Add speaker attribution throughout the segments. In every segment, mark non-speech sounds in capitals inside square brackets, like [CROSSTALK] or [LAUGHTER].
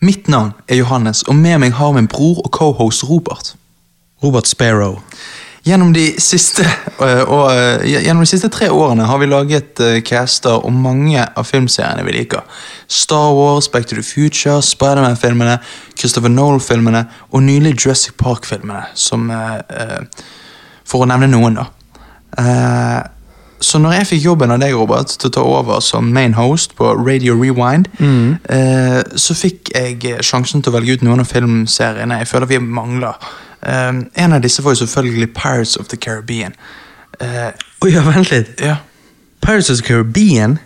Speaker 1: Mitt navn er Johannes, og med meg har min bror og cohost Robert.
Speaker 2: Robert Sparrow.
Speaker 1: Gjennom de, siste, [LAUGHS] øh, og, øh, gjennom de siste tre årene har vi laget øh, caster om mange av filmseriene vi liker. Star Wars, Back to the Future, Spiderman-filmene, Christopher Nolan-filmene og nylig Jurassic Park-filmene, som øh, øh, For å nevne noen, da. Eh, så når jeg fikk jobben av deg, Robert, til å ta over som main host på Radio Rewind,
Speaker 2: Mm.
Speaker 1: eh, så fikk jeg sjansen til å velge ut noen av filmseriene jeg føler vi mangler. Eh, en av disse var jo selvfølgelig Pirates of the Caribbean. Eh,
Speaker 2: Oi, ja, vent litt.
Speaker 1: ja.
Speaker 2: Pirates of the Caribbean?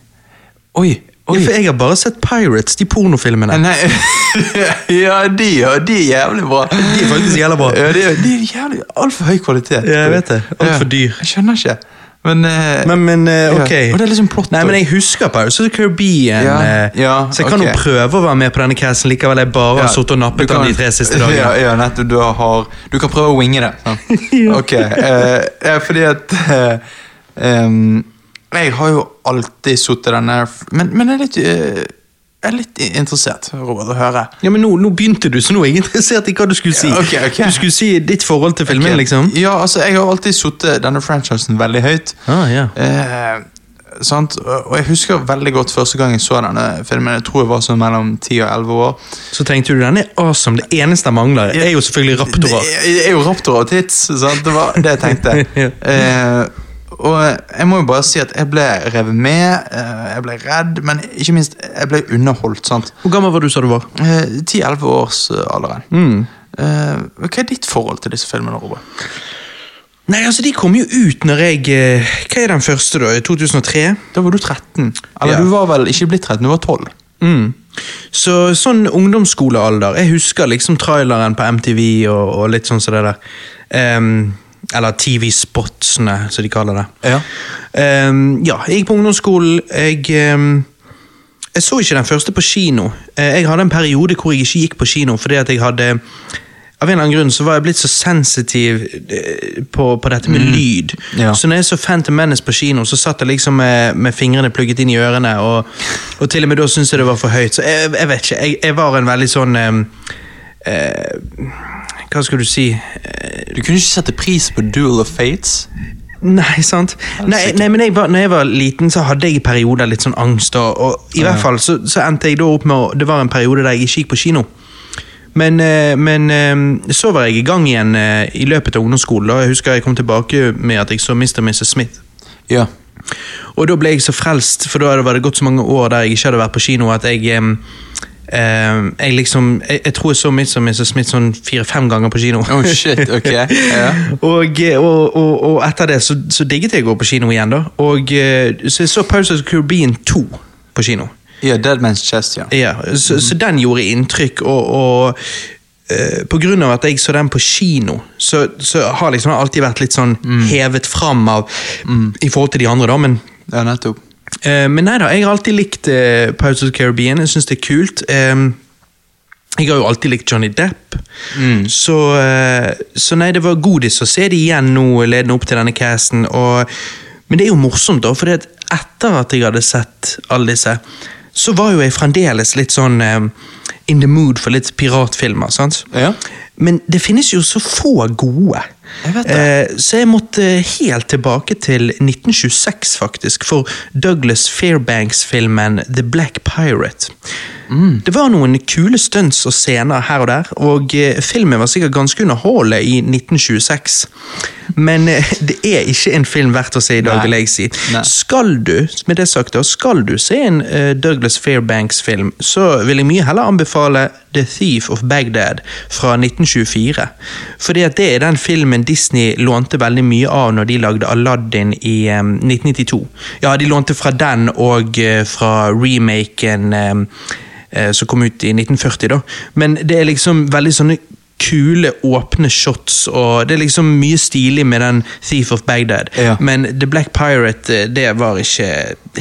Speaker 1: Oi,
Speaker 2: Ja,
Speaker 1: oi.
Speaker 2: for jeg har bare sett Pirates, de pornofilmene. [LAUGHS]
Speaker 1: Nei, ja, de, ja, de er jævlig bra.
Speaker 2: De er faktisk jævla bra.
Speaker 1: Ja, de, er- de er jævlig altfor høy kvalitet.
Speaker 2: Ja, jeg vet det. Alt
Speaker 1: Ja.
Speaker 2: for dyr.
Speaker 1: Jeg skjønner ikke. Men, eh,
Speaker 2: Men, men eh,
Speaker 1: Ja,
Speaker 2: ok.
Speaker 1: og det er liksom plott,
Speaker 2: Nei,
Speaker 1: da.
Speaker 2: men jeg husker Pirates of the Caribbean.
Speaker 1: Ja,
Speaker 2: eh,
Speaker 1: ja,
Speaker 2: så jeg kan
Speaker 1: ok.
Speaker 2: jo prøve å være med på denne casten likevel. Jeg bare
Speaker 1: ja,
Speaker 2: har sittet og
Speaker 1: du
Speaker 2: nappet
Speaker 1: kan-
Speaker 2: av de tre siste dagene.
Speaker 1: Ja, ja nettopp. Du har Du kan prøve å winge det. sant? Ok. eh, ja, fordi at eh, em, Jeg har jo alltid sittet denne Men, men jeg er litt eh, Jeg er litt interessert, Robert, å høre.
Speaker 2: Ja, men nå, nå begynte du, så nå er jeg [LAUGHS] interessert i hva du skulle si.
Speaker 1: Ja, ok, ok.
Speaker 2: Du skulle si ditt forhold til filmen,
Speaker 1: Ok.
Speaker 2: liksom.
Speaker 1: Ja, altså, jeg har alltid sittet denne franchisen veldig høyt.
Speaker 2: Ah, ja.
Speaker 1: Eh, sant? Og og jeg husker veldig godt første gang jeg så denne filmen. Jeg tror jeg var sånn mellom 10 og 11 år.
Speaker 2: Så tenkte du, den er awesome. Det eneste jeg mangler, er jo selvfølgelig raptorer.
Speaker 1: Det er- er jo raptorer og tits, sant? Det var det jeg [LAUGHS] tenkte.
Speaker 2: Ja.
Speaker 1: eh, og jeg må jo bare si at jeg ble revet med, eh, jeg ble redd, men ikke minst, jeg ble underholdt, sant?
Speaker 2: Hvor gammel var du, sa du var?
Speaker 1: Eh, 10-11 års eh, alderen. Eh, hva er ditt forhold til disse filmene, Robert?
Speaker 2: Nei, altså, de kom jo ut når jeg eh, Hva er den første, da? 2003?
Speaker 1: Da var du 13. Eller
Speaker 2: Ja.
Speaker 1: du var vel ikke blitt 13, du var 12.
Speaker 2: Mm. Så sånn ungdomsskolealder Jeg husker liksom traileren på MTV og, og litt sånn som det der. Ehm, eller TV-spotsene, som de kaller det.
Speaker 1: Ja.
Speaker 2: Ehm, ja, jeg gikk på ungdomsskolen. Jeg, ehm, jeg så ikke den første på kino. Eh, Jeg hadde en periode hvor jeg ikke gikk på kino fordi at jeg hadde av en eller annen grunn så var jeg blitt så sensitiv eh, på, på dette med lyd.
Speaker 1: Mm. Ja.
Speaker 2: Så når jeg så Phantom Menace på kino, så satt jeg liksom med, med fingrene plugget inn i ørene, og, og til og med da syntes jeg det var for høyt. Så jeg, jeg vet ikke. Jeg, jeg var en veldig sånn eh, eh, Hva skal du si? Eh,
Speaker 1: Du kunne ikke sette pris på Duel of Fates?
Speaker 2: Nei, sant. Nei, nei men jeg var, når jeg var liten, så hadde jeg i perioder litt sånn angst. Og, og i
Speaker 1: Ja.
Speaker 2: hvert fall så, så endte jeg da opp med å- Det var en periode der jeg ikke gikk på kino. Men, eh, men eh, så var jeg i gang igjen eh, i løpet av ungdomsskolen. Og jeg husker jeg kom tilbake med at jeg så Mr. og Mrs. Smith.
Speaker 1: Ja.
Speaker 2: Og da ble jeg så frelst, for da var det gått så mange år der jeg ikke hadde vært på kino at jeg em, em, jeg liksom, jeg, jeg tror jeg så Mr. og Mrs. Smith sånn fire-fem ganger på kino.
Speaker 1: Oh shit, [LAUGHS] ok.
Speaker 2: [LAUGHS]
Speaker 1: Ja.
Speaker 2: Og, eh, og, og, og etter det så, så digget jeg å gå på kino igjen, da. Og eh, så jeg så Pirates of the Caribbean 2 på kino.
Speaker 1: ja Dead Man's Chest, ja.
Speaker 2: Ja, så, så den gjorde inntrykk, og, og eh, på grunn av at jeg så den på kino, så, så har liksom den alltid vært litt sånn hevet fram av i forhold til de andre, da, men
Speaker 1: Ja, nettopp.
Speaker 2: Eh, men nei da, jeg har alltid likt eh, Pirates of the Caribbean. Jeg syns det er kult. Ehm, jeg har jo alltid likt Johnny Depp.
Speaker 1: Mm.
Speaker 2: Så, eh, så nei, det var godis å se det igjen nå, ledende opp til denne casten. Og, men det er jo morsomt, da, for etter at jeg hadde sett alle disse, så var jo jeg fremdeles litt sånn eh, in the mood for litt piratfilmer. sant?
Speaker 1: Ja.
Speaker 2: Men det finnes jo så få gode.
Speaker 1: Jeg vet det.
Speaker 2: Eh, så jeg måtte helt tilbake til 1926, faktisk, for Douglas Fairbanks-filmen The Black Pirate. Det var noen kule stunts og scener her og der, og eh, filmen var sikkert ganske underholdende i 1926. Men eh, det er ikke en film verdt å se i dag,
Speaker 1: Nei.
Speaker 2: vil jeg si.
Speaker 1: Nei.
Speaker 2: Skal du, med det sagt, da, skal du se en eh, Douglas Fairbanks-film, så vil jeg mye heller anbefale The Thief of Bagdad fra 1924. Fordi at det er den filmen Disney lånte veldig mye av når de lagde Aladdin i eh, 1992. Ja, de lånte fra den og eh, fra remaken eh, eh, som kom ut i 1940, da. Men det er liksom veldig sånne kule, åpne shots, og det er liksom mye stilig med den Thief of Bagdad.
Speaker 1: Ja.
Speaker 2: Men The Black Pirate, eh, det var ikke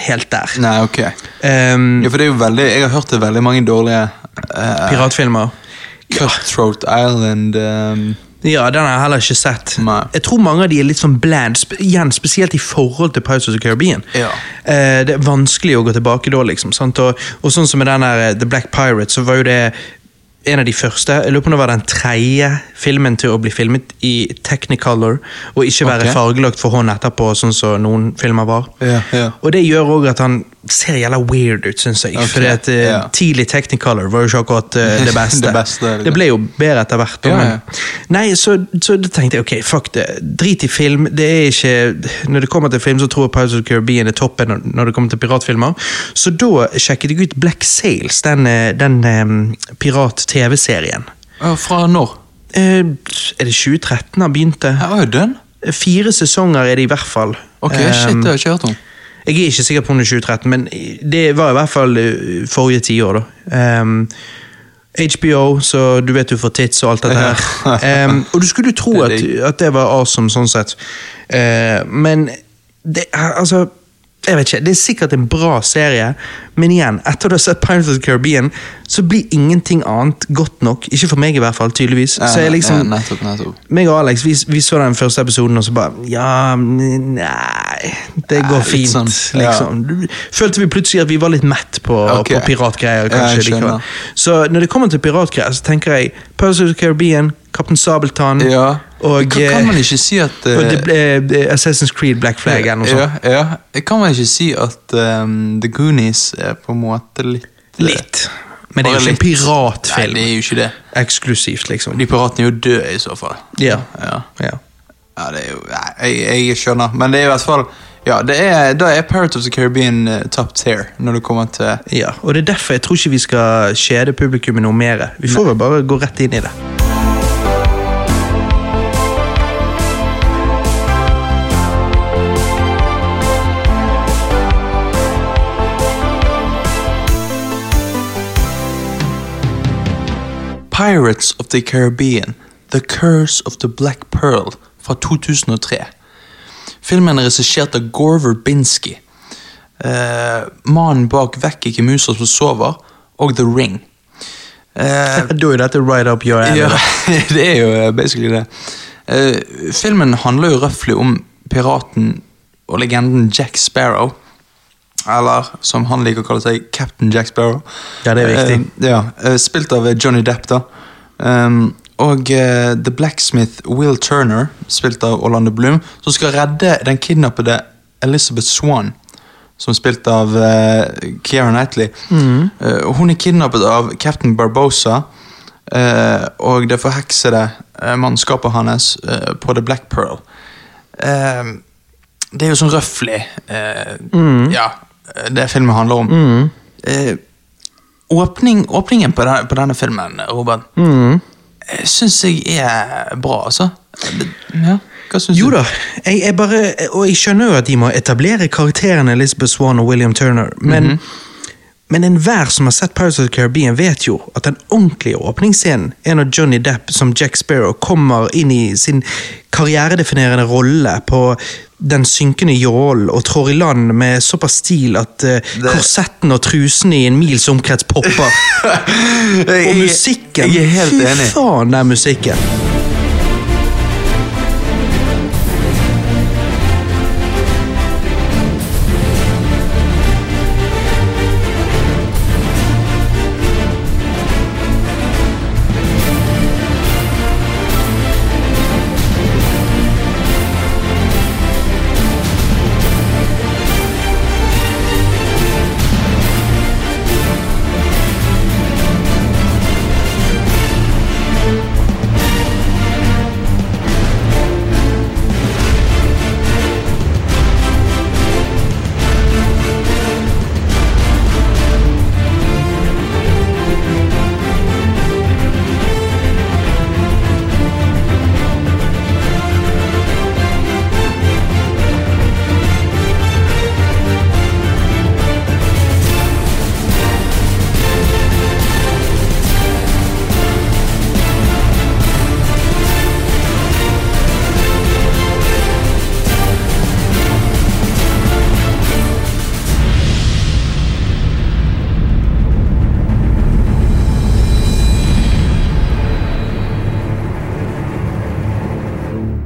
Speaker 2: helt der.
Speaker 1: Nei, ok.
Speaker 2: Ehm,
Speaker 1: Ja, for det er jo veldig, jeg har hørt det veldig mange dårlige eh,
Speaker 2: piratfilmer.
Speaker 1: Cutthroat Island ehm,
Speaker 2: Ja, den har jeg heller ikke sett.
Speaker 1: Nei.
Speaker 2: Jeg tror mange av de er litt sånn bland, sp igjen, spesielt i forhold til Pirates of the Caribbean.
Speaker 1: Ja.
Speaker 2: Eh, det er vanskelig å gå tilbake da, liksom. Sant? Og, og sånn som med den der eh, The Black Pirate, så var jo det en av de første. Jeg lurer på om det var den tredje filmen til å bli filmet i Technicolor, og ikke være
Speaker 1: Ok.
Speaker 2: fargelagt for hånd etterpå, sånn som noen filmer var.
Speaker 1: Ja, ja.
Speaker 2: Og det gjør òg at han ser jævla weird ut, syns jeg.
Speaker 1: Ok,
Speaker 2: Fordi at eh,
Speaker 1: ja.
Speaker 2: tidlig Technicolor var jo ikke akkurat eh, det beste.
Speaker 1: [LAUGHS] Det beste, det er det.
Speaker 2: det ble jo bedre etter hvert. da,
Speaker 1: Ja,
Speaker 2: men-
Speaker 1: ja.
Speaker 2: Nei, så, så da tenkte jeg ok, fuck det. Drit i film. Det er ikke Når det kommer til film, så tror jeg Pirates of the Caribbean er toppen når- når det kommer til piratfilmer. Så da sjekket jeg ut Black Sails, den, eh, den eh, pirat-TV-serien.
Speaker 1: Ja, Fra når?
Speaker 2: Eh, er det 2013 han begynte?
Speaker 1: Her er jo den.
Speaker 2: Fire sesonger er det i hvert fall.
Speaker 1: Ok,
Speaker 2: Eh,
Speaker 1: shit, det har jeg ikke hørt om.
Speaker 2: jeg er ikke sikker på om det er 2013, men det var i hvert fall eh, forrige tiår, da. Um, HBO, så du vet du får tits og alt dette
Speaker 1: [LAUGHS]
Speaker 2: her. Um, og du skulle jo tro at,
Speaker 1: Det er
Speaker 2: at det var awesome sånn sett, Eh, men det er altså jeg vet ikke, Det er sikkert en bra serie, men igjen, etter å ha sett Pirates of the Caribbean, så blir ingenting annet godt nok. Ikke for meg, i hvert fall, tydeligvis. Så
Speaker 1: Ja,
Speaker 2: jeg liksom,
Speaker 1: nettopp, nettopp.
Speaker 2: meg og Alex vi, vi så den første episoden, og så bare Ja, men nei Det
Speaker 1: Nei,
Speaker 2: går
Speaker 1: litt
Speaker 2: fint,
Speaker 1: sånn, ja.
Speaker 2: liksom. Du- Følte vi plutselig at vi var litt mett på,
Speaker 1: Ok.
Speaker 2: på
Speaker 1: Ja, jeg
Speaker 2: piratgreier, kanskje.
Speaker 1: skjønner.
Speaker 2: likevel. så når det kommer til piratgreier, så tenker jeg Pirates of the Caribbean, Kaptein Sabeltann
Speaker 1: Ja.
Speaker 2: Mm. og,
Speaker 1: Kan- kan man ikke si at
Speaker 2: eh,
Speaker 1: eh,
Speaker 2: og det ble, eh, Assassin's Creed Black Flag eller noe sånt.
Speaker 1: Ja, ja. Kan man ikke si at ehm, The Goonies er på en måte litt eh,
Speaker 2: Litt. Men det er jo
Speaker 1: bare
Speaker 2: ikke en
Speaker 1: litt. Nei,
Speaker 2: piratfilm.
Speaker 1: det er jo ikke det.
Speaker 2: Eksklusivt, liksom.
Speaker 1: De piratene er jo døde, i så fall.
Speaker 2: Ja.
Speaker 1: Ja.
Speaker 2: ja.
Speaker 1: Ja, det er jo nei, jeg, jeg skjønner, men det er i hvert fall Ja, det er, da er Pirate of the Caribbean eh, top tier når det kommer til
Speaker 2: Ja, og det er derfor jeg tror ikke vi skal kjede publikum med noe mer. Vi får vel bare gå rett inn i det.
Speaker 1: Pirates of the Caribbean The Curse of the Black Pearl fra 2003. Filmen er regissert av Gore Verbinski, eh, mannen bak Vekk ikke muser som sover og The Ring. Eh,
Speaker 2: Da er dette right up your alley.
Speaker 1: Ja, [LAUGHS] det er jo eh, basically det. Eh, filmen handler jo røftlig om piraten og legenden Jack Sparrow. Eller som han liker å kalle seg, Captain Jack Sparrow.
Speaker 2: Ja, det er viktig.
Speaker 1: Eh, ja, eh, spilt av eh, Johnny Depp, da. Um, og eh, The Blacksmith Will Turner, spilt av Orlando Bloom, som skal redde den kidnappede Elizabeth Swan, som er spilt av eh, Keira Knightley.
Speaker 2: Mm.
Speaker 1: Eh, og hun er kidnappet av Captain Barbosa eh, og det forheksede eh, mannskapet hans eh, på The Black Pearl. Eh, det er jo sånn røfflig eh,
Speaker 2: Mm.
Speaker 1: Ja, det filmen handler om. Eh, åpning, åpningen på, den, på denne filmen, Robert,
Speaker 2: Mm.
Speaker 1: eh, syns jeg er bra, altså. Ja, hva syns du?
Speaker 2: Jo da, jeg, jeg bare, og jeg skjønner jo at de må etablere karakterene Elizabeth Swan og William Turner, men, men enhver som har sett Pirates of the Caribbean vet jo at den ordentlige åpningsscenen er når Johnny Depp som Jack Sparrow kommer inn i sin karrieredefinerende rolle på den synkende jålen og trår i land med såpass stil at eh, korsetten og trusen i en mils omkrets [LAUGHS] popper. og musikken!
Speaker 1: Jeg er helt enig.
Speaker 2: Fy faen, den musikken!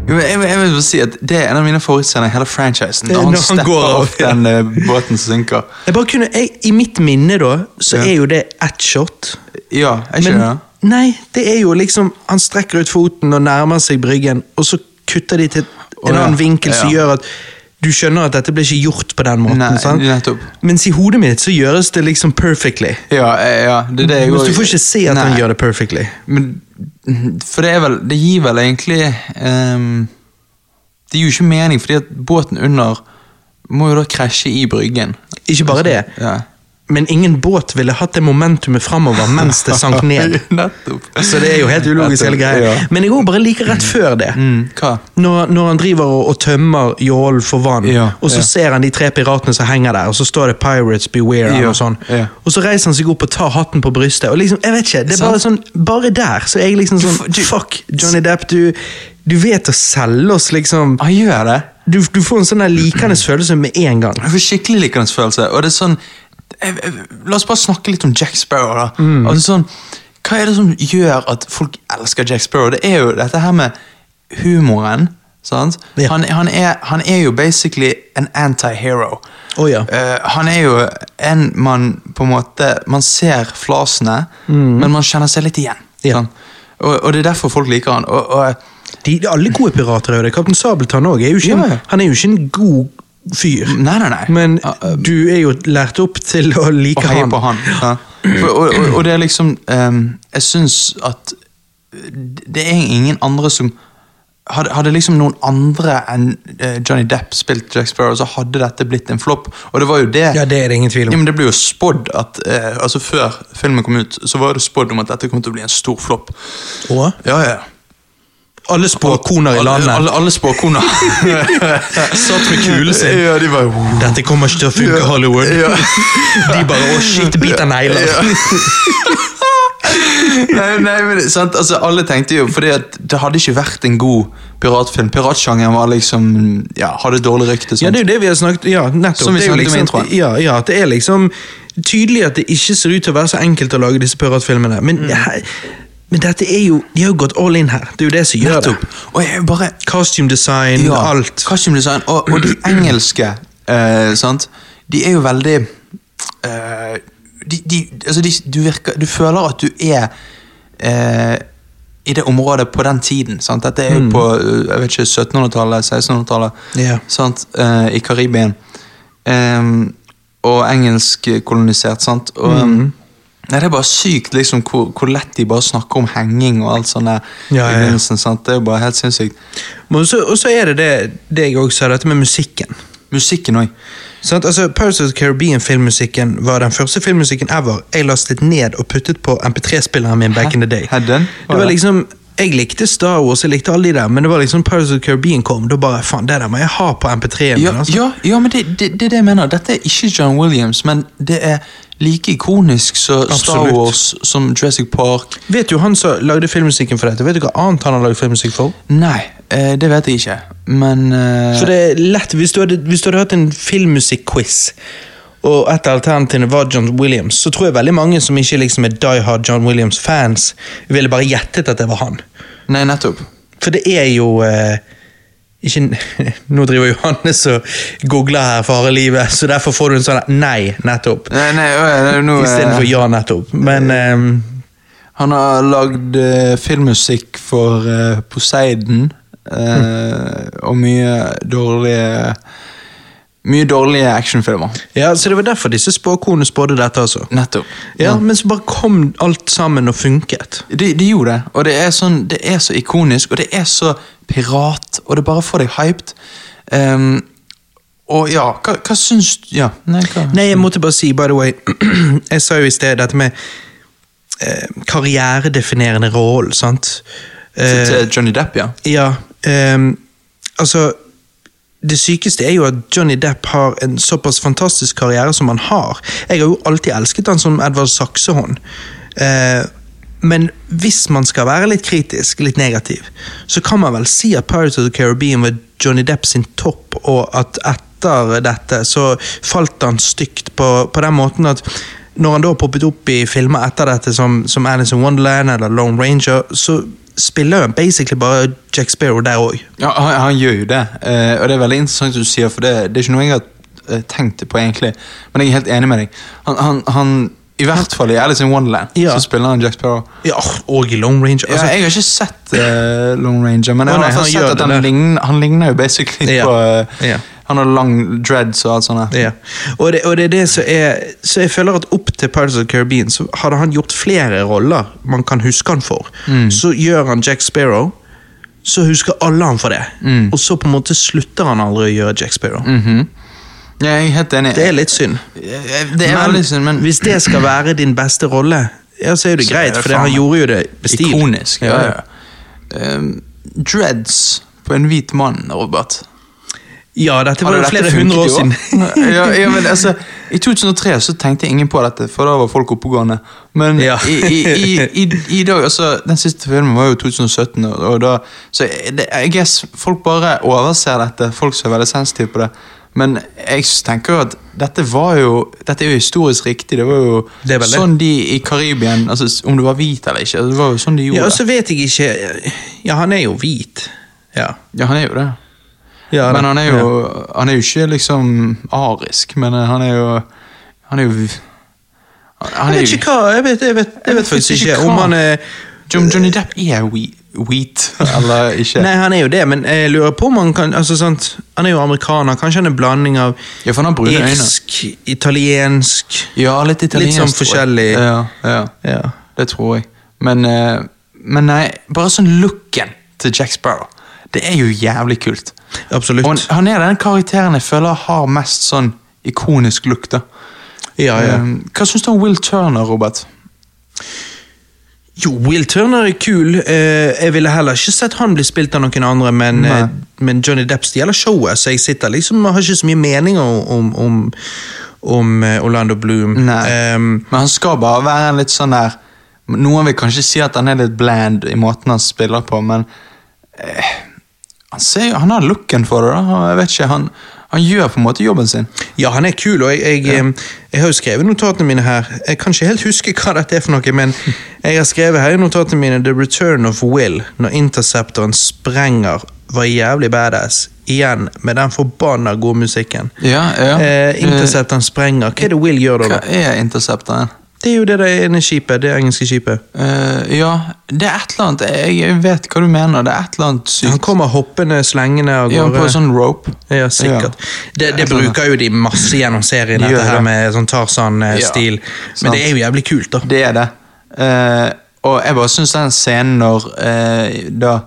Speaker 1: Jo, Jeg, jeg vil bare si at Det er en av mine favorittscener i hele franchisen.
Speaker 2: Når
Speaker 1: Når han
Speaker 2: han
Speaker 1: stepper
Speaker 2: går av,
Speaker 1: opp den eh, båten som synker.
Speaker 2: Jeg bare kunne, jeg, I mitt minne, da, så
Speaker 1: Ja.
Speaker 2: er jo det ett shot.
Speaker 1: Ja, er ikke
Speaker 2: Men
Speaker 1: det?
Speaker 2: Nei, det er jo liksom Han strekker ut foten og nærmer seg bryggen, og så kutter de til en
Speaker 1: Å, ja.
Speaker 2: annen vinkel som
Speaker 1: Ja.
Speaker 2: gjør at du skjønner at dette ble ikke gjort på den måten.
Speaker 1: Nei,
Speaker 2: sant?
Speaker 1: nettopp.
Speaker 2: Mens i hodet mitt så gjøres det liksom perfectly.
Speaker 1: Ja, eh, ja det er det jeg
Speaker 2: Mens
Speaker 1: også-
Speaker 2: du får ikke se at han
Speaker 1: Nei.
Speaker 2: gjør det perfectly.
Speaker 1: Men, for det er vel Det gir vel egentlig ehm, Det gir jo ikke mening, fordi at båten under må jo da krasje i bryggen.
Speaker 2: Ikke bare det,
Speaker 1: Ja.
Speaker 2: men ingen båt ville hatt det momentumet framover mens det sank ned.
Speaker 1: [LAUGHS] Nettopp.
Speaker 2: Så det er jo helt ulogisk, hele greia.
Speaker 1: Ja.
Speaker 2: Men jeg går bare like rett før det.
Speaker 1: Mm, hva?
Speaker 2: Når, når han driver og, og tømmer jålen for vann,
Speaker 1: Ja,
Speaker 2: og så
Speaker 1: ja.
Speaker 2: ser han de tre piratene som henger der, og så står det 'Pirates Beware' eller
Speaker 1: Ja,
Speaker 2: noe sånn.
Speaker 1: ja.
Speaker 2: Og så reiser han seg opp og tar hatten på brystet. Og liksom, jeg vet ikke, det er bare sånn, bare der så er jeg liksom sånn
Speaker 1: f- du-
Speaker 2: Fuck, Johnny Depp, du, du vet å selge oss, liksom.
Speaker 1: Han gjør det.
Speaker 2: Du, du får en sånn der
Speaker 1: [CLEARS THROAT]
Speaker 2: likende følelse med en gang.
Speaker 1: Jeg får skikkelig likedansfølelse. Og det er sånn jeg, jeg, La oss bare snakke litt om Jack Sparrow. da
Speaker 2: Mm.
Speaker 1: altså, sånn, Hva er det som gjør at folk elsker Jack Sparrow? Det er jo dette her med humoren. Sant?
Speaker 2: Ja.
Speaker 1: Han, han, er, han er jo basically en antihero.
Speaker 2: Å ja.
Speaker 1: Eh, han er jo en man på en måte Man ser flasene, men man kjenner seg litt igjen.
Speaker 2: Mm. Ja.
Speaker 1: sant? Og, og det er derfor folk liker han. Og, og
Speaker 2: De, alle gode pirater er jo det. Kaptein Sabeltann òg er jo ikke, en-
Speaker 1: Ja, ja.
Speaker 2: han er jo ikke en god fyr.
Speaker 1: Nei, nei, nei.
Speaker 2: Men
Speaker 1: Ah,
Speaker 2: du er jo lært opp til å like
Speaker 1: og heie
Speaker 2: han.
Speaker 1: på han. Ja. For, og, og, og det er liksom ehm, Jeg syns at det er ingen andre som hadde, hadde liksom noen andre enn eh, Johnny Depp spilt Jack Sparrow, så hadde dette blitt en flopp. Og det var jo det
Speaker 2: Ja, det er det ingen tvil
Speaker 1: Ja,
Speaker 2: om.
Speaker 1: men det ble jo spådd at eh, altså Før filmen kom ut, så var det spådd om at dette kom til å bli en stor flopp.
Speaker 2: Og
Speaker 1: Ja, ja.
Speaker 2: alle spåkoner i
Speaker 1: Alle,
Speaker 2: landet
Speaker 1: alle, alle [LAUGHS] spåkoner.
Speaker 2: satt med kulen sin.
Speaker 1: ja, de var jo
Speaker 2: [LAUGHS] Dette kommer ikke til å funke, Hollywood.
Speaker 1: Ja.
Speaker 2: [LAUGHS] De bare 'å, shit, bit av negler'.
Speaker 1: [LAUGHS] nei, nei, men sant? Altså, Alle tenkte jo Fordi at det hadde ikke vært en god piratfilm. Piratsjangeren var liksom Ja, hadde dårlig rykte.
Speaker 2: [LAUGHS]
Speaker 1: sånn.
Speaker 2: Ja,
Speaker 1: Sant?
Speaker 2: det er jo det vi har snakket ja, nettopp.
Speaker 1: Som vi
Speaker 2: det
Speaker 1: snakket
Speaker 2: er jo
Speaker 1: om i
Speaker 2: liksom,
Speaker 1: introen.
Speaker 2: ja, ja, at det er liksom tydelig at det ikke ser ut til å være så enkelt å lage disse piratfilmene. Men,
Speaker 1: Mm.
Speaker 2: he- men dette er jo De har jo gått all in her. Det er jo det som gjør
Speaker 1: Nettopp.
Speaker 2: det.
Speaker 1: Og jeg bare
Speaker 2: Costume design,
Speaker 1: ja,
Speaker 2: alt.
Speaker 1: Costume design. Og, og de engelske, eh, sant De er jo veldig eh, de, de, altså de, du, virker, du føler at du er eh, i det området på den tiden. Sant? Dette er jo på eh, jeg vet ikke, 1700-tallet, 1600-tallet
Speaker 2: Mm. Ja.
Speaker 1: sant? Eh, i Karibien. Ehm, og engelskolonisert, sant. Og,
Speaker 2: Mm.
Speaker 1: Nei, Det er bare sykt liksom, hvor, hvor lett de bare snakker om henging og alt sånt. der
Speaker 2: Ja, ja,
Speaker 1: i
Speaker 2: ja.
Speaker 1: begynnelsen, sant? Det er jo bare helt sinnssykt.
Speaker 2: Og så, og så er det det, det jeg også sa, dette med musikken.
Speaker 1: Musikken òg.
Speaker 2: Sant? Altså, Pirates of the Caribbean-filmmusikken var den første filmmusikken ever jeg lastet ned og puttet på MP3-spilleren min back in the day.
Speaker 1: Hæ? Hadde den?
Speaker 2: Det var liksom, Jeg likte Star Wars, jeg likte alle de der, men det var liksom Pirates of the Caribbean kom, da bare faen, det der må jeg ha på MP3-en. min,
Speaker 1: Ja,
Speaker 2: altså.
Speaker 1: ja, ja, men det, det, det er det jeg mener. Dette er ikke John Williams, men det er like ikonisk som Star
Speaker 2: Absolutt.
Speaker 1: Wars, som Jurassic Park.
Speaker 2: Vet du han som lagde filmmusikken for dette? Vet du hva annet han har lagd filmmusikk for?
Speaker 1: Nei, eh, det vet jeg ikke, men eh,
Speaker 2: Så det er lett, Hvis du hadde, hvis du hadde hatt en filmmusikk-quiz, og et av alternativene var John Williams, så tror jeg veldig mange som ikke liksom er die hard John Williams-fans, ville bare gjettet at det var han.
Speaker 1: Nei, nettopp.
Speaker 2: For det er jo eh, ikke, en- [LAUGHS] Nå driver Johannes og googler her for harde livet, så derfor får du en sånn nei, nettopp.
Speaker 1: Nei, nei, øh, nei, nå, eh,
Speaker 2: Istedenfor ja, nettopp. Men ehm,
Speaker 1: Han har lagd eh, filmmusikk for eh, Poseidon,
Speaker 2: Mm.
Speaker 1: eh, og mye dårlige Mye dårlige actionfilmer.
Speaker 2: ja, Så det var derfor disse spåkonene spådde dette, altså.
Speaker 1: Nettopp.
Speaker 2: Ja, Men så bare kom alt sammen og funket.
Speaker 1: De, de gjorde det, og det er, sånn, det er så ikonisk, og det er så pirat, og det bare får deg hyped. Ehm, og ja, hva, hva syns du Ja, nei, hva?
Speaker 2: Nei, jeg måtte bare si, by the way [CLEARS THROAT] Jeg sa jo i sted dette med eh, karrieredefinerende roll, sant?
Speaker 1: Til,
Speaker 2: Eh,
Speaker 1: til Johnny Depp, ja.
Speaker 2: Ja, ehm, altså Det sykeste er jo at Johnny Depp har en såpass fantastisk karriere som han har. Jeg har jo alltid elsket han som Edvard Saksehånd. Eh, men hvis man skal være litt kritisk, litt negativ, så kan man vel si at Pirates of the Caribbean var Johnny Depp sin topp, og at etter dette så falt han stygt på, på den måten at når han da poppet opp i filmer etter dette, som, som Alice in Wonderland eller Lone Ranger, så spiller han basically bare Jack Sparrow der òg.
Speaker 1: ja han, han gjør jo det, eh, og det er veldig interessant det du sier, for det, det er ikke noe jeg har eh, tenkt på, egentlig. Men jeg er helt enig med deg. Han, han, han I hvert fall i Alice in Wonderland,
Speaker 2: Ja.
Speaker 1: så spiller han Jack Sparrow.
Speaker 2: Ja, og i Long Range.
Speaker 1: Altså,
Speaker 2: Altså,
Speaker 1: jeg har ikke sett eh, Lone Ranger, men jeg har i
Speaker 2: Å, nei,
Speaker 1: hvert fall
Speaker 2: han
Speaker 1: sett
Speaker 2: gjør
Speaker 1: at
Speaker 2: det
Speaker 1: han
Speaker 2: der.
Speaker 1: ligner, han ligner jo basically
Speaker 2: Ja.
Speaker 1: på eh,
Speaker 2: Ja.
Speaker 1: Han har lang dreads og alt sånt. der.
Speaker 2: Ja. Og, det, og det er det som er Så jeg føler at opp til Pirates of the Caribbean så hadde han gjort flere roller man kan huske han for.
Speaker 1: Mm.
Speaker 2: Så gjør han Jack Sparrow, så husker alle han for det.
Speaker 1: Mm.
Speaker 2: Og så på en måte slutter han aldri å gjøre Jack Sparrow.
Speaker 1: Ja, jeg er helt enig.
Speaker 2: Det er litt synd.
Speaker 1: Eh, det er veldig synd, men
Speaker 2: hvis det skal være din beste rolle, ja, så er jo det
Speaker 1: Så er
Speaker 2: greit,
Speaker 1: det
Speaker 2: for det,
Speaker 1: faen
Speaker 2: han
Speaker 1: meg
Speaker 2: gjorde jo det med stil.
Speaker 1: ikonisk.
Speaker 2: Ja, ja.
Speaker 1: Um, dreads på en hvit mann, Robert.
Speaker 2: ja dette
Speaker 1: Hadde
Speaker 2: var jo
Speaker 1: dette
Speaker 2: flere
Speaker 1: funket
Speaker 2: hundre
Speaker 1: i
Speaker 2: år siden.
Speaker 1: [LAUGHS] ja, ja, men
Speaker 2: [LAUGHS]
Speaker 1: altså, I 2003 så tenkte ingen på dette, for da var folk oppegående. Men
Speaker 2: Ja.
Speaker 1: i, i, i, i, i dag altså, Den siste filmen var jo 2017, og, og da, så det, I guess folk bare overser dette. Folk som er veldig sensitive på det. Men jeg tenker jo at dette var jo Dette er jo historisk riktig. Det var jo
Speaker 2: Det er vel det.
Speaker 1: sånn de i Karibia altså, Om du var hvit eller ikke, det var jo sånn de
Speaker 2: Ja, altså-
Speaker 1: gjorde
Speaker 2: og
Speaker 1: det.
Speaker 2: så vet jeg ikke Ja, han er jo hvit. Ja.
Speaker 1: Ja, han er jo det.
Speaker 2: Ja,
Speaker 1: Men han er
Speaker 2: ja.
Speaker 1: jo Han er jo ikke liksom arisk, men eh, han er jo Han er jo han- han er jo-
Speaker 2: Jeg vet ikke hva Jeg vet, jeg vet, jeg vet faktisk ikke
Speaker 1: hva.
Speaker 2: om han er
Speaker 1: John, Johnny Depp er whe- wheat, [LAUGHS] eller ikke?
Speaker 2: Nei, han er jo det, men jeg lurer på om han kan altså, sant? Han er jo amerikaner. Kanskje han er en blanding av
Speaker 1: Ja, for han har brune øyne.
Speaker 2: irsk, italiensk
Speaker 1: Ja, litt italiensk.
Speaker 2: Litt sånn
Speaker 1: tror jeg.
Speaker 2: forskjellig.
Speaker 1: Ja, ja,
Speaker 2: Ja.
Speaker 1: det tror jeg. Men, eh, men nei, bare sånn looken til Jack Sparrow. Det er jo jævlig kult.
Speaker 2: Absolutt.
Speaker 1: Og han, han er den karakteren jeg føler har mest sånn ikonisk look, da.
Speaker 2: ja, ja.
Speaker 1: Eh, Hva syns du om Will Turner, Robert?
Speaker 2: Jo, Will Turner er kul. Eh, jeg ville heller ikke sett han bli spilt av noen andre, men,
Speaker 1: Nei.
Speaker 2: eh, men Johnny Depp stjeler showet, så jeg sitter liksom og har ikke så mye meninger om, om, om eh, Orlando Bloom.
Speaker 1: Nei.
Speaker 2: Ehm,
Speaker 1: Men han skal bare være en litt sånn der Noen vil kanskje si at han er litt bland i måten han spiller på, men eh, han, ser, jo- han har looken for det. da Jeg vet ikke, han, han gjør på en måte jobben sin.
Speaker 2: Ja, han er kul, og jeg, jeg, eh, jeg har jo skrevet notatene mine her. Jeg kan ikke helt huske hva dette er for noe,
Speaker 1: [LAUGHS]
Speaker 2: men jeg har skrevet her i notatene mine The Return of Will, når Interceptoren sprenger, var jævlig badass. Igjen, med den forbanna gode musikken.
Speaker 1: Ja, ja.
Speaker 2: Eh, Interceptoren sprenger. Hva er det Will gjør da,
Speaker 1: Hva
Speaker 2: da?
Speaker 1: er intercepteren?
Speaker 2: Det er jo det der ene skipet, det engelske skipet.
Speaker 1: Eh, ja, det er et eller annet Jeg jeg vet hva du mener. Det er et eller annet
Speaker 2: Han
Speaker 1: sykt.
Speaker 2: kommer hoppende, slengende av
Speaker 1: Ja, på en
Speaker 2: gårde.
Speaker 1: sånn rope.
Speaker 2: Ja, sikkert. Det, det
Speaker 1: Jeg skjønner.
Speaker 2: bruker jo de masse gjennom serien,
Speaker 1: De gjør
Speaker 2: dette her
Speaker 1: det.
Speaker 2: med sånn Tarzan-stil.
Speaker 1: sant.
Speaker 2: Men det er jo jævlig kult, da.
Speaker 1: Det er det. Eh, og jeg bare syns den scenen når eh, Da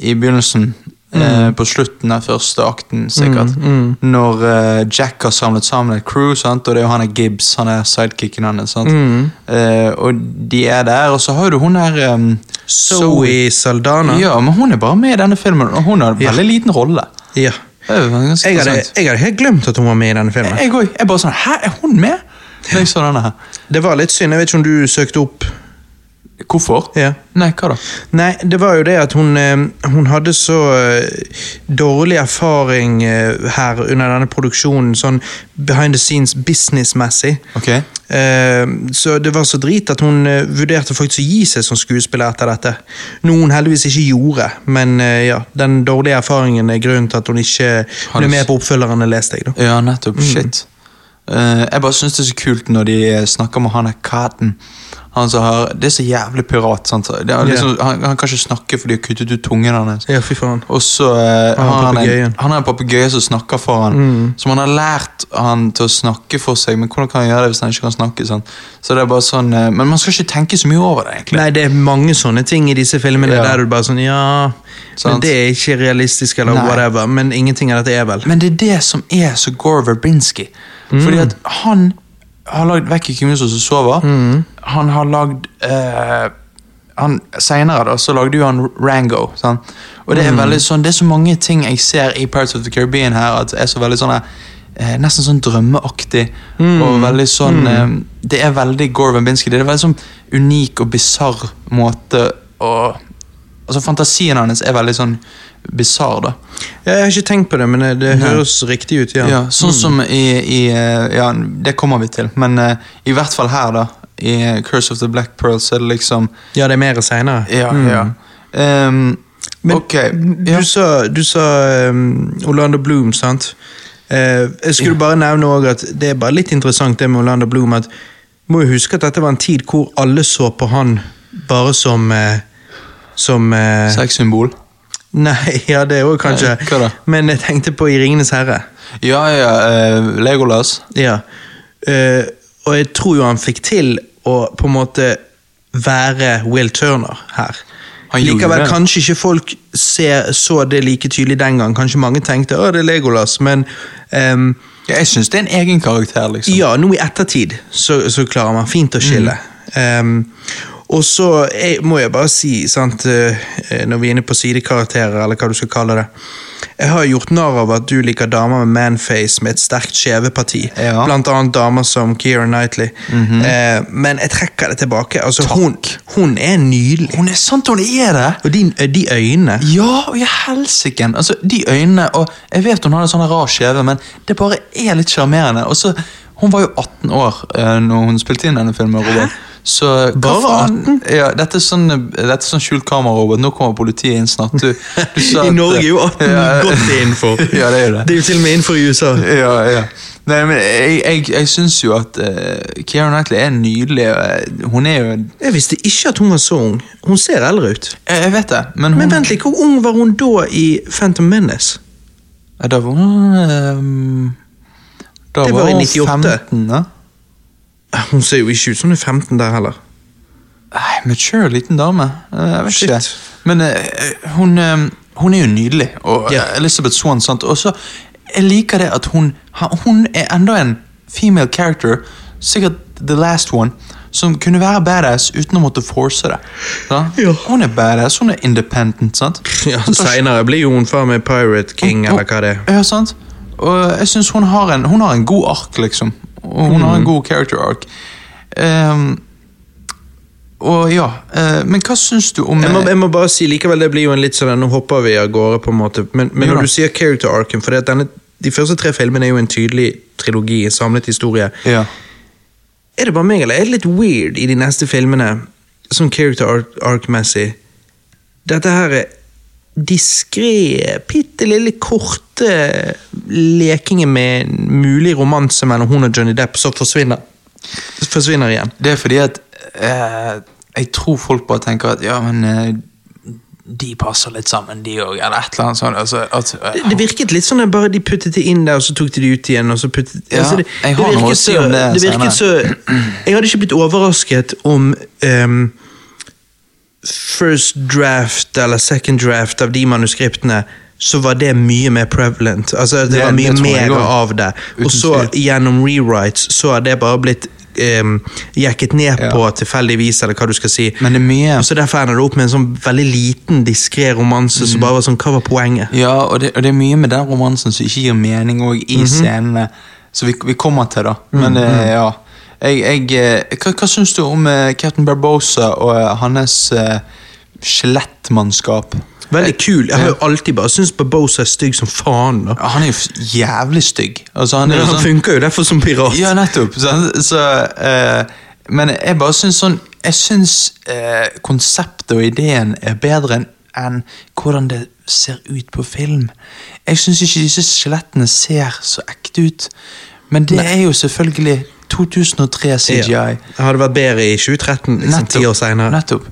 Speaker 1: i begynnelsen
Speaker 2: Mm.
Speaker 1: eh, på slutten av første akten, sikkert. Når eh, Jack har samlet sammen et crew, sant? og det er jo han er Gibbs, han er sidekicken hans. sant?
Speaker 2: Mm.
Speaker 1: Eh, og de er der, og så har jo du hun her um,
Speaker 2: Zoe Saldana.
Speaker 1: Ja, men hun er bare med i denne filmen, og hun har en
Speaker 2: Ja.
Speaker 1: veldig liten rolle.
Speaker 2: Ja.
Speaker 1: Det er jo ganske
Speaker 2: Jeg hadde,
Speaker 1: interessant.
Speaker 2: jeg hadde helt glemt at hun var med i denne filmen.
Speaker 1: Jeg òg. Jeg bare sånn Hæ, er hun med? Når jeg så denne her.
Speaker 2: Det var litt synd. Jeg vet ikke om du søkte opp
Speaker 1: Hvorfor?
Speaker 2: Ja.
Speaker 1: Nei, hva da?
Speaker 2: Nei, det var jo det at hun, eh, hun hadde så eh, dårlig erfaring eh, her under denne produksjonen, sånn behind the scenes businessmessig.
Speaker 1: Ok.
Speaker 2: Eh, Så det var så drit at hun eh, vurderte faktisk å gi seg som skuespiller etter dette. Noe hun heldigvis ikke gjorde, men eh, ja, den dårlige erfaringen er grunnen til at hun ikke
Speaker 1: Har du
Speaker 2: ble
Speaker 1: s-
Speaker 2: med på oppfølgeren, leste jeg. da.
Speaker 1: Ja, nettopp.
Speaker 2: Mm.
Speaker 1: Shit. Eh, jeg bare syns det er så kult når de eh, snakker med han der Cotton. Han som har Det er så jævlig pirat. sant? Det er liksom, han, han kan ikke snakke fordi de har kuttet ut tungen hans.
Speaker 2: Ja, fy faen.
Speaker 1: Og så eh,
Speaker 2: Han
Speaker 1: har han en,
Speaker 2: papegøyen. Mm.
Speaker 1: han har en papegøye som snakker for han Som han har lært han til å snakke for seg, men hvordan kan han gjøre det hvis han ikke kan snakke? sant? Så det er bare sånn, eh, Men man skal ikke tenke så mye over det, egentlig.
Speaker 2: Nei, det er mange sånne ting i disse filmene
Speaker 1: Ja.
Speaker 2: der du bare sånn Ja,
Speaker 1: Sant.
Speaker 2: men det er ikke realistisk, eller
Speaker 1: Nei.
Speaker 2: whatever. Men ingenting av dette er vel.
Speaker 1: Men det er det som er så Gore Verbinski. Fordi at han har lagd 'Vekk i kvinnhuset som sover'. Han har lagd eh, han, Senere da, så lagde jo han Rango. Sant? Og Det er veldig sånn, det er så mange ting jeg ser i Pirates of the Caribbean her, at er så veldig sånn eh, Nesten sånn drømmeaktig. Og veldig sånn eh, Det er veldig Gore Verbinski. Det er en veldig sånn unik og bisarr måte å Altså Fantasien hans er veldig sånn bisarr, da.
Speaker 2: Ja, jeg har ikke tenkt på det, men det høres riktig ut. Ja.
Speaker 1: Ja, sånn som i, i eh, Ja, det kommer vi til, men eh, i hvert fall her, da. I eh, Curse of the Black Pearl, så er det liksom
Speaker 2: Ja, det er mer seinere.
Speaker 1: Ja, ja. Ehm, ok. Ja.
Speaker 2: Du sa, du sa um, Orlando Bloom, sant? Eh, jeg skulle bare nevne også at det er bare litt interessant det med Orlando Bloom at må jo huske at dette var en tid hvor alle så på han bare som eh, Som eh,
Speaker 1: Sexsymbol.
Speaker 2: Nei, [LAUGHS] ja, det òg kanskje.
Speaker 1: Nei, hva da?
Speaker 2: Men jeg tenkte på I 'Ringenes herre'.
Speaker 1: Ja, ja, eh, Legolas.
Speaker 2: Ja. Eh, og jeg tror jo han fikk til å på en måte være Will Turner her.
Speaker 1: Han gjorde
Speaker 2: Likevel,
Speaker 1: det.
Speaker 2: kanskje ikke folk ser, så det like tydelig den gang. Kanskje mange tenkte å, det er Legolas, men ehm,
Speaker 1: Ja, jeg syns det er en egen karakter, liksom.
Speaker 2: ja, nå i ettertid så, så klarer man fint å skille.
Speaker 1: Mm.
Speaker 2: Ehm, og så jeg, må jeg bare si, sant, eh, når vi er inne på sidekarakterer, eller hva du skal kalle det Jeg har gjort narr av at du liker damer med manface med et sterkt skjeveparti.
Speaker 1: Ja. Mhm.
Speaker 2: Blant annet damer som Keira Knightley. Eh, men jeg trekker det tilbake. Altså, hun, hun er nydelig.
Speaker 1: Hun er sant, hun er det!
Speaker 2: Og de, de øynene
Speaker 1: Ja, og i helsiken! Altså, de øynene og Jeg vet hun hadde sånne rar skjeve, men det bare er litt sjarmerende. Og så, Hun var jo 18 år uh, når hun spilte inn denne filmen. Robert. Så, hva
Speaker 2: Bare
Speaker 1: faen- Ja, dette er sånn, eh, dette er sånn skjult kamera, Robert. Nå kommer politiet inn snart.
Speaker 2: [LAUGHS]
Speaker 1: Du, du sa
Speaker 2: I
Speaker 1: at-
Speaker 2: Norge er jo 18
Speaker 1: Ja,
Speaker 2: godt innenfor.
Speaker 1: [LAUGHS] Ja, det er jo det.
Speaker 2: Det er jo til og med innenfor i USA.
Speaker 1: Ja, ja. Nei, men jeg, jeg, jeg syns jo at uh, Keira Knightley er nydelig. og, eh, Hun er jo
Speaker 2: Jeg visste ikke at hun var så ung. Hun ser eldre ut.
Speaker 1: Jeg, jeg vet det, men hun
Speaker 2: Men vent litt, hvor ung var hun da i Phantom Menace?
Speaker 1: Ja, Da var hun ehm, Da
Speaker 2: Det var i
Speaker 1: hun
Speaker 2: 98.
Speaker 1: 15, da.
Speaker 2: Hun ser jo ikke ut som hun er 15 der heller.
Speaker 1: Nei, mature liten dame. Eh, Jeg vet
Speaker 2: Shit.
Speaker 1: ikke. Men eh, hun, eh, hun er jo nydelig, og
Speaker 2: Ja.
Speaker 1: eh, Elizabeth Swann, sant. Og så jeg liker det at hun ha- Hun er enda en female character, sikkert the last one, som kunne være badass uten å måtte force det. sant?
Speaker 2: Ja.
Speaker 1: Hun er badass, hun er independent, sant.
Speaker 2: Ja, Seinere blir jo hun far med Pirate King, eller hva det er.
Speaker 1: Ja, sant. Og jeg syns hun, har en- hun har en god ark, liksom. Og hun
Speaker 2: Mm.
Speaker 1: har en god character ark. Ehm, og ja, eh, men hva syns du om
Speaker 2: Jeg må, jeg må bare si likevel, det blir jo en litt sånn, nå hopper vi av gårde på en måte, men, men
Speaker 1: Jo da.
Speaker 2: når du sier character arcen, for det at denne, de første tre filmene er jo en tydelig trilogi, en samlet historie.
Speaker 1: ja.
Speaker 2: Er det bare meg, eller er det litt weird i de neste filmene, sånn character arc-messig? Dette her er diskré, bitte lille korte lekingen med en mulig romanse mellom hun og Johnny Depp, så forsvinner, forsvinner igjen.
Speaker 1: Det er fordi at eh, jeg tror folk bare tenker at ja, men eh, de passer litt sammen, de òg, eller et eller annet sånt. Altså, at,
Speaker 2: Det,
Speaker 1: eh,
Speaker 2: det virket litt sånn at bare de puttet det inn der, og så tok de det ut igjen. og så puttet...
Speaker 1: Ja,
Speaker 2: altså, det,
Speaker 1: jeg har
Speaker 2: det virket
Speaker 1: noe å si om det
Speaker 2: det virket så, Jeg hadde ikke blitt overrasket om ehm, first draft eller second draft av de manuskriptene så var det mye mer prevalent. Altså, det,
Speaker 1: Det-
Speaker 2: var mye
Speaker 1: det tror jeg
Speaker 2: mer
Speaker 1: også.
Speaker 2: av det. Og så
Speaker 1: tvil.
Speaker 2: gjennom rewrites så har det bare blitt ehm, jekket ned
Speaker 1: Ja.
Speaker 2: på tilfeldigvis, eller hva du skal si.
Speaker 1: men det er mye
Speaker 2: og så Derfor ender det opp med en sånn veldig liten, diskré romanse
Speaker 1: Mm.
Speaker 2: som bare var sånn Hva var poenget?
Speaker 1: Ja, og det, og det er mye med den romansen som ikke gir mening òg i scenene. Så vi, vi kommer til det. Men eh, ja. Jeg, jeg, eh, hva hva syns du om eh, Captain Barbosa og eh, hans eh, skjelettmannskap?
Speaker 2: Veldig kul. Jeg har jo alltid bare syntes Barbosa er stygg som faen. da.
Speaker 1: Ja, Han er jo f- jævlig stygg. Altså, han er jo
Speaker 2: Han
Speaker 1: sånn
Speaker 2: funker jo derfor som pirat.
Speaker 1: Ja, nettopp. Så, så, eh, men jeg bare syns sånn Jeg syns eh, konseptet og ideen er bedre enn enn hvordan det ser ut på film. Jeg syns ikke disse skjelettene ser så ekte ut. Men det er jo selvfølgelig 2003 CGI.
Speaker 2: Det Hadde vært bedre i 2013, liksom, ti år senere. Mm.
Speaker 1: Nettopp.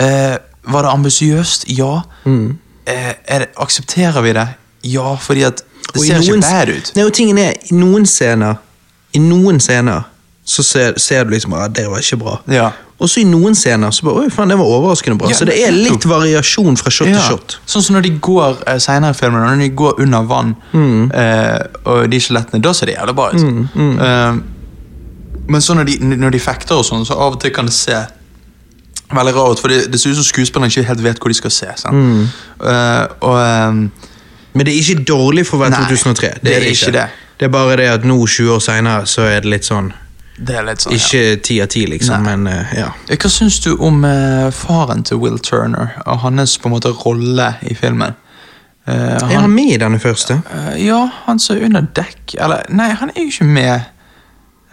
Speaker 1: Eh, var det ambisiøst? Ja. Eh, er det, aksepterer vi det? Ja, fordi at det
Speaker 2: Og i
Speaker 1: ser
Speaker 2: noen-
Speaker 1: ikke bad ut.
Speaker 2: Nei, og tingen er, I noen scener I noen scener så ser, ser du liksom at det var ikke bra.
Speaker 1: Ja.
Speaker 2: Og så i noen scener så bare, Oi, faen, det var overraskende bra.
Speaker 1: Ja,
Speaker 2: så det er
Speaker 1: nettopp.
Speaker 2: litt variasjon fra shot til shot.
Speaker 1: Sånn som når de går eh, senere i filmen, når de går under vann, eh, og de skjelettene, da ser det jævlig bra ut. Eh, men så når de, når de fekter og sånn, så av og til kan det se veldig rart ut, for det, det ser ut som skuespillerne ikke helt vet hvor de skal se. Sant? Eh, og eh,
Speaker 2: Men det er ikke dårlig for å være
Speaker 1: Nei,
Speaker 2: 2003. Det,
Speaker 1: det er
Speaker 2: er det
Speaker 1: ikke
Speaker 2: ikke.
Speaker 1: det.
Speaker 2: det er bare det at nå, 20 år senere, så er det litt sånn
Speaker 1: det er litt sånn, ja.
Speaker 2: Ikke ti av ti, liksom,
Speaker 1: Nei.
Speaker 2: men eh, ja.
Speaker 1: Eh, Hva syns du om eh, faren til Will Turner og hans på en måte rolle i filmen? Eh,
Speaker 2: Er han med i denne første?
Speaker 1: Eh, ja, han som er under dekk Eller, nei, han er jo ikke med.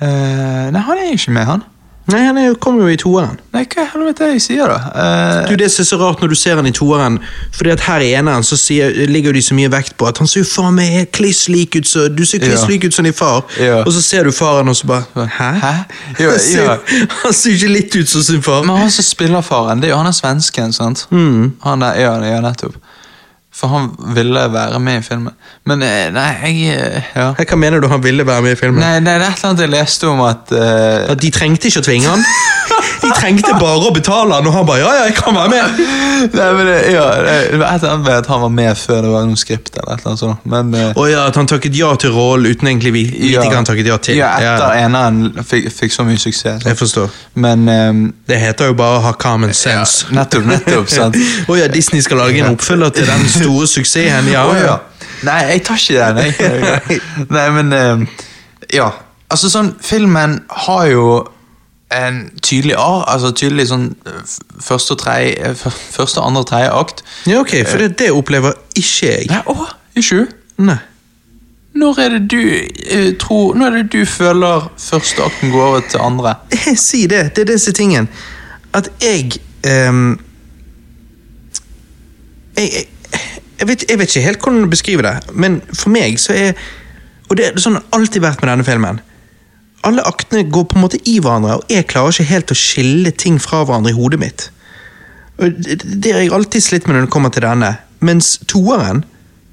Speaker 1: Eh, nei, han er jo ikke med, han.
Speaker 2: Nei, han er jo- kom jo i toeren.
Speaker 1: Nei, hva i helvete er det jeg sier, da? Eh,
Speaker 2: Du, Det som er så rart når du ser han i toeren, fordi at her i eneren så sier, ligger jo de så mye vekt på at han ser jo faen meg helt kliss lik ut så, du ser kliss
Speaker 1: Ja.
Speaker 2: lik ut som din far,
Speaker 1: Ja.
Speaker 2: og så ser du faren og så bare Hæ?
Speaker 1: Hæ?
Speaker 2: [LAUGHS]
Speaker 1: Ja,
Speaker 2: Han, ser,
Speaker 1: ja.
Speaker 2: han ser jo ikke litt ut som sin far.
Speaker 1: men han som spiller faren, det er jo han er svensken, sant? Han der, ja, ja, nettopp. For han ville være med i filmen. Men eh, nei, jeg eh, ja.
Speaker 2: Hva mener du han ville være med i filmen?
Speaker 1: Nei, nei, det er et eller annet jeg leste om at eh, [LAUGHS]
Speaker 2: At De trengte ikke å tvinge han. De trengte bare å betale han, og han bare ja, ja, jeg kan være med.
Speaker 1: Nei, men det, ja, det var et eller annet med at han var med før det var noe skript eller et eller annet sånt. Men, eh,
Speaker 2: Og ja, At han takket ja til rollen uten egentlig vi- vite hva han takket ja til.
Speaker 1: Ja, etter
Speaker 2: Ja,
Speaker 1: eneren fikk, fikk så mye suksess. sant?
Speaker 2: jeg forstår.
Speaker 1: Men eh,
Speaker 2: Det heter jo bare å ha common sense.
Speaker 1: nettopp, nettopp, sant.
Speaker 2: Å ja, Disney skal lage en oppfølger til den store suksessen. [LAUGHS] Ja,
Speaker 1: Å,
Speaker 2: ja.
Speaker 1: Nei, jeg tar ikke den,
Speaker 2: [LAUGHS]
Speaker 1: jeg. Nei, men eh, Ja. Altså, sånn, filmen har jo en tydelig A, altså tydelig sånn eh, f- første og tredje eh, f- Første, andre og tredje akt.
Speaker 2: ja ok, for det, det opplever ikke jeg.
Speaker 1: Nei, å, ikke du?
Speaker 2: Nei.
Speaker 1: Når er det du eh, tror Når er det du føler første akten går over til andre?
Speaker 2: Jeg sier det. Det er disse tingen. At jeg ehm, jeg, jeg, jeg, vet, jeg vet ikke helt hvordan du beskriver det, men for meg så er Og det er sånn det har alltid vært med denne filmen. Alle aktene går på en måte i hverandre, og jeg klarer ikke helt å skille ting fra hverandre i hodet mitt. Og Det det har jeg alltid slitt med når det kommer til denne. Mens toeren,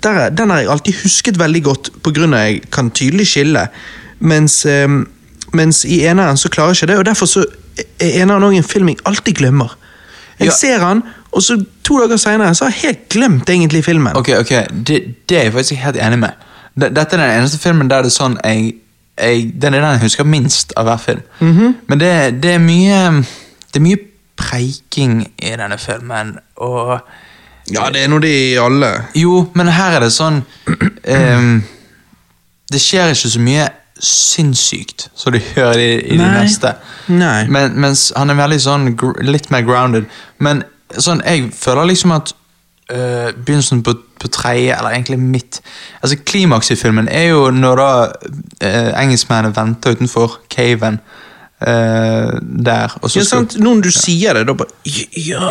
Speaker 2: der, er- den har jeg alltid husket veldig godt pga. jeg kan tydelig skille. Mens, ehm, mens i eneren så klarer jeg ikke det, og derfor så er eneren òg en film jeg alltid glemmer. Jeg
Speaker 1: Ja.
Speaker 2: ser han, og så to dager seinere har jeg helt glemt egentlig filmen.
Speaker 1: Ok, ok, det, det er jeg faktisk helt enig med. D- Dette er den eneste filmen der det er sånn jeg, jeg, Den er den jeg husker minst av hver film. Men det, det er mye Det er mye preiking i denne filmen, og
Speaker 2: Ja, det er nå de alle.
Speaker 1: Jo, men her er det sånn ehm, Det skjer ikke så mye sinnssykt som du gjør i, i de
Speaker 2: Nei.
Speaker 1: neste.
Speaker 2: Nei.
Speaker 1: Men, mens han er veldig sånn gr litt mer grounded. Men sånn, jeg føler liksom at øh, begynnelsen på, på tredje, eller egentlig midt Altså Klimaks i filmen er jo når da øh, engelskmennene venter utenfor caven øh, der. Og så
Speaker 2: Ja,
Speaker 1: skal-
Speaker 2: sant? Noen du sier det, da bare Ja,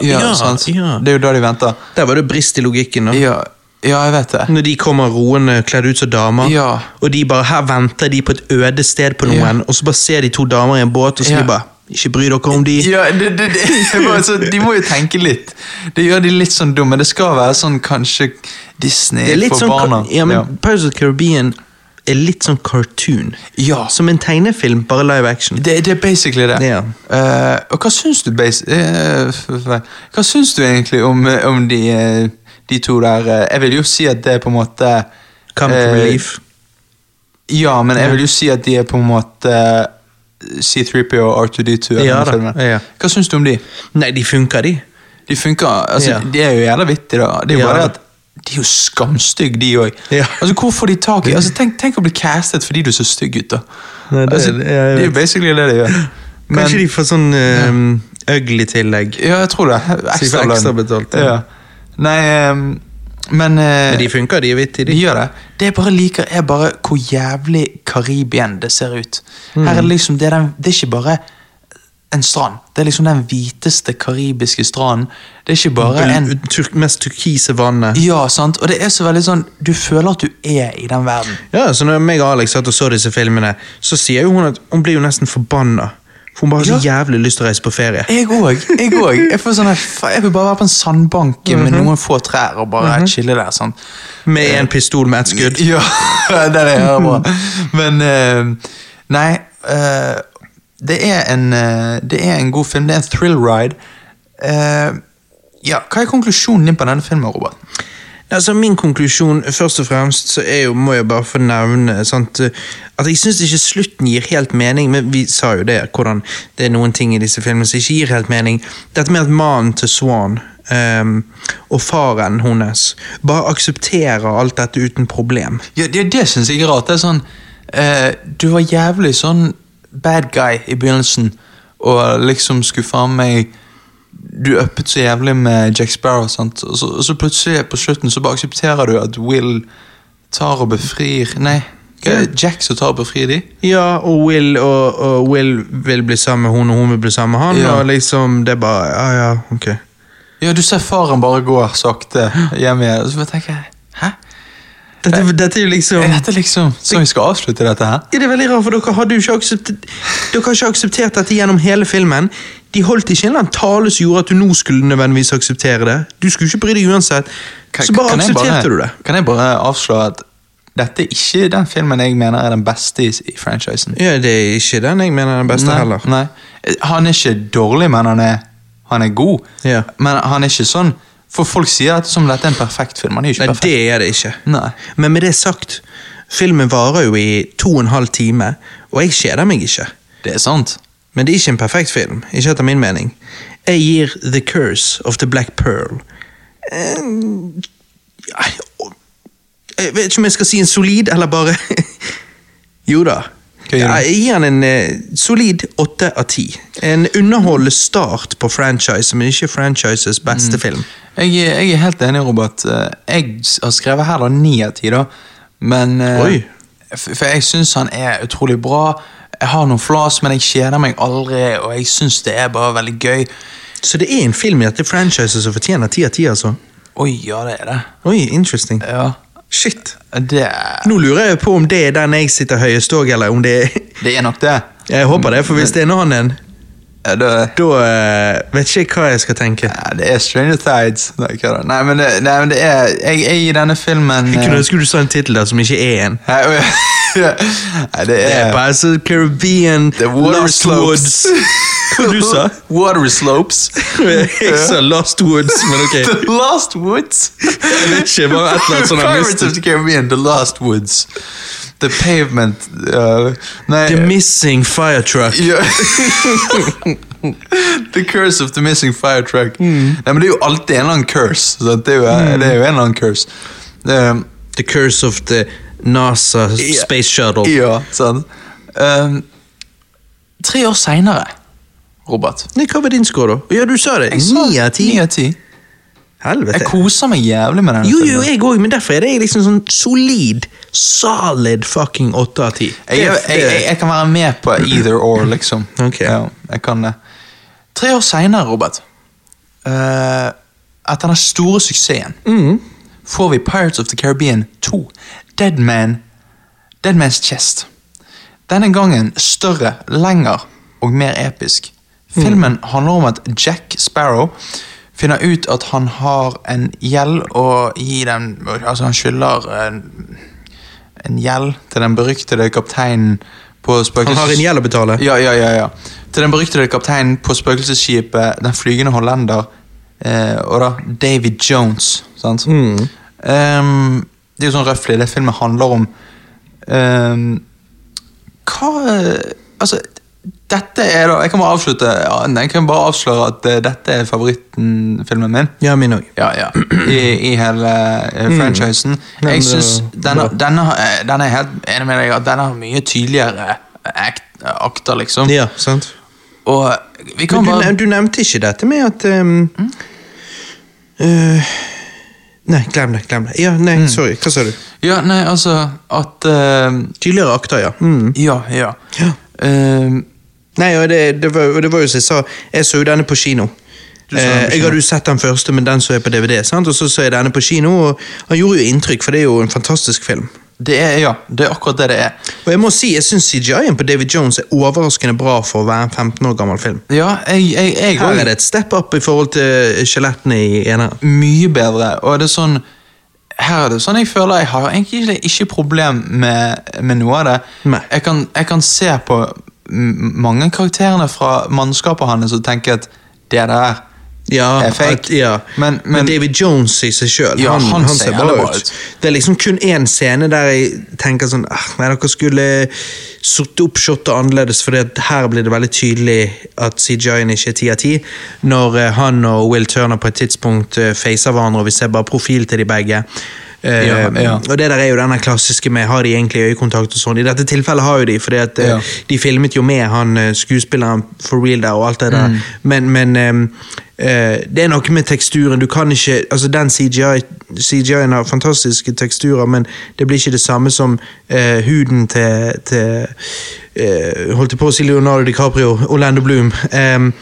Speaker 1: Ja,
Speaker 2: ja,
Speaker 1: sant?
Speaker 2: ja.
Speaker 1: Det er jo da de venter.
Speaker 2: Der var det brist i logikken. da.
Speaker 1: Ja, ja jeg vet det.
Speaker 2: Når de kommer roende kledd ut som damer,
Speaker 1: Ja.
Speaker 2: og de bare her venter de på et øde sted på noen, og så bare ser de to damer i en båt, og så
Speaker 1: Ja.
Speaker 2: de bare Ikke bry dere om de.
Speaker 1: Ja, det, det, det, [LAUGHS] det var så, De må jo tenke litt. Det gjør de litt sånn dumme. Det skal være sånn kanskje Disney
Speaker 2: Det er litt
Speaker 1: for
Speaker 2: sånn,
Speaker 1: barna.
Speaker 2: Ja, men Pirates of the Caribbean er litt sånn cartoon.
Speaker 1: Ja.
Speaker 2: Som en tegnefilm, bare live action.
Speaker 1: Det, det er basically det.
Speaker 2: Ja.
Speaker 1: Eh, og hva syns du bas eh, f- f- Hva syns du egentlig om, eh, om de, eh, de to der eh, Jeg vil jo si at det er på en måte
Speaker 2: Come
Speaker 1: eh,
Speaker 2: to relief.
Speaker 1: Ja, men jeg vil jo si at de er på en måte eh, C3PO og R2D2. i
Speaker 2: Ja
Speaker 1: denne
Speaker 2: da,
Speaker 1: filmen.
Speaker 2: ja.
Speaker 1: Hva syns du om de?
Speaker 2: Nei, de funker, de.
Speaker 1: De funker, altså,
Speaker 2: Ja.
Speaker 1: De er jo jævla vittige, da. Det er jo
Speaker 2: Ja.
Speaker 1: bare at de er jo skamstygge, de òg.
Speaker 2: Ja.
Speaker 1: Altså, hvor får de tak i altså, tenk, tenk å bli castet fordi du er så stygg ut, da.
Speaker 2: Nei, det-
Speaker 1: altså,
Speaker 2: jeg
Speaker 1: det er jo
Speaker 2: vet.
Speaker 1: basically det de gjør. Men-
Speaker 2: Kanskje de får sånn eh, ugly tillegg.
Speaker 1: Ja, jeg tror det.
Speaker 2: Så de får
Speaker 1: Ekstra lønn.
Speaker 2: ekstra betalt, ja.
Speaker 1: Ja. Nei, ehm, men, eh,
Speaker 2: Men de funker, de er vittige,
Speaker 1: de
Speaker 2: de.
Speaker 1: gjør det. Det jeg bare liker, er bare hvor jævlig Karibien det ser ut. Her
Speaker 2: Mm.
Speaker 1: er det liksom, det er, den, det er ikke bare en strand. Det er liksom den hviteste karibiske stranden. Det er ikke bare en
Speaker 2: Bl- Tur mest turkise vannet.
Speaker 1: Ja, sant. Og det er så veldig sånn Du føler at du er i den verden.
Speaker 2: Ja, så når meg og Alex satt og så disse filmene, så sier jo hun at hun blir jo nesten forbanna. For hun bare har så jævlig lyst til å reise på ferie.
Speaker 1: Jeg òg. Jeg òg. Jeg, får sånn her, fa- jeg vil bare være på en sandbank med noen få trær og bare chille der. sant?
Speaker 2: Med en pistol med ett skudd.
Speaker 1: Ja, [LAUGHS] det er det jeg hører bra. Men eh, Nei. eh, det, er en, eh, det er en god film. Det er en thrill ride. Eh, ja, Hva er konklusjonen din på denne filmen, Robert?
Speaker 2: Altså, min konklusjon først og fremst så er jo, må jeg bare få nevne sant, at jeg syns ikke slutten gir helt mening, men vi sa jo det, hvordan det er noen ting i disse filmene som ikke gir helt mening. Dette med at mannen til Swan ehm, og faren hennes bare aksepterer alt dette uten problem.
Speaker 1: Ja, det, det syns jeg er rart. Det er sånn eh, Du var jævlig sånn bad guy i begynnelsen, og liksom skulle faen meg Du uppet så jævlig med Jack Sparrow, sant? Og, så, og så plutselig på slutten så bare aksepterer du at Will tar og befrir Nei, Hva er det Jack som tar på fri de?
Speaker 2: Ja, og Will, og, og Will vil bli sammen med hun, og hun vil bli sammen med han.
Speaker 1: Ja.
Speaker 2: Og liksom, det er bare Ja, ja, ok.
Speaker 1: Ja, du ser faren bare gå sakte hjem igjen, og så bare tenker jeg Hæ?
Speaker 2: Dette, dette er jo liksom
Speaker 1: Er dette liksom sånn vi skal avslutte dette her?
Speaker 2: Ja, det er veldig rart, for dere hadde jo ikke akseptert, dere har ikke akseptert dette gjennom hele filmen. De holdt ikke en eller annen tale som gjorde at du nå skulle nødvendigvis akseptere det. Du skulle ikke bry deg uansett.
Speaker 1: Kan-
Speaker 2: Så bare
Speaker 1: kan jeg
Speaker 2: aksepterte
Speaker 1: bare-
Speaker 2: du det.
Speaker 1: Kan jeg bare avslå at dette er ikke den filmen jeg mener er den beste i, i franchisen.
Speaker 2: Ja, det er ikke den jeg mener er den beste
Speaker 1: nei,
Speaker 2: heller.
Speaker 1: Nei. Han er ikke dårlig, men han er, han er god.
Speaker 2: Ja.
Speaker 1: Men han er ikke sånn For folk sier at som dette er en perfekt film. Han er jo ikke
Speaker 2: Nei,
Speaker 1: perfekt.
Speaker 2: det er det ikke.
Speaker 1: Nei.
Speaker 2: Men med det sagt, filmen varer jo i to og en halv time, og jeg kjeder meg ikke.
Speaker 1: Det er sant.
Speaker 2: Men det er ikke en perfekt film, ikke etter min mening. Jeg gir The Curse of the Black Pearl. Eh, nei, å- Jeg vet ikke om jeg skal si en solid, eller bare [LAUGHS] Jo da.
Speaker 1: Hva gir du?
Speaker 2: Ja, Jeg gir den en eh, solid åtte av ti. En underholdende start på franchise, men ikke franchises beste
Speaker 1: Mm.
Speaker 2: film.
Speaker 1: Jeg, er- jeg er helt enig, Robert. Eh, Jeg s- har skrevet her da ni av ti, da. Men eh,
Speaker 2: Oi.
Speaker 1: f- For jeg syns han er utrolig bra. Jeg har noen flas, men jeg kjeder meg aldri, og jeg syns det er bare veldig gøy.
Speaker 2: Så det er en film i dette franchiset som fortjener ti av ti, altså.
Speaker 1: Oi, ja, det er det.
Speaker 2: Oi, interesting.
Speaker 1: Ja,
Speaker 2: Shit.
Speaker 1: det,
Speaker 2: Nå lurer jeg på om det er den jeg sitter høyest òg, eller om det er [LAUGHS]
Speaker 1: det er nok det.
Speaker 2: Jeg håper det, for hvis det er en annen
Speaker 1: Ja, det,
Speaker 2: Da eh, vet ikke jeg hva jeg skal tenke.
Speaker 1: ja, det er Stranger Tides. Nei, hva da? nei, men det, nei, men det er Jeg er i denne filmen
Speaker 2: Jeg kunne
Speaker 1: eh,
Speaker 2: ønske du sa en tittel der som ikke er en.
Speaker 1: Nei, oi, [LAUGHS] nei, det
Speaker 2: Det er
Speaker 1: er
Speaker 2: bare så Caribbean
Speaker 1: The Water
Speaker 2: Lost
Speaker 1: Slopes.
Speaker 2: Hva du
Speaker 1: [LAUGHS]
Speaker 2: sa
Speaker 1: Water Slopes.
Speaker 2: Jeg sa Lost Woods, men
Speaker 1: [LAUGHS]
Speaker 2: ok.
Speaker 1: The Last Woods.
Speaker 2: Jeg vet ikke, bare et eller annet sånn sånt
Speaker 1: [LAUGHS]
Speaker 2: jeg
Speaker 1: Pirates of
Speaker 2: mistet.
Speaker 1: the Caribbean, The Last Woods. The Pavement uh, Nei
Speaker 2: The Missing Fire Truck.
Speaker 1: ja. [LAUGHS] The Curse of the Missing Fire Truck.
Speaker 2: Mm.
Speaker 1: Nei, men det er jo alltid en eller annen curse. sant? Det, er jo, det er jo en eller annen curse. Um,
Speaker 2: The Curse of the NASA Space Shuttle.
Speaker 1: Ja, sant. Ehm, tre år seinere, Robert.
Speaker 2: Nei, hva var din score, da? Ja, du sa det.
Speaker 1: Jeg sa
Speaker 2: Ni av ti.
Speaker 1: ni av ti. Jeg
Speaker 2: Helvete.
Speaker 1: koser meg jævlig med denne
Speaker 2: Jo, jo,
Speaker 1: filmen.
Speaker 2: jeg òg, men derfor er det liksom sånn solid, solid fucking åtte av ti.
Speaker 1: Jeg, jeg, jeg, jeg kan være med på either or, liksom.
Speaker 2: Ok.
Speaker 1: Ja, jeg kan det. Tre år seinere, Robert, eh, etter den store suksessen, får vi Pirates of the Caribbean 2. Dead Man. Dead Man's Chest. Denne gangen større, lengre og mer episk.
Speaker 2: Mm.
Speaker 1: Filmen handler om at Jack Sparrow finner ut at han har en gjeld, og i den, altså han skylder en, en gjeld til den beryktede kapteinen på spøkelses...
Speaker 2: Han har en gjeld å betale.
Speaker 1: Ja, ja, ja, ja. Til den beryktede kapteinen på spøkelsesskipet, den flygende hollender, eh, og da David Jones, sant? Ehm, det er jo sånn røffelig, det filmen handler om. Ehm, hva eh, Altså, dette er da Jeg kan bare avslutte ja, nei, Jeg kan bare avsløre at eh, dette er favoritten-filmen min.
Speaker 2: Ja, min òg.
Speaker 1: Ja, ja. I, i hele eh, franchisen.
Speaker 2: men
Speaker 1: Jeg
Speaker 2: det
Speaker 1: synes
Speaker 2: Mm. er
Speaker 1: denne, denne, har- eh, denne er helt enig med deg at denne har mye tydeligere eh, act, akter, liksom.
Speaker 2: Ja, sant.
Speaker 1: Og eh, vi kan
Speaker 2: Men du,
Speaker 1: bare
Speaker 2: nev- du nevnte ikke dette med at ehm, eh, Nei, glem det. glem det. Ja, nei, Sorry, hva sa du?
Speaker 1: Ja, nei, altså At eh,
Speaker 2: Tydeligere akter, ja. Mm.
Speaker 1: Ja, ja.
Speaker 2: Ja.
Speaker 1: Eh,
Speaker 2: Nei, og det, det, var, og det var jo som jeg sa, jeg så jo denne på kino.
Speaker 1: Du så den på
Speaker 2: Eh, jeg
Speaker 1: kino.
Speaker 2: hadde jo sett den første, men den så jeg på DVD. sant? Og så så jeg denne på kino, og han gjorde jo inntrykk, for det er jo en fantastisk film.
Speaker 1: det er ja, det er akkurat det det er.
Speaker 2: Og jeg må si, jeg syns CGI-en på David Jones er overraskende bra for å være en 15 år gammel film.
Speaker 1: Ja, jeg, jeg, jeg
Speaker 2: Her er det et step up i forhold til skjelettene i eneren.
Speaker 1: mye bedre. Og det er sånn her er det sånn jeg føler jeg har egentlig ikke, ikke problem med, med noe av det.
Speaker 2: Nei.
Speaker 1: Jeg kan, jeg kan se på m- mange karakterene fra mannskapet hans og tenke at det der
Speaker 2: ja,
Speaker 1: er fake.
Speaker 2: At, ja.
Speaker 1: Men-
Speaker 2: Men,
Speaker 1: men-
Speaker 2: David Jones i seg sjøl,
Speaker 1: Ja,
Speaker 2: han, han, ser bra
Speaker 1: jævlig
Speaker 2: ut. Det er liksom kun én scene der jeg tenker sånn ah, Nei, dere skulle satt opp shotet annerledes, for her blir det veldig tydelig at CJI-en ikke er ti av ti. Når eh, han og Will Turner på et tidspunkt eh, facer hverandre, og vi ser bare profil til de begge. Eh,
Speaker 1: Ja, ja.
Speaker 2: Og det der er jo denne klassiske med har de egentlig øyekontakt og sånn. I dette tilfellet har jo de, fordi at eh,
Speaker 1: Ja.
Speaker 2: de filmet jo med han eh, skuespilleren for real der og alt det der. Men, men eh, eh, det er noe med teksturen. Du kan ikke Altså, den CGI, CGI-en har fantastiske teksturer, men det blir ikke det samme som eh, huden til, til eh, Holdt jeg på å si Leonardo DiCaprio, Orlando Bloom. em,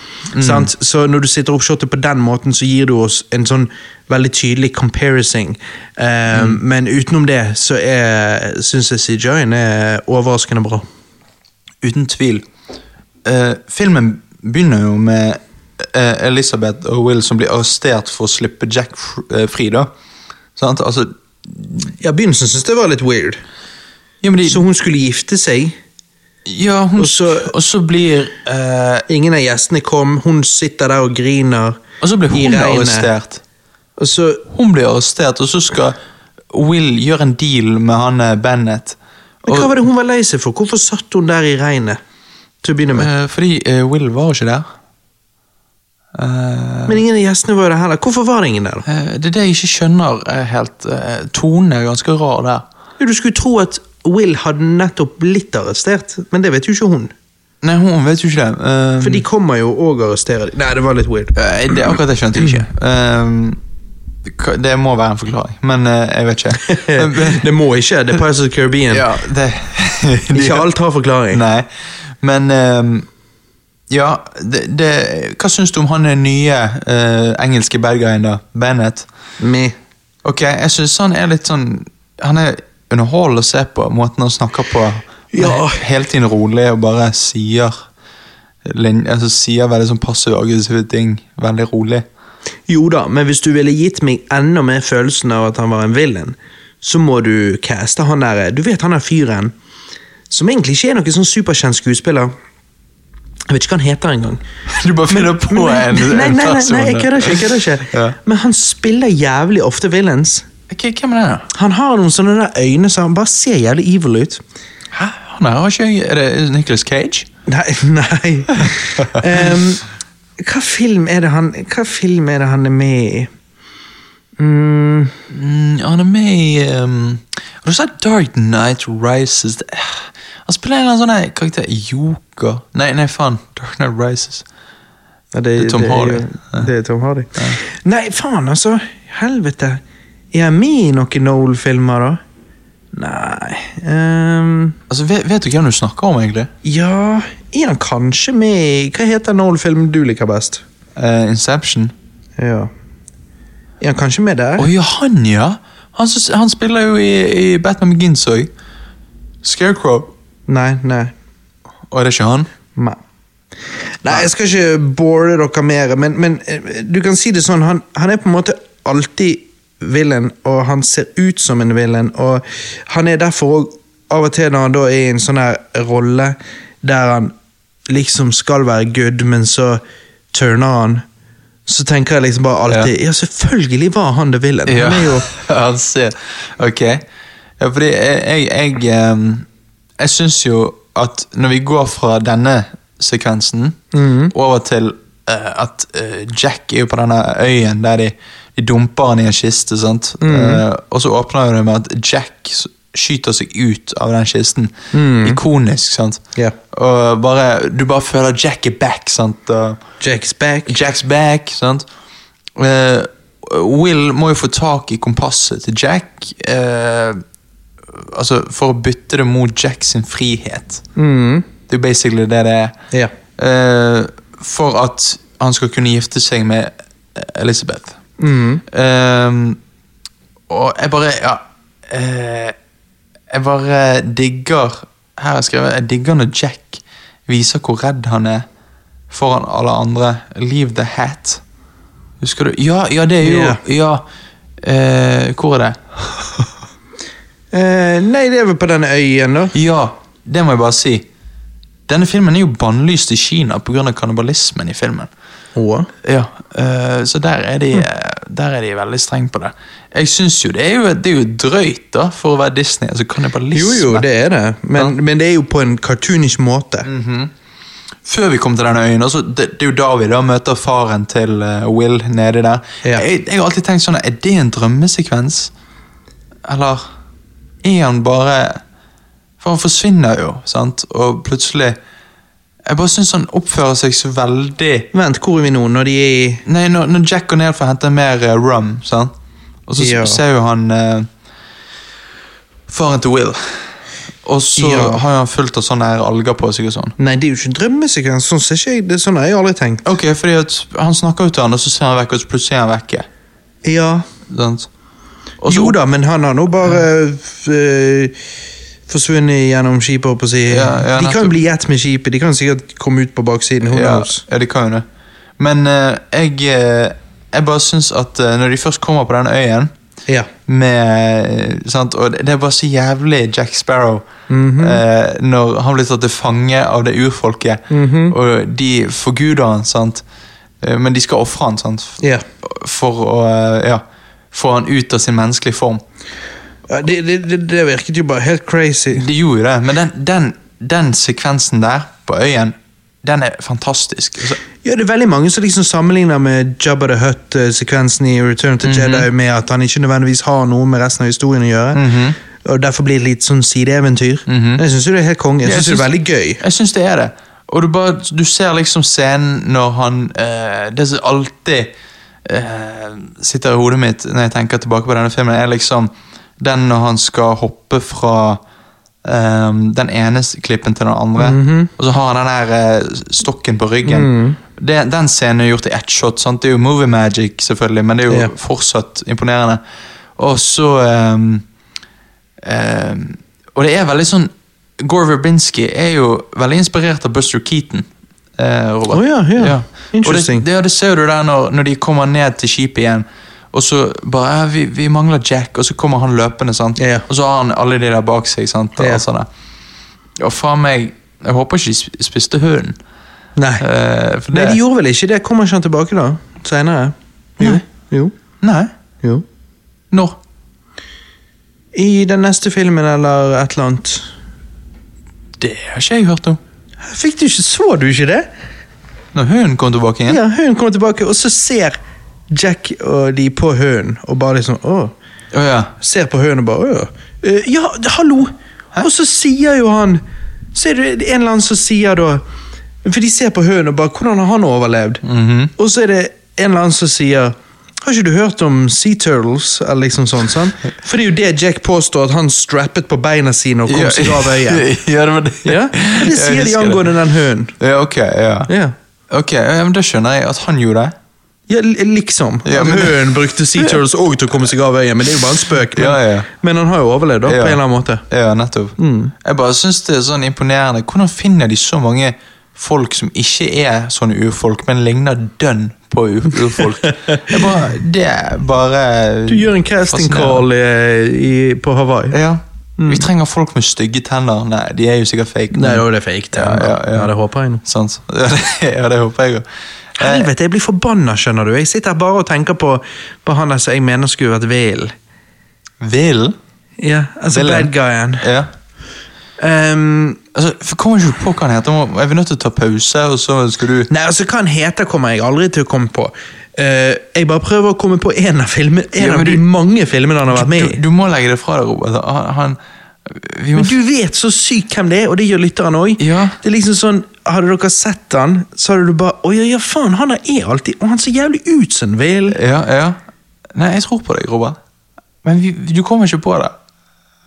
Speaker 2: sant? Så når du sitter opp shotet på den måten, så gir du oss en sånn veldig tydelig comparison. Em, Men utenom det så syns jeg CGI-en er overraskende bra.
Speaker 1: Uten tvil. Eh, filmen begynner jo med eh, Elizabeth og Will som blir arrestert for å slippe Jack fr eh, fri. da. Sant? Altså,
Speaker 2: Ja, begynnelsen syns jeg var litt weird.
Speaker 1: ja, men de,
Speaker 2: Så hun skulle gifte seg.
Speaker 1: ja, hun,
Speaker 2: og så-
Speaker 1: og så blir eh,
Speaker 2: Ingen av gjestene kom. Hun sitter der og griner.
Speaker 1: Og så blir
Speaker 2: i
Speaker 1: hun
Speaker 2: regnet.
Speaker 1: arrestert.
Speaker 2: Og så
Speaker 1: Hun blir arrestert, og så skal Will gjøre en deal med han eh, Bennett.
Speaker 2: Men
Speaker 1: Og,
Speaker 2: hva var det hun var lei seg for? Hvorfor satt hun der i regnet? Til å begynne med.
Speaker 1: eh, fordi eh, Will var jo ikke der. Eh,
Speaker 2: Men ingen av gjestene var jo der heller. Hvorfor var det ingen der? da?
Speaker 1: eh, det er det jeg ikke skjønner eh, helt. eh, tonen er ganske rar der.
Speaker 2: Jo, Du skulle tro at Will hadde nettopp blitt arrestert, men det vet jo ikke hun.
Speaker 1: Nei, hun vet jo ikke det. eh,
Speaker 2: For de kommer jo og arresterer dem. Nei, det var litt
Speaker 1: [LAUGHS]
Speaker 2: weird.
Speaker 1: Eh, Det, akkurat det skjønte jeg ikke. Ehm, hva- det må være en forklaring, men eh, jeg vet
Speaker 2: [LAUGHS]
Speaker 1: ikke. Men-
Speaker 2: det må ikke. The Pirates of the Caribbean.
Speaker 1: ja, [LAUGHS] det,
Speaker 2: [LAUGHS] Ikke alt har forklaring.
Speaker 1: Nei, men ehm, ja, det, det, hva syns du om han er nye eh, engelske bad guyen da? Bennett?
Speaker 2: Me.
Speaker 1: Ok, jeg syns han er litt sånn Han er underholdende å se på, måten han snakker på. Han er
Speaker 2: Ja.
Speaker 1: Hele tiden rolig og bare sier lin- altså, Sier veldig sånn passiv aggressive ting. Veldig rolig. [LAUGHS]
Speaker 2: Jo da, men hvis du ville gitt meg enda mer følelsen av at han var en villain, så må du caste han der eh, Du vet han der fyren som egentlig ikke er noen sånn superkjent skuespiller. Jeg vet ikke hva han heter engang.
Speaker 1: Du bare finner på en,
Speaker 2: nei,
Speaker 1: en
Speaker 2: nei, nei,
Speaker 1: person.
Speaker 2: nei, jeg kødder ikke. Jeg kødder ikke.
Speaker 1: Ja.
Speaker 2: Men han spiller jævlig ofte villains.
Speaker 1: K- Hvem er det? da?
Speaker 2: Han har noen sånne der øyne som han bare ser jævlig evil ut.
Speaker 1: Hæ? Han er, har ikke jeg, er det Nicolas Cage?
Speaker 2: Nei, [LAUGHS] nei. Ehm, hva film er det han Hva film er det han er med i? Mm,
Speaker 1: Mm, han er med i um, Har du sett Dark Night Rises? [SIGHS] Det- eh, Han spiller en eller annen sånn her karakter Joker Nei, nei, faen. Dark Night Rises.
Speaker 2: ja,
Speaker 1: Det er Tom
Speaker 2: jo-
Speaker 1: Hardy. Ja.
Speaker 2: Det er Tom Hardy. Nei, faen, altså. Helvete. Er jeg med i noen Noel-filmer, da? Nei ehm,
Speaker 1: Altså, vet, vet du hvem du snakker om, egentlig?
Speaker 2: Ja Er han kanskje med i Hva heter Noel-filmen du liker best?
Speaker 1: Eh, Inception.
Speaker 2: Ja. Er han kanskje med der?
Speaker 1: Å ja, han, ja! Han, som- han spiller jo i, i Batman Begins òg. Scarecrow.
Speaker 2: Nei, nei.
Speaker 1: Og er det ikke han?
Speaker 2: Nei. Nei, jeg skal ikke bore dere mer, men, men eh, du kan si det sånn, han, han er på en måte alltid villain, og han ser ut som en villain, og han er derfor òg Av og til når han da er i en sånn her rolle der han liksom skal være good, men så turner han, så tenker jeg liksom bare alltid Ja, selvfølgelig var han the villain. Han er jo
Speaker 1: [LAUGHS] Han ser Ok. Ja, fordi jeg Jeg, jeg, um, jeg syns jo at når vi går fra denne sekvensen
Speaker 2: Mhm.
Speaker 1: over til eh, at eh, Jack er jo på denne øyen der de, de dumper han i en kiste, sant?
Speaker 2: Mhm.
Speaker 1: Eh, og så åpner jo det med at Jack s- skyter seg ut av den kisten. Ikonisk, sant?
Speaker 2: Mhm. Ja.
Speaker 1: Og bare, du bare føler Jack er back, sant? Og,
Speaker 2: Jack's back.
Speaker 1: Jacks back, sant? Eh, Will må jo få tak i kompasset til Jack. eh, altså For å bytte det mot Jack sin frihet.
Speaker 2: Mm.
Speaker 1: Det er jo basically det det er.
Speaker 2: Ja.
Speaker 1: Eh, for at han skal kunne gifte seg med Elizabeth.
Speaker 2: Mm.
Speaker 1: Eh, og jeg bare Ja. eh, jeg bare digger Her har jeg skrevet Jeg digger når Jack viser hvor redd han er foran alle andre. Leave the hat. Husker du? Ja, ja det er jo
Speaker 2: Ja.
Speaker 1: Ja. Eh, hvor er det?
Speaker 2: Eh, nei, det er vel på denne øyen, da.
Speaker 1: Ja, det må jeg bare si. Denne filmen er jo bannlyst i Kina pga. kannibalismen i filmen.
Speaker 2: Hva?
Speaker 1: Ja, eh, så der er,
Speaker 2: Mm.
Speaker 1: de, eh, der er de veldig strenge på det. Jeg syns jo det er jo, det er jo drøyt, da, for å være Disney. Altså
Speaker 2: Jo,
Speaker 1: kannibalisme.
Speaker 2: jo, det er det. Men, men det er jo på en cartoonish måte.
Speaker 1: Før vi kom til denne øyen, altså, det, det er jo da vi da møter faren til eh, Will nede der.
Speaker 2: Ja.
Speaker 1: Jeg, jeg har alltid tenkt sånn, er det en drømmesekvens? Eller er han bare For han forsvinner jo, sant? Og plutselig Jeg bare syns han oppfører seg så veldig
Speaker 2: Vent, hvor er vi nå? Når de er i
Speaker 1: Nei, når, når Jack går ned for å hente mer eh, rum, sant? og så s-
Speaker 2: Ja.
Speaker 1: ser jo han eh, faren til Will. Og så
Speaker 2: Ja.
Speaker 1: har jo han fullt av sånne her alger på seg og sånn.
Speaker 2: Nei, det er jo ikke en drømmesekvens. Sånn ser ikke jeg det. Sånn har jeg aldri tenkt.
Speaker 1: Ok, fordi at Han snakker jo til han, og så ser han vekk, og så plutselig er han vekke.
Speaker 2: Ja.
Speaker 1: Sant? Og så
Speaker 2: jo
Speaker 1: opp-
Speaker 2: da, men han har nå bare øh, forsvunnet gjennom skipet, holdt på å si.
Speaker 1: Ja, ja,
Speaker 2: de kan
Speaker 1: nettopp.
Speaker 2: jo bli ett med skipet. De kan sikkert komme ut på baksiden. Who
Speaker 1: Ja,
Speaker 2: knows?
Speaker 1: ja, de kan jo det. Men eh, jeg, eh, jeg bare syns at eh, når de først kommer på den øyen
Speaker 2: Ja.
Speaker 1: med eh, sant? Og det det er bare så jævlig Jack Sparrow
Speaker 2: Mhm.
Speaker 1: eh, når han blir tatt til fange av det urfolket,
Speaker 2: Mhm.
Speaker 1: og de forguder han, sant? Eh, men de skal ofre han sant?
Speaker 2: ja.
Speaker 1: for å eh, ja, få han ut av sin menneskelige form.
Speaker 2: Ja, Det, det, det, det virket jo bare helt crazy.
Speaker 1: De gjorde jo det, men den, den, den sekvensen der på øyen, den er fantastisk. Altså,
Speaker 2: Ja, det er veldig mange som liksom sammenligner med Jabba the Hutt-sekvensen i Return to Jedi med at han ikke nødvendigvis har noe med resten av historien å gjøre. Og derfor blir det litt sånn sideeventyr. Men Jeg syns jo det er helt konge. Jeg
Speaker 1: Ja, jeg
Speaker 2: syns det er
Speaker 1: synes-
Speaker 2: veldig gøy.
Speaker 1: Jeg syns det er det. Og du, bare, du ser liksom scenen når han eh, Det som alltid eh, sitter i hodet mitt når jeg tenker tilbake på denne filmen, er liksom den når han skal hoppe fra eh, den ene s- klippen til den andre, og så har han den der eh, stokken på ryggen. Det, den scenen er gjort i ett shot. Sant? Det er jo movie magic, selvfølgelig, men det er jo
Speaker 2: Ja.
Speaker 1: fortsatt imponerende. Og så eh, Ehm, og det er veldig sånn Gore Verbinski er jo veldig inspirert av Buster Keaton. eh, Robert.
Speaker 2: Å ja, ja.
Speaker 1: Og det,
Speaker 2: Interesting.
Speaker 1: det, ja, det ser du der når, når de kommer ned til skipet igjen. Og så bare ja, vi, 'Vi mangler Jack', og så kommer han løpende. sant?
Speaker 2: Ja, ja.
Speaker 1: Og så har han alle de der bak seg. sant? Og,
Speaker 2: Ja.
Speaker 1: alt sånt der. og faen meg Jeg håper ikke de sp- spiste hunden.
Speaker 2: Nei.
Speaker 1: eh, for
Speaker 2: Nei,
Speaker 1: det-
Speaker 2: de gjorde vel ikke det. Kommer ikke han tilbake da? Senere? Jo.
Speaker 1: Nei.
Speaker 2: Jo.
Speaker 1: Nei.
Speaker 2: jo.
Speaker 1: Når?
Speaker 2: I den neste filmen eller et eller annet.
Speaker 1: Det har ikke jeg hørt om.
Speaker 2: Fikk du ikke, Så du ikke det?
Speaker 1: Når hunden kom tilbake igjen?
Speaker 2: Ja, Hun kommer tilbake, og så ser Jack og de på hunden og bare liksom åh.
Speaker 1: Å ja.
Speaker 2: ser på høen og bare «Åh, eh, Ja, hallo! Og så sier jo han Ser du, en eller annen som sier da For de ser på høen og bare Hvordan har han overlevd?
Speaker 1: Mhm.
Speaker 2: Og så er det en eller annen som sier har ikke du hørt om sea turtles? Eller liksom sånn, sant? For det er jo det Jack påstår, at han strappet på beina sine og kom
Speaker 1: Ja.
Speaker 2: seg av øyet.
Speaker 1: [LAUGHS] ja, det var det.
Speaker 2: Ja? Og Det
Speaker 1: Jeg
Speaker 2: sier de
Speaker 1: husker det.
Speaker 2: angående den hønen.
Speaker 1: Ja, ok, ja.
Speaker 2: Ja.
Speaker 1: Ok, ja, men Da skjønner jeg at han gjorde det.
Speaker 2: Ja, li- liksom.
Speaker 1: Ja,
Speaker 2: At
Speaker 1: men-
Speaker 2: Hønen brukte sea turtles òg til å komme seg av øyet, men det er jo bare en spøk. Men,
Speaker 1: Ja, ja.
Speaker 2: men han har jo overlevd, da,
Speaker 1: Ja.
Speaker 2: på en eller annen måte.
Speaker 1: Ja, nettopp.
Speaker 2: Mm.
Speaker 1: Jeg bare synes det er sånn imponerende. Hvordan finner de så mange folk som ikke er sånne urfolk, men ligner dønn på u-
Speaker 2: [LAUGHS]
Speaker 1: urfolk? Jeg bare, det er bare
Speaker 2: Du gjør en casting call eh, i, i, på Hawaii.
Speaker 1: Ja. Vi trenger folk med stygge tenner. Nei, de er jo sikkert fake. men-
Speaker 2: Nei, da er det fake.
Speaker 1: Ja, ja, ja.
Speaker 2: det håper jeg nå.
Speaker 1: Sant? [LAUGHS] Ja, det, ja, det håper jeg òg.
Speaker 2: Eh. Helvete, jeg blir forbanna, skjønner du. Jeg sitter her bare og tenker på, på han der som jeg mener skulle vært Valen.
Speaker 1: Vil?
Speaker 2: Ja, altså
Speaker 1: Valen.
Speaker 2: bad guyen.
Speaker 1: Ja.
Speaker 2: Ehm,
Speaker 1: Altså, for kommer ikke på hva han heter. Må- Jeg blir nødt til å ta pause, og så skal du
Speaker 2: nei, altså hva han heter kommer jeg aldri til å komme på. Eh, jeg bare prøver å komme på en av filmene, en
Speaker 1: Ja, men
Speaker 2: av de
Speaker 1: du-
Speaker 2: mange filmene han har vært med i.
Speaker 1: du, du må legge det fra deg, Robert. Han, han vi må
Speaker 2: Men du vet så sykt hvem det er, og det gjør lytteren òg.
Speaker 1: Ja.
Speaker 2: Det er liksom sånn, hadde dere sett han, så hadde du bare Å ja, ja, faen, han der er alltid Og han ser jævlig ut som Valen.
Speaker 1: Ja, ja. Nei, jeg tror på deg, Robert. Men vi, du kommer ikke på det.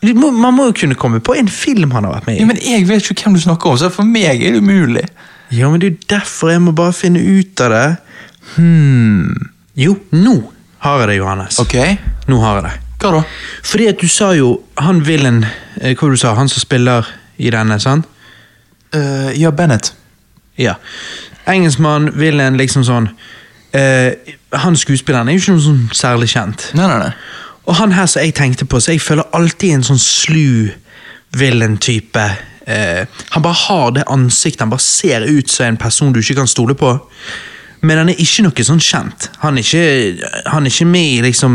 Speaker 2: Du må, man må jo kunne komme på en film han har vært med i.
Speaker 1: Ja, men Jeg vet ikke hvem du snakker om, så for meg er det umulig.
Speaker 2: Ja, men det er jo derfor jeg må bare finne ut av det. Hmm. Jo, nå har jeg det, Johannes.
Speaker 1: Ok,
Speaker 2: Nå har jeg det.
Speaker 1: Hva da?
Speaker 2: Fordi at du sa jo han Villen eh, Hva var det du sa han som spiller i denne, sant?
Speaker 1: Eh, ja, Bennett.
Speaker 2: Ja. Engelskmann, Villen, liksom sånn eh, Han skuespilleren er jo ikke noe sånn særlig kjent.
Speaker 1: Nei, nei, nei.
Speaker 2: Og han her som jeg tenkte på, så jeg føler alltid en sånn slu villain-type. Eh, han bare har det ansiktet, han bare ser ut som en person du ikke kan stole på. Men han er ikke noe sånn kjent. Han er ikke, han er ikke med i liksom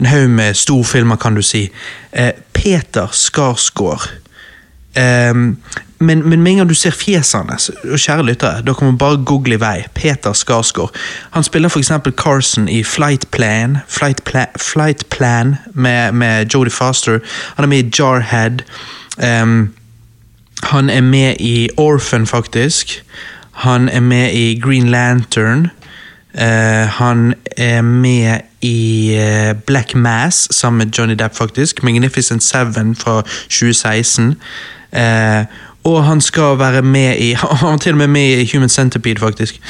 Speaker 2: en haug med storfilmer, kan du si. Eh, Peter Skarsgård. Eh, Men, men med en gang du ser fjesene, hans, og kjære lyttere, da kan man bare google i vei. Peter Skarsgård. Han spiller f.eks. Carson i Flight Plan, Flight Pla Flight Plan med, med Jodie Foster. Han er med i Jarhead. Ehm, han er med i Orphan, faktisk. Han er med i Green Lantern. Eh, han er med i eh, Black Mass sammen med Johnny Depp, faktisk. Magnificent Seven fra 2016. Eh, og han skal være med i [LAUGHS] Han var til og med med i Human
Speaker 1: [LAUGHS]
Speaker 2: Centipede, faktisk.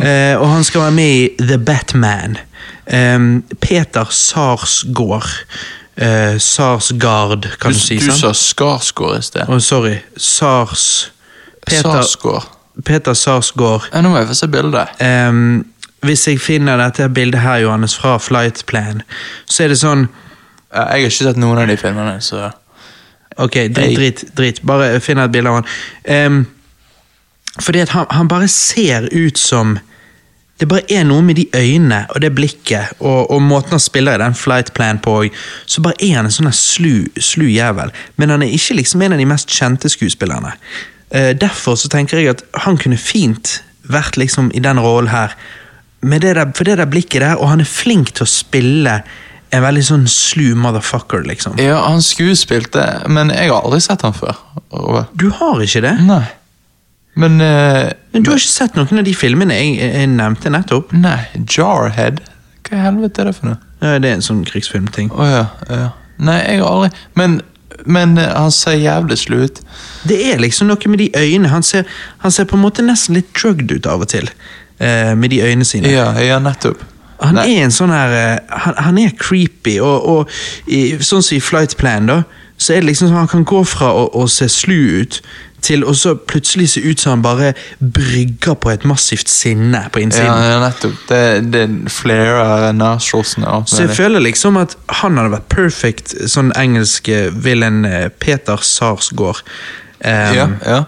Speaker 2: Eh, og han skal være med i The Batman. Em, Peter Sarsgaard. Eh, Sarsgaard, kan
Speaker 1: Du, sånn?
Speaker 2: du, si. sånn?
Speaker 1: du
Speaker 2: sant?
Speaker 1: sa Skarsgård i sted.
Speaker 2: Å, sorry. Sars Peter,
Speaker 1: Sarsgård.
Speaker 2: Peter Sarsgaard.
Speaker 1: Ja, nå må jeg få se bildet.
Speaker 2: Ehm, hvis jeg finner dette bildet her, Johannes, fra Flight Plan, så er det sånn
Speaker 1: Eh, Jeg har ikke sett noen av de filmene, så
Speaker 2: Ok,
Speaker 1: Hey.
Speaker 2: drit, drit, drit. Bare finn et bilde av han. Ehm, fordi at han, han bare ser ut som Det bare er noe med de øynene og det blikket og, og måten han spiller i den flight plan på òg. Så bare er han en sånn her slu, slu jævel. Men han er ikke liksom en av de mest kjente skuespillerne. Eh, derfor så tenker jeg at han kunne fint vært liksom i den rollen her. Med det der, for det der blikket der, og han er flink til å spille en veldig sånn slu motherfucker, liksom.
Speaker 1: Ja, han skuespilte, men jeg har aldri sett han før. Og-
Speaker 2: Du har ikke det?
Speaker 1: Nei. Men eh,
Speaker 2: Men du har ikke sett noen av de filmene jeg, jeg nevnte nettopp?
Speaker 1: Nei, Jarhead? Hva i helvete er det for noe?
Speaker 2: Ja, Det er en sånn krigsfilmting.
Speaker 1: Å ja, ja. Nei, jeg har aldri Men, men eh, han ser jævlig slu ut.
Speaker 2: Det er liksom noe med de øynene. Han ser, han ser på en måte nesten litt drugged ut av og til. eh, med de øynene sine.
Speaker 1: Ja, ja, nettopp.
Speaker 2: Han
Speaker 1: Nei.
Speaker 2: er en sånn her eh, han, han er creepy, og, og i, sånn som i Flight Plan, da, så er det liksom sånn han kan gå fra å, å se slu ut til å så plutselig se ut som han bare brygger på et massivt sinne på
Speaker 1: Ja,
Speaker 2: innsiden.
Speaker 1: ja, nettopp. Det, det flarer nasjosene og alt
Speaker 2: Så jeg
Speaker 1: mulig.
Speaker 2: føler liksom at han hadde vært perfect sånn engelske villain eh, Peter Sarsgaard. Um,
Speaker 1: Ja, ja.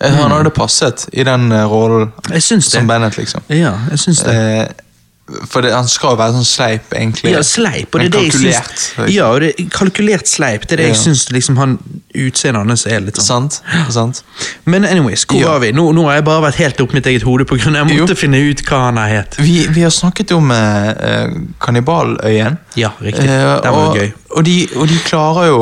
Speaker 1: Eh, Han
Speaker 2: Mm.
Speaker 1: hadde passet i den eh, rollen
Speaker 2: Jeg syns det.
Speaker 1: som Bennett, liksom.
Speaker 2: Ja, jeg syns det.
Speaker 1: Eh, for det, han skal jo være sånn sleip, egentlig.
Speaker 2: Ja, sleip. Og det
Speaker 1: Men
Speaker 2: er det jeg
Speaker 1: kalkulert. eh,
Speaker 2: syns, ja, og det, kalkulert sleip. Det er det jeg
Speaker 1: Ja.
Speaker 2: syns liksom han utseendet hans er litt sånn.
Speaker 1: Sant? Sant?
Speaker 2: Men anyways, hvor
Speaker 1: Ja.
Speaker 2: var vi? Nå, nå har jeg bare vært helt opp mitt eget hode på grunn av jeg måtte
Speaker 1: Jo.
Speaker 2: finne ut hva han har het.
Speaker 1: Vi, vi har snakket om eh, eh, Kannibaløyen.
Speaker 2: Ja, riktig.
Speaker 1: Eh,
Speaker 2: Den var
Speaker 1: og,
Speaker 2: gøy.
Speaker 1: Og de, og de klarer jo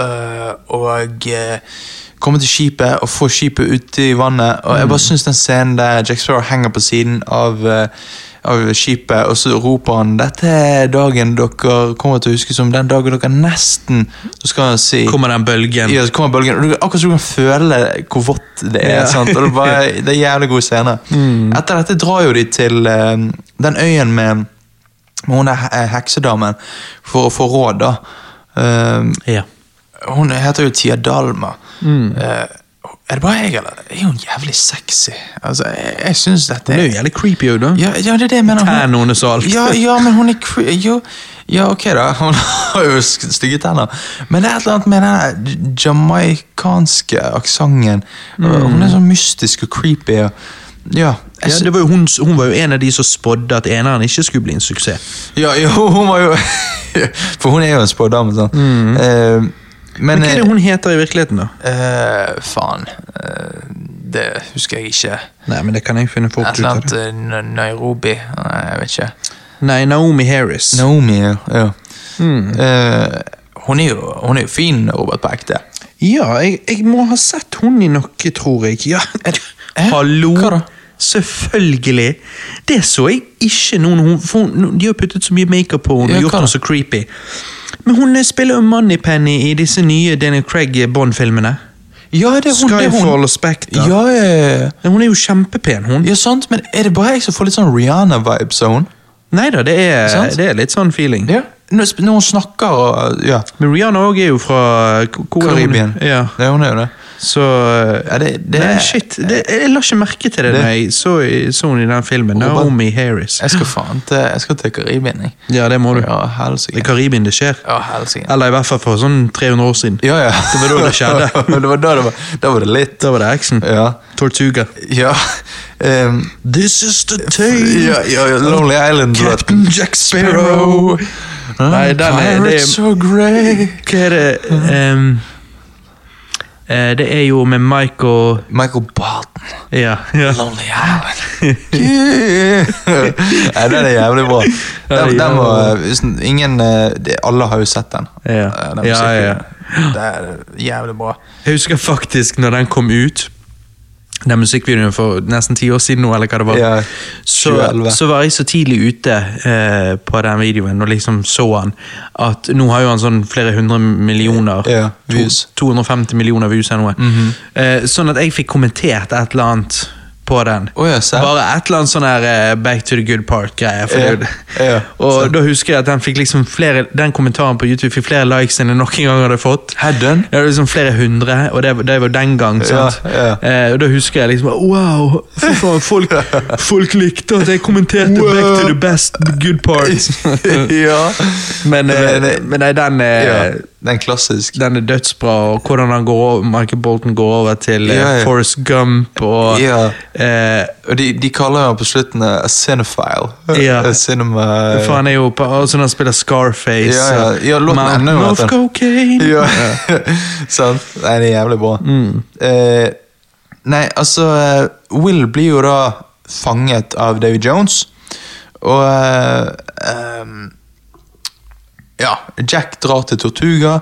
Speaker 1: eh, å eh, komme til skipet og få skipet ute i vannet. Og jeg
Speaker 2: Mm.
Speaker 1: bare syns den scenen der Jack Sparrow henger på siden av eh, av skipet, og så roper han 'Dette er dagen dere kommer til å huske som den dagen dere nesten Så skal han si
Speaker 2: Kommer den bølgen?
Speaker 1: ja, så kommer bølgen, og du, akkurat så du kan føle hvor vått det er.
Speaker 2: Ja. Mm.
Speaker 1: Sant? Og det, er bare, det er jævlig gode scener. Etter dette drar jo de til eh, den øyen med, med hun der he- heksedamen for å få råd, da. Eh,
Speaker 2: Ja.
Speaker 1: hun heter jo Tia Dalma.
Speaker 2: Mm.
Speaker 1: Eh, er det bare jeg, eller? Er hun jævlig sexy? Altså, jeg, jeg syns dette
Speaker 2: Det er jo jævlig creepy òg, da.
Speaker 1: ja, ja, det er det jeg mener. Hun-
Speaker 2: Tærne hennes og alt.
Speaker 1: Ja, ja, men hun er cre- jo, Ja, ok, da. [LAUGHS] Hun har jo sk- stygge tenner. Men det er et eller annet med den der jamaikanske aksenten.
Speaker 2: Mm.
Speaker 1: Hun er sånn mystisk og creepy. Og, ja. Jeg,
Speaker 2: Ja,
Speaker 1: sy-
Speaker 2: det var jo hun, hun var jo en av de som spådde at eneren ikke skulle bli en suksess.
Speaker 1: ja, [LAUGHS] jo, hun var jo For hun er jo en spådame, sant. Eh, men
Speaker 2: Mm. Men hva er det hun heter i virkeligheten, da?
Speaker 1: eh, eh, Faen. Eh, det husker jeg ikke.
Speaker 2: Nei, men det kan jeg finne fort
Speaker 1: Et
Speaker 2: ut
Speaker 1: eller
Speaker 2: av.
Speaker 1: annet
Speaker 2: det.
Speaker 1: eh, Na- Nairobi Nei, jeg vet ikke.
Speaker 2: Nei, Naomi Harris.
Speaker 1: Naomi, ja. ja. Eh, hun, er jo, hun er jo fin, Robert, på ekte.
Speaker 2: Ja, jeg, jeg må ha sett hun i noe, tror jeg.
Speaker 1: [LAUGHS]
Speaker 2: Ja. Hallo!
Speaker 1: Hva da?
Speaker 2: Selvfølgelig! Det så jeg ikke nå når hun for hun, De har puttet så mye makeup på henne
Speaker 1: Ja, hva
Speaker 2: og gjort henne
Speaker 1: da?
Speaker 2: så creepy. Men hun eh, spiller jo Moneypenny i disse nye Daniel Craig Bond-filmene.
Speaker 1: Ja, det er hun. Det er hun.
Speaker 2: Skyfall og Spectre.
Speaker 1: Ja, ja, ja, ja.
Speaker 2: Hun er jo kjempepen, hun.
Speaker 1: ja, sant, men er det bare jeg som får litt sånn Rihanna-vibes av henne?
Speaker 2: Nei da, det, er-
Speaker 1: Sant?
Speaker 2: det er litt sånn feeling.
Speaker 1: Når, sp- når hun snakker og Ja.
Speaker 2: Men Rihanna òg er jo fra k- hvor er hun?
Speaker 1: Karibien.
Speaker 2: Ja,
Speaker 1: Det er hun er jo det.
Speaker 2: så eh,
Speaker 1: Ja, det, det
Speaker 2: Nei, shit. Det, jeg la ikke merke til det,
Speaker 1: Det-
Speaker 2: da jeg så, så hun i den filmen.
Speaker 1: Robert-
Speaker 2: Naomi Harris.
Speaker 1: Jeg skal faen til Jeg skal til Karibien, jeg.
Speaker 2: Ja, det må du.
Speaker 1: Ja,
Speaker 2: Det er
Speaker 1: helsike.
Speaker 2: Karibien det skjer.
Speaker 1: Ja, helsike.
Speaker 2: Eller i hvert fall for sånn 300 år siden.
Speaker 1: Ja, [LAUGHS] ja.
Speaker 2: Det var da det skjedde.
Speaker 1: det var da det var, da var det litt.
Speaker 2: Da var det action.
Speaker 1: Ja.
Speaker 2: Tortuga.
Speaker 1: Ja. ehm,
Speaker 2: This is the
Speaker 1: ja, ja, ja Lonely Island-låten.
Speaker 2: Captain Jack Sparrow. Nei, den er- det er-
Speaker 1: Pirates are grey.
Speaker 2: Hva er det ehm, Eh, Det er jo med Michael
Speaker 1: Michael Barton.
Speaker 2: Ja. ja. [LAUGHS]
Speaker 1: Lonely Island. Nei, den er jævlig
Speaker 2: [LAUGHS]
Speaker 1: bra. Den, den må, hvis ingen, eh, de, alle har jo sett den.
Speaker 2: Ja.
Speaker 1: Eh, den
Speaker 2: Ja,
Speaker 1: musikken.
Speaker 2: ja.
Speaker 1: Det er jævlig bra.
Speaker 2: Jeg husker faktisk når den kom ut, den musikkvideoen for nesten ti år siden nå, eller hva det var,
Speaker 1: Ja,
Speaker 2: så,
Speaker 1: 2011.
Speaker 2: så var jeg så tidlig ute eh, på den videoen og liksom så han, at nå har jo han sånn flere hundre millioner,
Speaker 1: Ja,
Speaker 2: to,
Speaker 1: views. Mhm.
Speaker 2: 250 millioner views eller noe, eh, sånn at jeg fikk kommentert et eller annet på den.
Speaker 1: Å ja, sant.
Speaker 2: Bare et eller annet sånn her eh, Back to the good part-greie. for
Speaker 1: Ja,
Speaker 2: det-
Speaker 1: ja,
Speaker 2: [LAUGHS] og da husker jeg at den fikk liksom flere Den kommentaren på YouTube fikk flere likes enn jeg noen gang hadde fått.
Speaker 1: Hedden?
Speaker 2: Ja, det var liksom flere hundre, og det, det var den gang. sant?
Speaker 1: Ja,
Speaker 2: Eh, og da husker jeg liksom Wow! Fy faen,
Speaker 1: [LAUGHS]
Speaker 2: folk, folk likte at jeg kommenterte
Speaker 1: Wow.
Speaker 2: Back to the best good part.
Speaker 1: ja.
Speaker 2: [LAUGHS] Men, eh,
Speaker 1: Men, eh,
Speaker 2: men nei, den, eh,
Speaker 1: ja. Den er klassisk.
Speaker 2: den er dødsbra, og hvordan han går over, Michael Bolton går over til eh,
Speaker 1: Ja, ja.
Speaker 2: Forrest Gump og
Speaker 1: Ja.
Speaker 2: eh,
Speaker 1: Og de, de kaller ham på slutten eh, a cinephile.
Speaker 2: Ja.
Speaker 1: A cinema...
Speaker 2: For han er jo på Og så når han spiller Scarface
Speaker 1: Ja, ja.
Speaker 2: og
Speaker 1: Ja, låten
Speaker 2: Mountain
Speaker 1: ender jo med
Speaker 2: of
Speaker 1: at han-
Speaker 2: Cocaine
Speaker 1: Ja, [LAUGHS] sant. Nei, det er jævlig bra.
Speaker 2: Mm.
Speaker 1: Eh, nei, altså eh, Will blir jo da fanget av Davy Jones, og eh, ehm, Ja, Jack drar til Tortuga.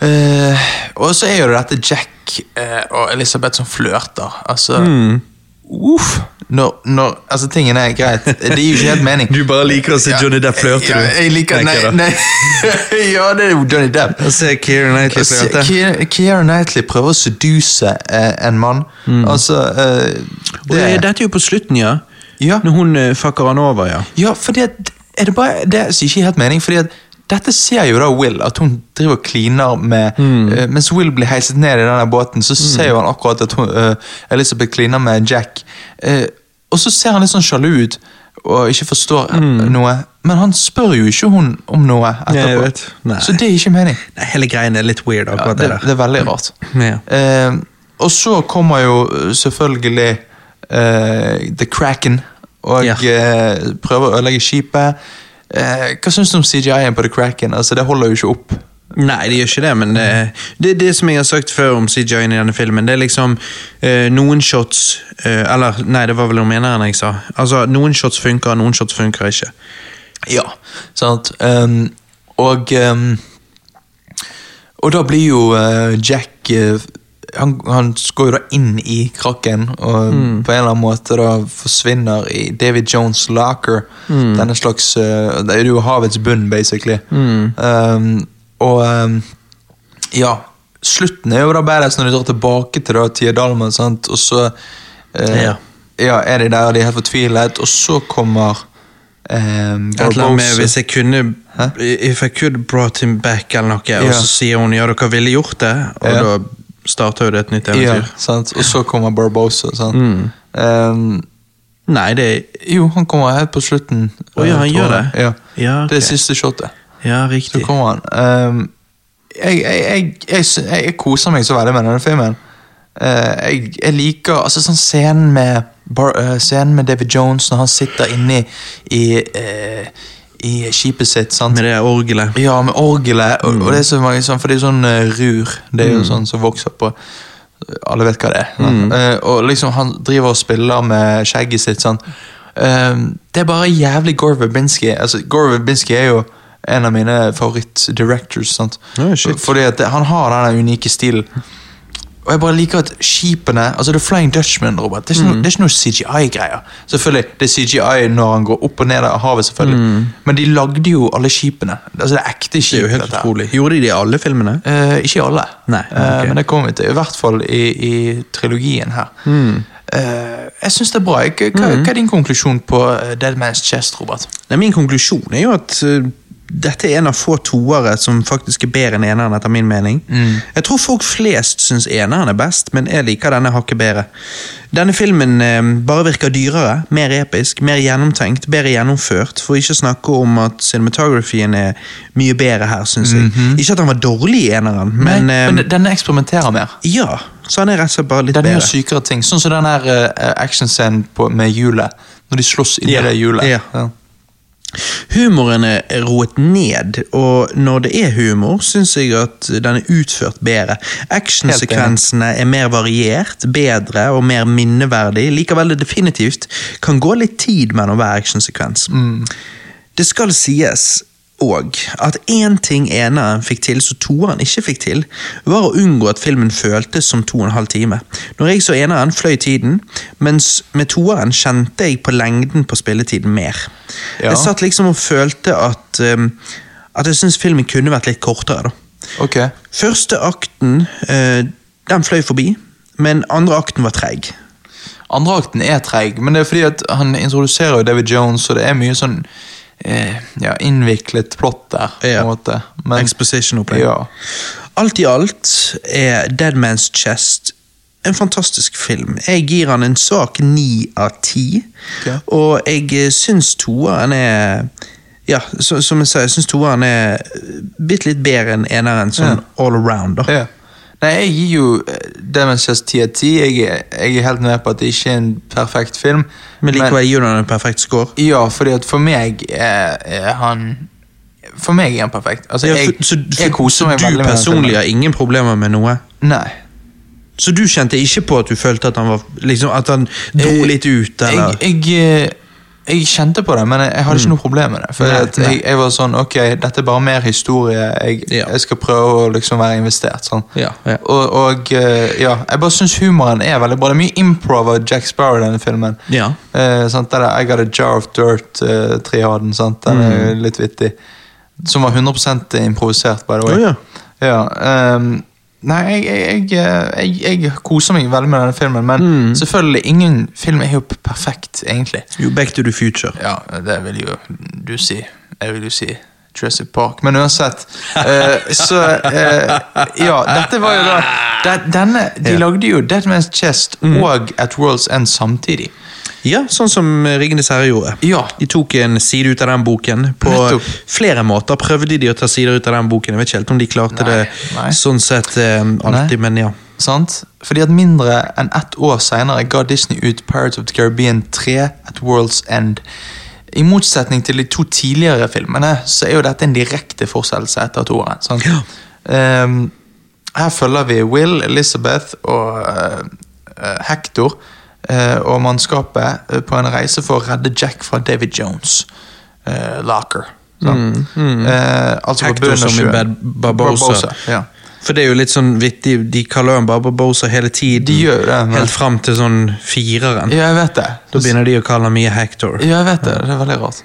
Speaker 1: Eh, og så er jo det dette Jack eh, og Elisabeth som flørter. Altså
Speaker 2: Mm.
Speaker 1: Uff! Når, når Altså, tingene er greit. Det gir jo ikke helt mening.
Speaker 2: [LAUGHS] Du bare liker å se Johnny Depp flørte,
Speaker 1: Ja,
Speaker 2: du.
Speaker 1: jeg liker
Speaker 2: tenker
Speaker 1: Nei,
Speaker 2: jeg da.
Speaker 1: nei. [LAUGHS] ja, det er jo Johnny Depp.
Speaker 2: Og se Keira Knightley flørte.
Speaker 1: Keira Knightley prøver å seduse eh, en mann. Altså eh,
Speaker 2: Mm. Og
Speaker 1: det,
Speaker 2: det- Dette er jo på slutten, ja.
Speaker 1: Ja.
Speaker 2: Når hun eh, fucker han over, ja.
Speaker 1: Ja, fordi at er Det bare, det som ikke gir helt mening, fordi at dette ser jo da Will, at hun driver og kliner med
Speaker 2: Mm.
Speaker 1: eh, Mens Will blir heiset ned i den der båten, så ser jo han akkurat at hun, eh, Elizabeth kliner med Jack. Eh, og så ser han litt sånn sjalu ut og ikke forstår eh, noe. Men han spør jo ikke hun om noe
Speaker 2: Mm. Nei, jeg
Speaker 1: etterpå.
Speaker 2: vet. Nei.
Speaker 1: så det er ikke mening.
Speaker 2: Nei, hele greien er litt weird,
Speaker 1: Ja,
Speaker 2: akkurat
Speaker 1: det,
Speaker 2: det der.
Speaker 1: det er veldig [LAUGHS] rart.
Speaker 2: Ja.
Speaker 1: Eh, og så kommer jo eh, selvfølgelig eh, The Kraken og
Speaker 2: Ja.
Speaker 1: eh, prøver å ødelegge skipet. Eh, hva syns du om CGI-en på The Kraken? Altså, det holder jo ikke opp.
Speaker 2: Nei, det gjør ikke det, men det, det er det som jeg har sagt før om CJ i denne filmen. Det er liksom eh, noen shots eh, Eller, nei, det var vel om eneren jeg sa. Altså, noen shots funker, noen shots funker ikke.
Speaker 1: Ja, sant. Ehm, og ehm, Og da blir jo eh, Jack eh, han, han går jo da inn i krakken, og på en eller annen måte da forsvinner i David Jones' locker. Denne slags eh, Det er jo havets bunn, basically. Ehm, og ehm, ja Slutten er jo da badass når de drar tilbake til da Tia Dalman, sant? og så eh,
Speaker 2: Ja.
Speaker 1: ja, er de der, de er helt fortvilet, og så kommer ehm,
Speaker 2: Et eller annet med
Speaker 1: Barbosa.
Speaker 2: Hvis jeg kunne If I could brought him back, eller noe, og
Speaker 1: Ja.
Speaker 2: så sier hun ja, dere ville gjort det, og
Speaker 1: Ja.
Speaker 2: da starter jo det et nytt
Speaker 1: Ja,
Speaker 2: eventyr. Mm.
Speaker 1: sant? Og så kommer Barbosa. Sant? Ehm,
Speaker 2: Nei, det er
Speaker 1: jo, han kommer helt på slutten.
Speaker 2: Å ja,
Speaker 1: eh,
Speaker 2: han
Speaker 1: tror
Speaker 2: gjør
Speaker 1: jeg.
Speaker 2: det?
Speaker 1: Ja.
Speaker 2: Ja, ok.
Speaker 1: Det er siste shotet.
Speaker 2: Ja,
Speaker 1: Så
Speaker 2: riktig.
Speaker 1: kommer han. Ehm, jeg, jeg, jeg, jeg, sy- jeg, jeg koser meg så veldig med denne filmen. Eh, jeg, jeg liker altså sånn scenen med Bar, eh, Scenen med David Jones når han sitter inni i, eh, i skipet sitt. Sant?
Speaker 2: Med det orgelet.
Speaker 1: Ja, med orgelet. Og, og det er så mange sånn, For det er jo sånn eh, rur. Det er jo sånn som vokser på Alle vet hva det er. sant? Eh, og liksom han driver og spiller med skjegget sitt sånn. Eh, det er bare jævlig Gore Verbinski. Altså, Gore Verbinski er jo en av mine favoritt-directors. sant?
Speaker 2: Ja, shit.
Speaker 1: Fordi at det, han har den unike stilen. Og jeg bare liker at skipene Altså The Flying Dutchman, Robert. Det er ikke,
Speaker 2: Mm.
Speaker 1: noe- det er ikke noe CGI-greier. Selvfølgelig, Det er CGI når han går opp og ned av havet, selvfølgelig. Men de lagde jo alle skipene. Altså Det er ekte skip.
Speaker 2: Mm. Det er jo helt
Speaker 1: dette her.
Speaker 2: utrolig. Gjorde de det i alle filmene?
Speaker 1: Eh, ikke i alle,
Speaker 2: Nei,
Speaker 1: Eh,
Speaker 2: ok.
Speaker 1: men det kommer vi til. I hvert fall i, i trilogien her.
Speaker 2: Mm.
Speaker 1: Eh, jeg syns det er bra. Jeg- Hva, hva er din konklusjon på eh, Dead Man's Chest, Robert?
Speaker 2: Nei, min konklusjon er jo at eh, dette er en av få toere som faktisk er bedre enn eneren, etter min mening.
Speaker 1: Mm.
Speaker 2: Jeg tror folk flest syns eneren er best, men jeg liker denne hakket bedre. Denne filmen eh, bare virker dyrere, mer episk, mer gjennomtenkt, bedre gjennomført. For ikke å snakke om at cinematographyen er mye bedre her, syns jeg. Ikke at han var dårlig i eneren, men,
Speaker 1: Mhm. Nei,
Speaker 2: eh,
Speaker 1: men denne eksperimenterer mer.
Speaker 2: ja. Så han er rett og slett bare litt
Speaker 1: Den gjør
Speaker 2: bedre.
Speaker 1: sykere ting. Sånn som den her uh, actionscenen på- med hjulet. Når de slåss inni
Speaker 2: Ja,
Speaker 1: det hjulet.
Speaker 2: ja. Humoren er roet ned, og når det er humor, syns jeg at den er utført bedre. Actionsekvensene er mer variert, bedre og mer minneverdig. Likevel det definitivt kan gå litt tid mellom hver actionsekvens. Det skal sies og at én ting eneren fikk til som toeren ikke fikk til, var å unngå at filmen føltes som to og en halv time. Når jeg så eneren, fløy tiden, mens med toeren kjente jeg på lengden på spilletiden mer.
Speaker 1: Ja.
Speaker 2: Jeg satt liksom og følte at, um, at jeg syntes filmen kunne vært litt kortere. da.
Speaker 1: Ok.
Speaker 2: Første akten eh, den fløy forbi, men andre akten var treig.
Speaker 1: Andre akten er treig, men det er fordi at han introduserer jo David Jones, og det er mye sånn eh, ja, innviklet plott der, på
Speaker 2: Ja.
Speaker 1: en måte. Men-
Speaker 2: Exposition-opplegg.
Speaker 1: ja.
Speaker 2: Alt i alt er Dead Man's Chest en fantastisk film. Jeg gir han en svak ni av ti.
Speaker 1: Ok.
Speaker 2: Og jeg eh, syns toeren er Ja, så, som jeg sa, jeg syns toeren er bitte litt bedre enn eneren, sånn all around, da.
Speaker 1: ja. Nei, jeg gir jo eh, Demon's Chest 10 av 10. Jeg, er- jeg er helt med på at det ikke er en perfekt film.
Speaker 2: Men likevel gir du han en perfekt score.
Speaker 1: Ja, fordi at for meg er, er han For meg er han perfekt. Altså,
Speaker 2: Ja,
Speaker 1: jeg,
Speaker 2: for- så-
Speaker 1: jeg
Speaker 2: for-
Speaker 1: koser meg
Speaker 2: så
Speaker 1: veldig
Speaker 2: du
Speaker 1: med den filmen.
Speaker 2: personlig har ingen problemer med noe?
Speaker 1: Nei.
Speaker 2: Så du kjente ikke på at du følte at han var liksom, At han dro
Speaker 1: Eh,
Speaker 2: litt ut, eller? Mm.
Speaker 1: Jeg, jeg, eh, jeg kjente på det, men jeg, jeg hadde ikke noe problem med det. For
Speaker 2: Nei,
Speaker 1: at jeg, jeg var sånn Ok, dette er bare mer historie. Jeg,
Speaker 2: Ja.
Speaker 1: jeg skal prøve å liksom være investert. sånn
Speaker 2: Ja, ja.
Speaker 1: Og, og eh, ja, jeg bare syns humoren er veldig bra. Det er mye improv av Jack Sparrow i denne filmen.
Speaker 2: Ja.
Speaker 1: Eh, sant? Den der I Got A Jar of Dirt-triaden. sant? Den er jo litt vittig. Som var 100 improvisert, by the way.
Speaker 2: Å, ja.
Speaker 1: Ja, ehm, nei, jeg, jeg, jeg, eh, jeg, jeg koser meg veldig med denne filmen, men selvfølgelig, ingen film er jo p- perfekt, egentlig.
Speaker 2: Jo, Back to the future.
Speaker 1: Ja, det vil jo du si. Jeg vil jo si Jurassic Park, men uansett. eh, så eh, Ja, dette var jo da de- denne, De
Speaker 2: Ja.
Speaker 1: lagde jo Dead Man's Chest og At World's End samtidig.
Speaker 2: Ja, sånn som eh, Ringenes herre gjorde.
Speaker 1: Ja.
Speaker 2: De tok en side ut av den boken. På
Speaker 1: Nettopp.
Speaker 2: flere måter prøvde de å ta sider ut av den boken. Jeg vet ikke helt om de klarte
Speaker 1: Nei,
Speaker 2: det
Speaker 1: nei.
Speaker 2: sånn sett eh, alltid, men ja.
Speaker 1: Sant? Fordi at mindre enn ett år senere ga Disney ut Pirates of the Caribbean 3 at World's End. I motsetning til de to tidligere filmene, så er jo dette en direkte fortsettelse etter toeren. sant?
Speaker 2: Ja.
Speaker 1: Ehm, her følger vi Will, Elizabeth og eh, eh, Hector eh, og mannskapet eh, på en reise for å redde Jack fra David Jones. eh, Locker. Sant? Eh, altså på
Speaker 2: Mm. Hector
Speaker 1: bunnen av
Speaker 2: som i
Speaker 1: sjøen.
Speaker 2: Bad- Barbosa.
Speaker 1: Ja.
Speaker 2: For det er jo litt sånn vittig, de kaller han Baba Bosa hele tiden.
Speaker 1: De gjør det, men-
Speaker 2: Helt fram til sånn fireren.
Speaker 1: ja, jeg vet det.
Speaker 2: Da begynner de å kalle han mye Hector.
Speaker 1: Ja, jeg vet det. Det er veldig rart.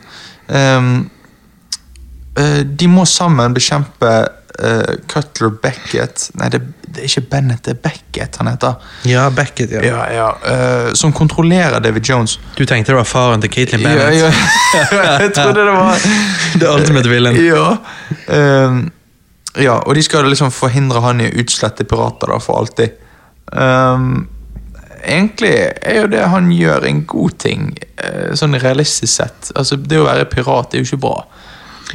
Speaker 1: Ehm, eh, de må sammen bekjempe eh, Cutler Beckett Nei, det, det er ikke Bennett, det er Beckett han heter.
Speaker 2: Ja, Beckett, ja.
Speaker 1: Ja, ja. eh, som kontrollerer David Jones.
Speaker 2: Du tenkte det var faren til Caitlyn
Speaker 1: Ja,
Speaker 2: Bennett.
Speaker 1: ja. [LAUGHS] jeg trodde det var
Speaker 2: [LAUGHS] Det ultimate villain.
Speaker 1: Ja. Ehm, ja, og de skal liksom forhindre han i å utslette pirater da, for alltid. Ehm, egentlig er jo det han gjør, en god ting, eh, sånn realistisk sett. Altså, Det å være pirat er jo ikke bra.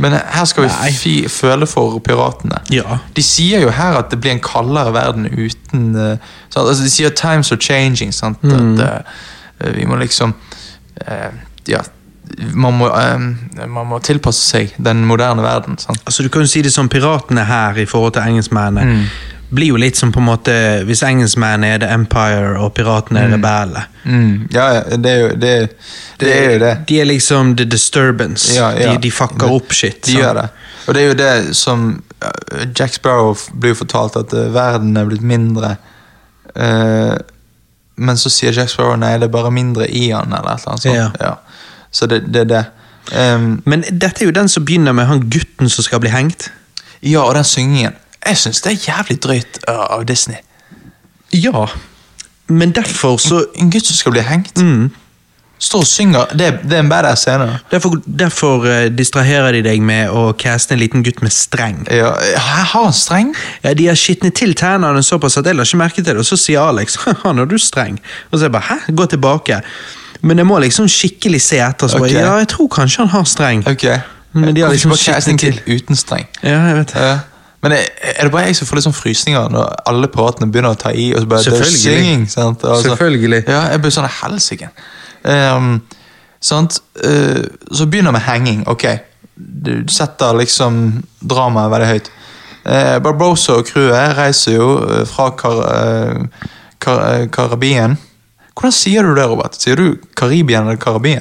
Speaker 1: Men her skal vi fi, føle for piratene.
Speaker 2: Ja.
Speaker 1: De sier jo her at det blir en kaldere verden uten eh, sant? Altså, De sier 'times are changing'. Sant? At, eh, vi må liksom eh, Ja, man må, eh, man må tilpasse seg den moderne verden. Sant?
Speaker 2: Altså Du kan jo si det som piratene her i forhold til engelskmennene.
Speaker 1: Mm.
Speaker 2: Blir jo litt som på en måte Hvis engelskmennene er The Empire og piratene er rebellene.
Speaker 1: Mm, ja, ja, det er jo det. er- Det er jo det.
Speaker 2: De er liksom the disturbance.
Speaker 1: Ja, ja.
Speaker 2: De, de fucker opp shit.
Speaker 1: De
Speaker 2: sant?
Speaker 1: gjør det. Og det er jo det som eh, Jack Sparrow f- blir jo fortalt, at eh, verden er blitt mindre. Eh, men så sier Jack Sparrow nei, det er bare mindre i han, eller et eller annet sånt.
Speaker 2: Ja.
Speaker 1: Så det, det er det. Ehm,
Speaker 2: Men dette er jo den som begynner med han gutten som skal bli hengt.
Speaker 1: Ja, og den syngingen. Jeg syns det er jævlig drøyt uh, av Disney.
Speaker 2: Ja. Men derfor så
Speaker 1: En gutt som skal bli hengt.
Speaker 2: Mm.
Speaker 1: Står og synger. Det, er- det er en badass scene. da.
Speaker 2: Derfor, derfor eh, distraherer de deg med å caste en liten gutt med streng.
Speaker 1: Ja, her har han streng.
Speaker 2: Ja, De har skitnet til tennene såpass at jeg la ikke merke til det. Og så sier Alex [LAUGHS] han er du streng. Og så jeg bare hæ, gå tilbake. Men jeg må liksom skikkelig se etter. Så bare,
Speaker 1: Ok.
Speaker 2: ja, jeg tror kanskje han har streng.
Speaker 1: Ok.
Speaker 2: Men de har
Speaker 1: Hvorfor
Speaker 2: liksom
Speaker 1: bare cast en
Speaker 2: skitnet
Speaker 1: kid Uten streng.
Speaker 2: Ja, jeg vet det.
Speaker 1: Ja. Men er, er det bare jeg som får litt sånn frysninger når alle piratene begynner å ta i? og så bare, "They're Altså-
Speaker 2: Selvfølgelig.
Speaker 1: Singing, sant? Og så-
Speaker 2: Selvfølgelig.
Speaker 1: Ja, jeg blir sånn helsike. Um, Sant? Eh, så begynner med henging. Ok, du setter liksom dramaet veldig høyt. Eh, Barbosa og crewet reiser jo eh, fra Kar eh, Kar eh, Karibien. Hvordan sier du det, Robert? Sier du Karibien eller Karibien?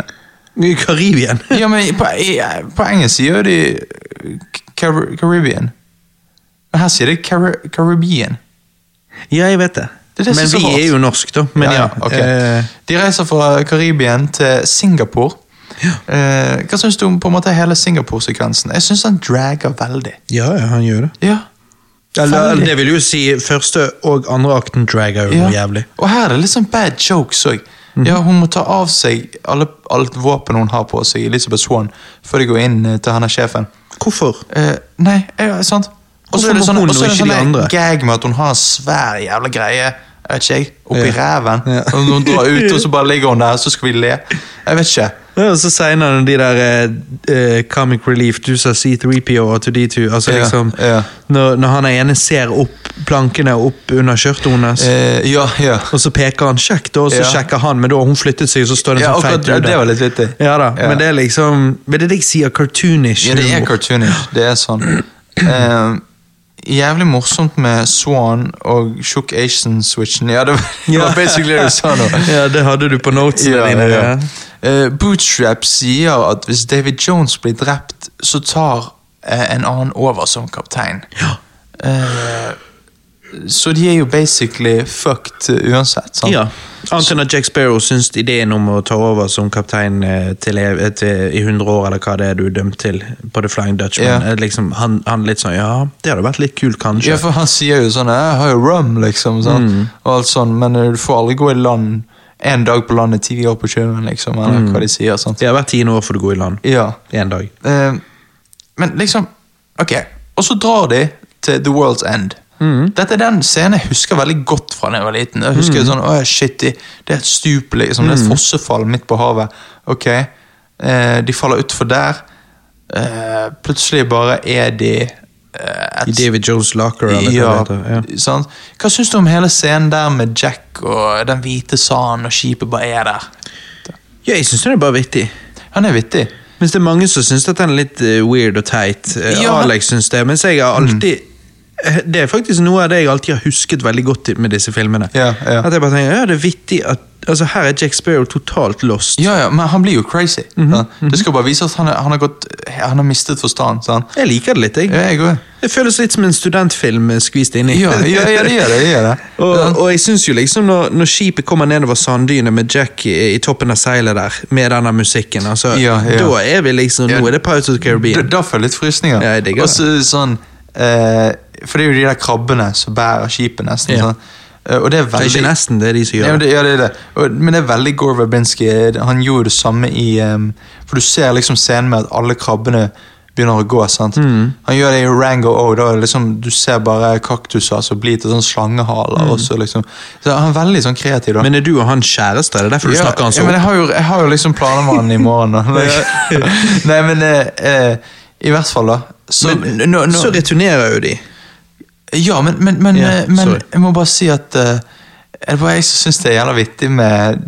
Speaker 2: I Karibien.
Speaker 1: Ja, men på, i, på engelsk sier de eh, Car Caribbean. Men her sier de Car Caribbean.
Speaker 2: Ja, jeg vet det.
Speaker 1: Det er det som
Speaker 2: Men
Speaker 1: er så
Speaker 2: vi
Speaker 1: rart.
Speaker 2: er jo norsk, da. Men ja,
Speaker 1: ok.
Speaker 2: eh,
Speaker 1: De reiser fra Karibien til Singapore. Eh, hva syns du om på en måte hele Singapore-sekvensen? Jeg syns han dragger veldig.
Speaker 2: ja, ja, han gjør det.
Speaker 1: Ja.
Speaker 2: Eller,
Speaker 1: Veldig.
Speaker 2: det vil jo si første og andre akten drager jo
Speaker 1: ja.
Speaker 2: noe jævlig. Mhm.
Speaker 1: Og her er det litt sånn bad jokes òg. Ja, hun må ta av seg alle, alt våpen hun har på seg, Elizabeth Swan, før de går inn eh, til han er sjefen.
Speaker 2: Hvorfor?
Speaker 1: Eh, nei, ja, sant? Og så
Speaker 2: Hvorfor
Speaker 1: er det
Speaker 2: må
Speaker 1: sånn,
Speaker 2: hun
Speaker 1: og så er
Speaker 2: og
Speaker 1: det
Speaker 2: ikke de
Speaker 1: sånn
Speaker 2: andre?
Speaker 1: gag med at hun har en svær jævla greie jeg vet ikke jeg, oppi
Speaker 2: Ja.
Speaker 1: ræven.
Speaker 2: Ja.
Speaker 1: Og hun drar ut, og så bare ligger hun der, så skal vi le. Jeg vet ikke.
Speaker 2: Ja, og så senere de der eh, eh, Comic Relief, du sa C3PO og 2D2 altså
Speaker 1: Ja,
Speaker 2: liksom,
Speaker 1: ja.
Speaker 2: Når, når han ene ser opp plankene opp under skjørtet hennes,
Speaker 1: Eh, ja, ja.
Speaker 2: og så peker han kjekt, da, og så
Speaker 1: Ja.
Speaker 2: sjekker han, men da har hun flyttet seg, og så står det en
Speaker 1: Ja,
Speaker 2: sånn
Speaker 1: akkurat
Speaker 2: feit
Speaker 1: det,
Speaker 2: dude
Speaker 1: det
Speaker 2: der.
Speaker 1: var litt vittig.
Speaker 2: Ja da,
Speaker 1: Ja.
Speaker 2: men det er liksom Men det er det jeg sier, cartoonish.
Speaker 1: Ja, det er
Speaker 2: humor.
Speaker 1: cartoonish. Det er sånn. Eh, jævlig morsomt med Swan og Shook Asian-switchen. Ja, det var, det
Speaker 2: Ja.
Speaker 1: var basically det du sa nå.
Speaker 2: [LAUGHS] Ja, det hadde du på notesene
Speaker 1: Ja, ja,
Speaker 2: dine. Ja.
Speaker 1: ja. Eh, Bootstrap sier at hvis David Jones blir drept, så tar eh, en annen over som kaptein.
Speaker 2: Ja.
Speaker 1: Eh, så de er jo basically fucked eh, uansett, sant?
Speaker 2: Ja. Annet enn at Jack Sparrow syns ideen om å ta over som kaptein eh, til, ev- eh, til, i 100 år, eller hva det er du er dømt til på The Flying Dutchman,
Speaker 1: Ja.
Speaker 2: er liksom, han, han litt sånn Ja, det hadde vært litt kult,
Speaker 1: Ja,
Speaker 2: kanskje.
Speaker 1: for han sier jo sånn 'Jeg har jo rum', liksom, sant? og alt sånn, men eh, du får aldri gå i land en dag på landet, ti år på sjøen, liksom, eller hva de sier. sant?
Speaker 2: Det har vært tiende år for du går i land.
Speaker 1: Ja.
Speaker 2: Én dag.
Speaker 1: Eh, men liksom Ok, og så drar de til The World's End. Dette er den scenen jeg husker veldig godt fra da jeg var liten. Jeg husker sånn, åh, shit, de, Det er et stup, liksom. Det er et fossefall midt på havet. Ok, eh, De faller utfor der. Eh, plutselig bare er de eh,
Speaker 2: I
Speaker 1: et
Speaker 2: David Jones Locker, eller hva
Speaker 1: ja,
Speaker 2: det heter. Ja.
Speaker 1: Sant? Hva syns du om hele scenen der med Jack og den hvite sanden og skipet bare er der?
Speaker 2: ja, jeg syns den er bare vittig.
Speaker 1: Han er vittig.
Speaker 2: Mens det er mange som syns at den er litt eh, weird og teit. Eh,
Speaker 1: Ja.
Speaker 2: Alex syns det, mens jeg har alltid eh, Det er faktisk noe av det jeg alltid har husket veldig godt i- med disse filmene.
Speaker 1: Ja, ja.
Speaker 2: At jeg bare tenker, ja, det er vittig at altså, Her er Jack Sparrow totalt lost.
Speaker 1: Ja, ja, men han blir jo crazy. sant? Det skal bare vise at han, er, han, har, gått, han har mistet forstand. Sant?
Speaker 2: Jeg liker det litt, jeg.
Speaker 1: Ja, jeg òg.
Speaker 2: Det føles litt som en studentfilm eh, skvist inn i.
Speaker 1: Ja, ja, ja, det gjør det. det, gjør det.
Speaker 2: [LAUGHS] Og, og jeg synes jo liksom når, når skipet kommer nedover sanddyne med Jack i, i toppen av seilet der, med denne musikken, altså,
Speaker 1: Ja, ja.
Speaker 2: da er vi liksom
Speaker 1: Ja.
Speaker 2: Nå er det Pirates of the
Speaker 1: Da,
Speaker 2: Caribbean.
Speaker 1: da får jeg litt frysninger.
Speaker 2: Ja, jeg digger
Speaker 1: Og så sånn eh, For det er jo de der krabbene som bærer skipet, nesten.
Speaker 2: Ja.
Speaker 1: sant? Eh, Og det er
Speaker 2: Det er
Speaker 1: veldig
Speaker 2: ikke nesten det er de som
Speaker 1: Ja,
Speaker 2: gjør.
Speaker 1: men det, ja, det er det. Og, men det er veldig Gore Verbinski. Han gjorde det samme i ehm, For du ser liksom scenen med at alle krabbene begynner å gå. sant?
Speaker 2: Mm.
Speaker 1: Han gjør det i Rango òg. Liksom, du ser bare kaktuser som blir til sånn slangehaler. og så liksom. Så han er veldig sånn kreativ. da.
Speaker 2: Mm. Men er du og han kjæreste? Er det derfor du
Speaker 1: ja,
Speaker 2: snakker han
Speaker 1: ja,
Speaker 2: sånn?
Speaker 1: men jeg har, jo, jeg har jo liksom planer med han i morgen. da.
Speaker 2: [LAUGHS]
Speaker 1: Nei, men eh, eh, I hvert fall, da. Så,
Speaker 2: Men
Speaker 1: nå- nå-
Speaker 2: så returnerer jo de.
Speaker 1: ja, men, men, men,
Speaker 2: Ja,
Speaker 1: eh, men
Speaker 2: sorry.
Speaker 1: jeg må bare si at eh, er det bare jeg som syns det er jævla vittig med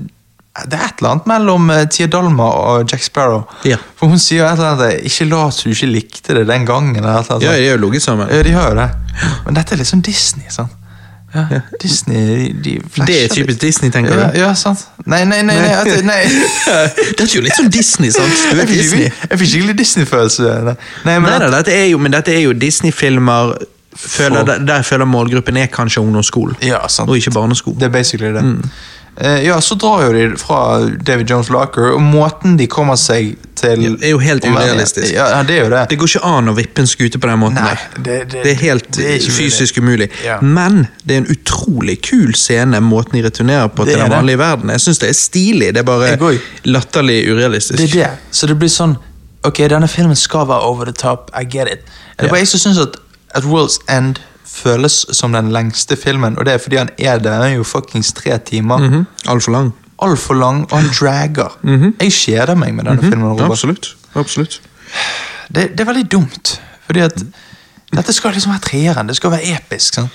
Speaker 1: Det er et eller annet mellom eh, Tia Dalma og Jack Sparrow.
Speaker 2: Ja.
Speaker 1: For hun sier jo et eller annet eh, 'ikke lat som du ikke likte det den gangen'. Eller et eller annet.
Speaker 2: Ja, de har jo ligget sammen.
Speaker 1: Ja, de har jo det. Men dette er litt sånn Disney, sant. Ja, Disney, de, de flasher
Speaker 2: Det er
Speaker 1: litt.
Speaker 2: typisk Disney, tenker
Speaker 1: ja,
Speaker 2: du?
Speaker 1: ja, sant. Nei, nei, nei. nei, at, nei.
Speaker 2: [LAUGHS] det er jo litt sånn Disney, sant? Du
Speaker 1: Jeg
Speaker 2: er
Speaker 1: fikk
Speaker 2: Disney.
Speaker 1: skikkelig- jeg fikk skikkelig Disney-følelse. Nei, nei, men
Speaker 2: Nei,
Speaker 1: at-
Speaker 2: nei, dette er jo, men dette er jo Disney-filmer føler, der, der føler målgruppen er kanskje ungdomsskolen,
Speaker 1: Ja, sant.
Speaker 2: og ikke barnesko.
Speaker 1: Det er basically det.
Speaker 2: Mm.
Speaker 1: Eh, ja, så drar jo de fra David Jones Locker, og måten de kommer seg til
Speaker 2: Ja, er jo helt
Speaker 1: omverdenen-
Speaker 2: urealistisk.
Speaker 1: Ja, ja, det er jo det.
Speaker 2: Det går ikke an å vippe en skute på den måten.
Speaker 1: Nei,
Speaker 2: der.
Speaker 1: det- det-
Speaker 2: det er helt
Speaker 1: det er ikke mulig.
Speaker 2: fysisk umulig.
Speaker 1: Ja.
Speaker 2: Men det er en utrolig kul scene, måten de returnerer på
Speaker 1: Det
Speaker 2: til
Speaker 1: er
Speaker 2: den
Speaker 1: det.
Speaker 2: vanlige verden. Jeg syns det er stilig, det er
Speaker 1: Jeg går
Speaker 2: bare
Speaker 1: i.
Speaker 2: latterlig urealistisk.
Speaker 1: Det er det. Så det blir sånn Ok, denne filmen skal være over the top. I get it. Det er
Speaker 2: Ja.
Speaker 1: bare jeg som syns at At World's End føles som den lengste filmen, og det er fordi han er det. Han er jo fuckings tre timer.
Speaker 2: Mhm, Altfor lang.
Speaker 1: Altfor lang, og han dragger.
Speaker 2: Mhm.
Speaker 1: Jeg kjeder meg med denne filmen. Robert.
Speaker 2: Absolutt. Absolutt.
Speaker 1: Det, det er veldig dumt, fordi at
Speaker 2: Mm.
Speaker 1: dette skal liksom være treeren. Det skal være episk. sant?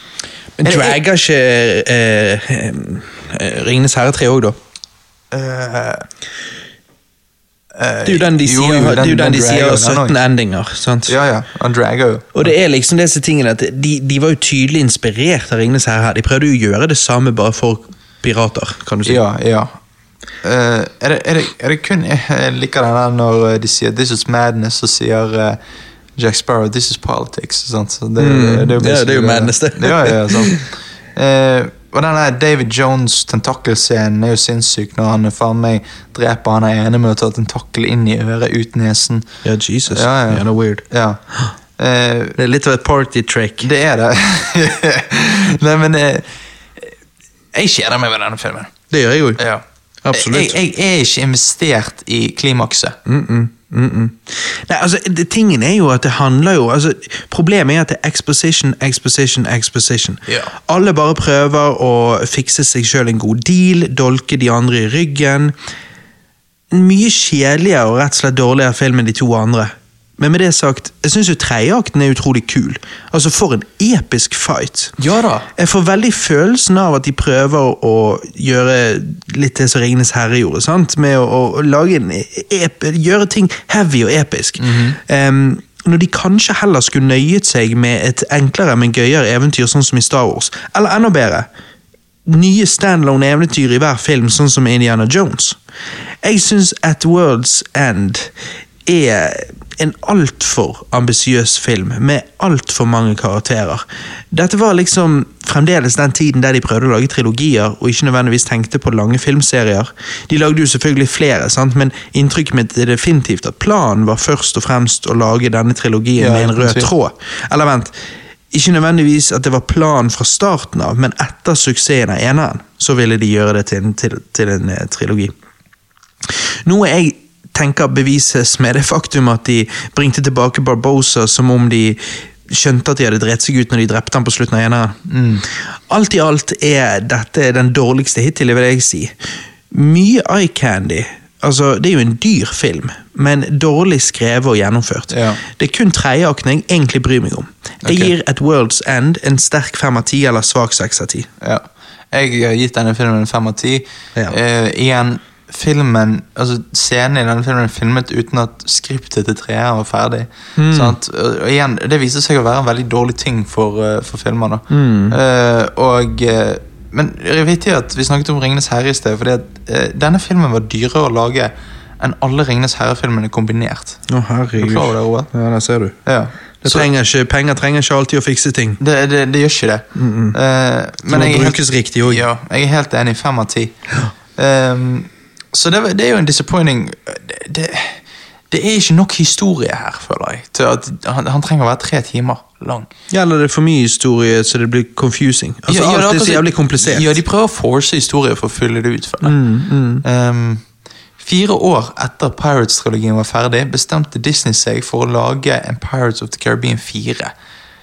Speaker 2: Men
Speaker 1: Er det-
Speaker 2: dragger ikke eh, eh, Ringenes herre 3 òg, da?
Speaker 1: Eh,
Speaker 2: Det er jo den de sier, det er jo den de sier har 17 endinger. sant?
Speaker 1: Ja, ja. Han dragger jo.
Speaker 2: Og det er liksom disse tingene at de, de var jo tydelig inspirert av Ringnes herre. her. De prøvde jo å gjøre det samme bare for pirater, kan du si.
Speaker 1: Ja, ja. Eh, er, det, er, det, er det kun Jeg liker den der når eh, de sier 'This is madness', så sier eh, Jack Sparrow 'This is politics'. Sant? Så Det,
Speaker 2: Mm. ja, det er jo
Speaker 1: basically
Speaker 2: madness, det.
Speaker 1: ja, ja,
Speaker 2: [LAUGHS]
Speaker 1: sant. Eh, og den der David Jones' tentakkelscenen er jo sinnssyk når han eh, faen meg dreper han er ene med å ta tentakkel inn i øret, ut nesen.
Speaker 2: Ja, Jesus.
Speaker 1: Ja, ja.
Speaker 2: det er weird. [GASPS]
Speaker 1: Ja. Eh,
Speaker 2: Det er litt av et party trick.
Speaker 1: det er det. [LAUGHS] Nei, men eh, Jeg kjeder meg med denne filmen.
Speaker 2: Det gjør jeg jo.
Speaker 1: Ja.
Speaker 2: Absolutt.
Speaker 1: Jeg, jeg er ikke investert i klimakset.
Speaker 2: Nei, altså, det, tingen er jo at det handler jo altså, Problemet er at det er exposition, exposition, exposition.
Speaker 1: Ja.
Speaker 2: Alle bare prøver å fikse seg sjøl en god deal, dolke de andre i ryggen. Mye kjedeligere og rett og slett dårligere film enn de to andre. Men med det sagt, jeg syns jo tredjeakten er utrolig kul. Altså, for en episk fight.
Speaker 1: Ja da.
Speaker 2: Jeg får veldig følelsen av at de prøver å gjøre litt det som Ringenes herre gjorde. sant? Med å, å lage en e-, ep gjøre ting heavy og episk. Em, når de kanskje heller skulle nøyet seg med et enklere, men gøyere eventyr, sånn som i Star Wars. Eller enda bedre, nye standalone eventyr i hver film, sånn som Indiana Jones. Jeg syns At World's End er en altfor ambisiøs film med altfor mange karakterer. Dette var liksom fremdeles den tiden der de prøvde å lage trilogier og ikke nødvendigvis tenkte på lange filmserier. De lagde jo selvfølgelig flere, sant? men inntrykket mitt er definitivt at planen var først og fremst å lage denne trilogien
Speaker 1: Ja,
Speaker 2: med en rød
Speaker 1: uten tvil.
Speaker 2: tråd. Eller vent, ikke nødvendigvis at det var planen fra starten av, men etter suksessen av eneren, så ville de gjøre det til en, til, til en eh, trilogi. Noe jeg tenker bevises med det faktum at de bringte tilbake Barbosa som om de skjønte at de hadde drept seg ut når de drepte ham på slutten av eneren. Alt i alt er dette den dårligste hittil, vil jeg si. Mye eye candy. Altså, det er jo en dyr film, men dårlig skrevet og gjennomført.
Speaker 1: Ja.
Speaker 2: Det er kun tredjeakten jeg egentlig bryr meg om. Jeg
Speaker 1: Ok.
Speaker 2: gir At World's End en sterk fem av ti eller svak seks av ti.
Speaker 1: Ja. Jeg har gitt denne filmen en fem av ti.
Speaker 2: Ja.
Speaker 1: Eh, igjen, filmen altså Scenen i denne filmen er filmet uten at skriptet til treeren var ferdig.
Speaker 2: Hmm.
Speaker 1: Sant? Og igjen, Det viser seg å være en veldig dårlig ting for, eh, for filmer. da
Speaker 2: Hmm.
Speaker 1: eh, og eh, Men det er viktig at vi snakket om 'Ringenes herre' i sted, fordi at eh, denne filmen var dyrere å lage enn alle 'Ringenes herre'-filmene kombinert. Er
Speaker 2: Å,
Speaker 1: du
Speaker 2: herregud.
Speaker 1: klar over det, Roald?
Speaker 2: Ja, der ser du.
Speaker 1: Ja.
Speaker 2: Det
Speaker 1: Så-
Speaker 2: trenger ikke, penger trenger ikke alltid å fikse ting.
Speaker 1: Det, det, det gjør ikke det. Eh,
Speaker 2: Det må
Speaker 1: jeg er helt-
Speaker 2: brukes riktig også.
Speaker 1: Ja, jeg er helt enig. Fem av ti. Ehm, så det, var- det er jo en disappointing det, det, det er ikke nok historie her, føler jeg. Til at han, han trenger å være tre timer lang.
Speaker 2: Gjelder det for mye historie, så det blir confusing? Altså,
Speaker 1: Ja, ja, det
Speaker 2: alt er så
Speaker 1: akkurat-
Speaker 2: jævlig komplisert. Mm,
Speaker 1: Ja, de prøver å force historie for å fylle det ut. For det. Ehm, fire år etter Pirates-trilogien var ferdig, bestemte Disney seg for å lage en Pirates of the Caribbean 4.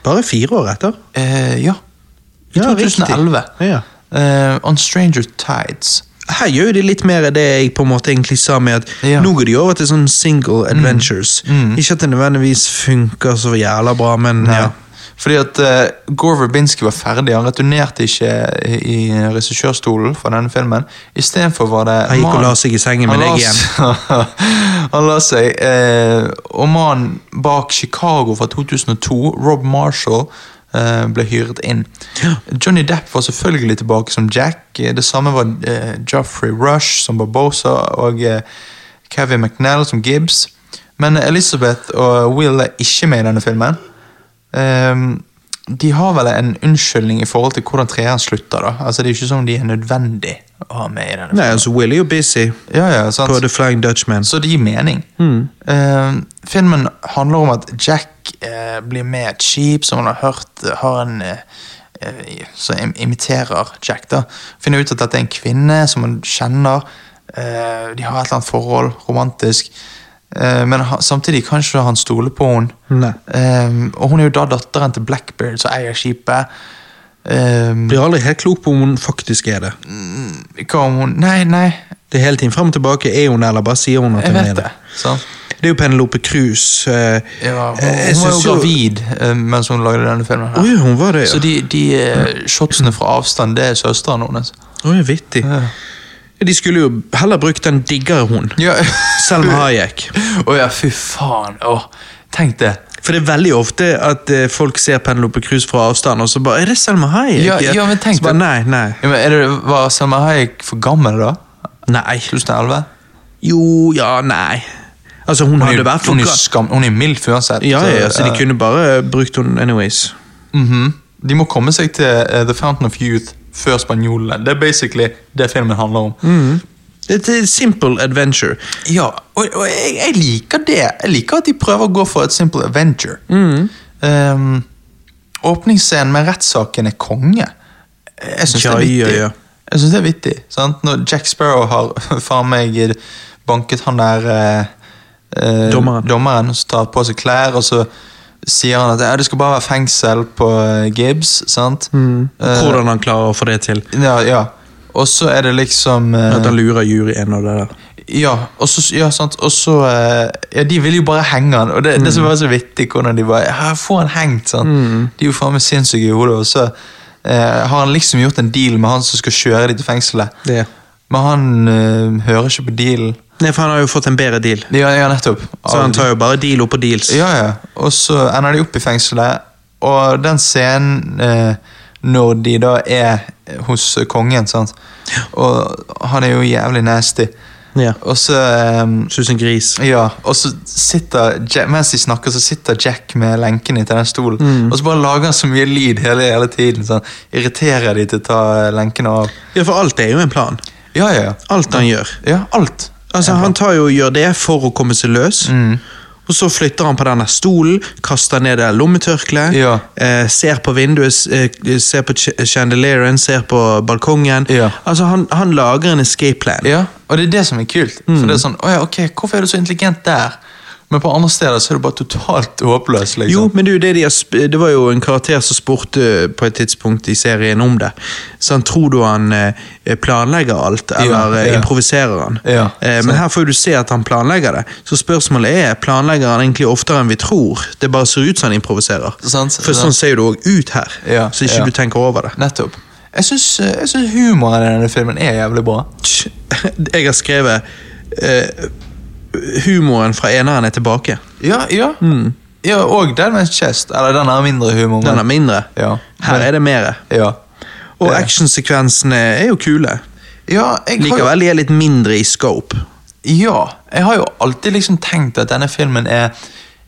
Speaker 2: Bare fire år etter?
Speaker 1: Eh, ja, i
Speaker 2: Ja, riktig.
Speaker 1: 2011.
Speaker 2: Ja.
Speaker 1: Eh, on Stranger Tides.
Speaker 2: Her gjør jo de litt mer av det jeg på en måte egentlig sa med at
Speaker 1: Ja. Mm.
Speaker 2: nå går de over til sånn single adventures. Ikke at det nødvendigvis funker så jævla bra, men ja.
Speaker 1: Fordi at eh, Gore Verbinski var ferdig. Han returnerte ikke i, i regissørstolen for denne filmen. Istedenfor var det
Speaker 2: Han gikk og
Speaker 1: mannen-
Speaker 2: la seg i sengen
Speaker 1: Han
Speaker 2: med
Speaker 1: la
Speaker 2: deg igjen.
Speaker 1: [LAUGHS] s- han la seg. eh, og mannen bak Chicago fra 2002, Rob Marshall, eh, ble hyret inn. Johnny Depp var selvfølgelig tilbake som Jack. Eh, Det samme var uh, Joffrey Rush som Barbosa og eh, Kevin McNell som Gibbs. Men Elizabeth og Will er ikke med i denne filmen. Ehm, de har vel en unnskyldning i forhold til hvordan treeren slutter. da. Altså, Det er jo ikke som om de er nødvendig å ha med i denne filmen.
Speaker 2: Nei, altså, Will er jo busy
Speaker 1: Ja, ja, sant?
Speaker 2: på The Flying Dutchman.
Speaker 1: Så det gir mening.
Speaker 2: Mm.
Speaker 1: Eh, filmen handler om at Jack eh, blir med et skip som han har hørt eh, har en eh, eh, Som im imiterer Jack. da Finner ut at dette er en kvinne som han kjenner. eh, de har et eller annet forhold, romantisk. Eh, men ha, samtidig kan ikke han stole på henne.
Speaker 2: Nei.
Speaker 1: Eh, og hun er jo da datteren til Blackbeard, som eier skipet. Eh,
Speaker 2: Blir aldri helt klok på om hun faktisk er det.
Speaker 1: hva om hun Nei, nei,
Speaker 2: Det er hele tiden frem og tilbake. Er hun det, eller bare sier hun at
Speaker 1: jeg
Speaker 2: hun er
Speaker 1: vet
Speaker 2: det?
Speaker 1: det. sant?
Speaker 2: Det er jo Penelope Cruz. eh,
Speaker 1: Ja, hun,
Speaker 2: jeg
Speaker 1: hun var
Speaker 2: synes
Speaker 1: jo gravid eh, mens hun lagde denne filmen. her.
Speaker 2: Å ja, hun var det, ja.
Speaker 1: Så de, de eh, shotsene fra avstand, det er søsteren hennes.
Speaker 2: Å, ja, vittig. De skulle jo heller brukt den diggere hun.
Speaker 1: Ja.
Speaker 2: Selma Hayek.
Speaker 1: [LAUGHS] Å ja, fy faen. Åh, tenk det.
Speaker 2: For det er veldig ofte at eh, folk ser Penelope Cruz fra avstand, og så bare Er det Selma Hayek?
Speaker 1: Ja, ja, men tenk
Speaker 2: så bare,
Speaker 1: det.
Speaker 2: Nei, nei.
Speaker 1: Ja, men er det, var Selma Hayek for gammel da?
Speaker 2: Nei.
Speaker 1: 2011?
Speaker 2: Jo, ja, nei. Altså, hun,
Speaker 1: Hun er,
Speaker 2: hadde vært
Speaker 1: jo-
Speaker 2: for
Speaker 1: hun er,
Speaker 2: ga-
Speaker 1: skam, hun er mildt uansett.
Speaker 2: Ja, ja, ja, så
Speaker 1: eh,
Speaker 2: de kunne bare brukt henne anyways.
Speaker 1: Mhm. De må komme seg til eh, The Fountain of Youth før spanjolene. Det er basically det filmen handler om.
Speaker 2: Det er et simple adventure.
Speaker 1: Ja, og, og jeg, jeg liker det. Jeg liker at de prøver å gå for et simple adventure.
Speaker 2: Mm.
Speaker 1: Um, åpningsscenen med rettssaken er konge. Jeg syns det
Speaker 2: Ja,
Speaker 1: er vittig.
Speaker 2: ja, ja.
Speaker 1: Jeg synes det er vittig, sant? Når Jack Sparrow har [LAUGHS] faen meg banket han der eh, eh,
Speaker 2: Dommeren.
Speaker 1: dommeren, og så tar på seg klær, og så sier han at ja, det skal bare være fengsel på eh, Gibbs. sant?
Speaker 2: Mm.
Speaker 1: Eh,
Speaker 2: Hvordan han klarer å få det til.
Speaker 1: ja, ja. Og så er det liksom eh,
Speaker 2: At han lurer juryen og det der.
Speaker 1: ja, og så, ja, sant, og så eh, Ja, de ville jo bare henge han, og det, det
Speaker 2: Mm.
Speaker 1: som var så vittig, hvordan de bare ja, Få han hengt, sant. De er jo faen meg sinnssyke i hodet, og så eh, har han liksom gjort en deal med han som skal kjøre de til fengselet.
Speaker 2: Det.
Speaker 1: Men han eh, hører ikke på dealen.
Speaker 2: Nei, for han har jo fått en bedre deal.
Speaker 1: Ja, ja, nettopp.
Speaker 2: Så han tar jo bare deal oppå deals.
Speaker 1: Ja, ja. Og så ender de opp i fengselet, og den scenen eh, når de da er hos kongen, sant, og han er jo jævlig nasty,
Speaker 2: Ja.
Speaker 1: og så eh,
Speaker 2: Synes en gris.
Speaker 1: Ja, og så sitter Jack, Mens de snakker, så sitter Jack med lenkene til den stolen.
Speaker 2: Mm.
Speaker 1: Og så bare lager han så mye lyd hele, hele tiden. Sånn. Irriterer de til å ta eh, lenkene av.
Speaker 2: Ja, for alt er jo en plan.
Speaker 1: Ja, ja, ja.
Speaker 2: Alt han gjør.
Speaker 1: ja alt.
Speaker 2: Altså, Han tar jo og gjør det for å komme seg løs.
Speaker 1: Mm.
Speaker 2: Og så flytter han på denne stolen, kaster ned det lommetørkleet,
Speaker 1: Ja.
Speaker 2: eh, ser på vinduet, s- eh, ser på ch- chandelieren, ser på balkongen.
Speaker 1: Ja.
Speaker 2: Altså, han, han lager en escape plan.
Speaker 1: Ja, og det er det som er kult.
Speaker 2: Mm.
Speaker 1: For det er sånn, «Å ja, ok, Hvorfor er du så intelligent der? Men på andre steder så er du bare totalt håpløs. liksom.
Speaker 2: Jo, men du, det, de har sp det var jo en karakter som spurte på et tidspunkt i serien om det. Så han tror du han eh, planlegger alt, eller eh,
Speaker 1: ja.
Speaker 2: improviserer han.
Speaker 1: Ja,
Speaker 2: eh, men her får du se at han planlegger det. Så spørsmålet er, planlegger han egentlig oftere enn vi tror? Det bare ser ut som han improviserer.
Speaker 1: Sant,
Speaker 2: For sånn
Speaker 1: sant.
Speaker 2: ser jo det òg ut her,
Speaker 1: Ja,
Speaker 2: så ikke
Speaker 1: ja.
Speaker 2: du tenker over det.
Speaker 1: Nettopp. Jeg syns, jeg syns humoren i denne filmen er jævlig bra.
Speaker 2: Tj, [LAUGHS] Jeg har skrevet eh, Humoren fra eneren er tilbake.
Speaker 1: Ja, ja. Mm. ja og den med chest. Eller den har mindre humor. men-
Speaker 2: Den er mindre.
Speaker 1: Ja.
Speaker 2: Her er det mere.
Speaker 1: ja.
Speaker 2: Og
Speaker 1: Det-
Speaker 2: actionsekvensene er jo kule.
Speaker 1: ja, jeg har jo
Speaker 2: Likevel de er litt mindre i scope.
Speaker 1: Ja, jeg har jo alltid liksom tenkt at denne filmen er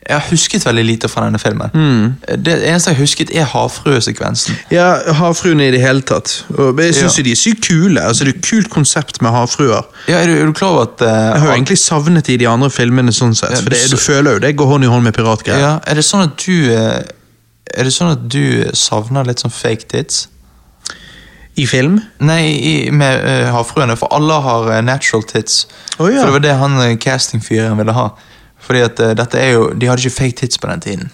Speaker 1: Jeg har husket veldig lite fra denne filmen.
Speaker 2: Mm.
Speaker 1: Det eneste jeg har husket, er havfruesekvensen.
Speaker 2: Ja, Havfruene i det hele tatt. Og jeg syns
Speaker 1: Ja.
Speaker 2: jo de er sykt kule. Altså, det er et kult konsept med havfruer.
Speaker 1: Ja, er, du- er du klar over at eh,
Speaker 2: Jeg har jo egentlig savnet det i de andre filmene, sånn sett. For det,
Speaker 1: du-
Speaker 2: du føler jo det går hånd i hånd med piratgreier.
Speaker 1: ja, Er det sånn at du eh, Er det sånn at du savner litt sånn fake tits?
Speaker 2: I film?
Speaker 1: Nei, i, med eh, havfruene, for alle har eh, natural tits.
Speaker 2: Å, ja.
Speaker 1: For det var det han eh, castingfyren ville ha. Fordi at eh, dette er jo De hadde ikke fake tits på den
Speaker 2: [LAUGHS]
Speaker 1: tiden.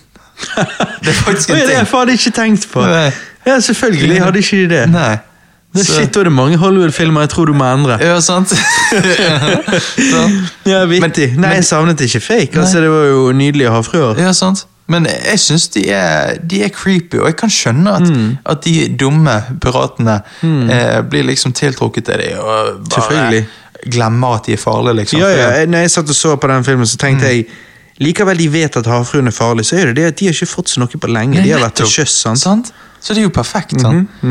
Speaker 1: Det er faktisk
Speaker 2: Oi,
Speaker 1: en
Speaker 2: det har jeg
Speaker 1: ting.
Speaker 2: faen ikke tenkt på!
Speaker 1: Nei.
Speaker 2: Ja, selvfølgelig hadde ikke de det.
Speaker 1: Nei.
Speaker 2: Det er
Speaker 1: Så-
Speaker 2: shit, da er det mange Hollywood-filmer jeg tror du må endre.
Speaker 1: Ja,
Speaker 2: [LAUGHS]
Speaker 1: sant? sant?
Speaker 2: Ja, vittig.
Speaker 1: Men-
Speaker 2: Nei, jeg savnet ikke fake. Altså, det var jo nydelige havfruer.
Speaker 1: Ja, sant? Men jeg syns de, er- de er creepy, og jeg kan skjønne at,
Speaker 2: Mm.
Speaker 1: at de dumme piratene eh, blir liksom tiltrukket til dem og bare
Speaker 2: Selvfølgelig.
Speaker 1: glemmer at de er farlige, liksom.
Speaker 2: Ja, ja. jeg- Når jeg satt og så på den filmen, så
Speaker 1: Mm.
Speaker 2: tenkte jeg Likevel de vet at havfruen er farlig, så er det det at de har ikke fått seg noe på lenge. De har vært til
Speaker 1: Nettopp.
Speaker 2: sjøs, sant? Mhm,
Speaker 1: sant? Så det er jo perfekt, sant? Eh,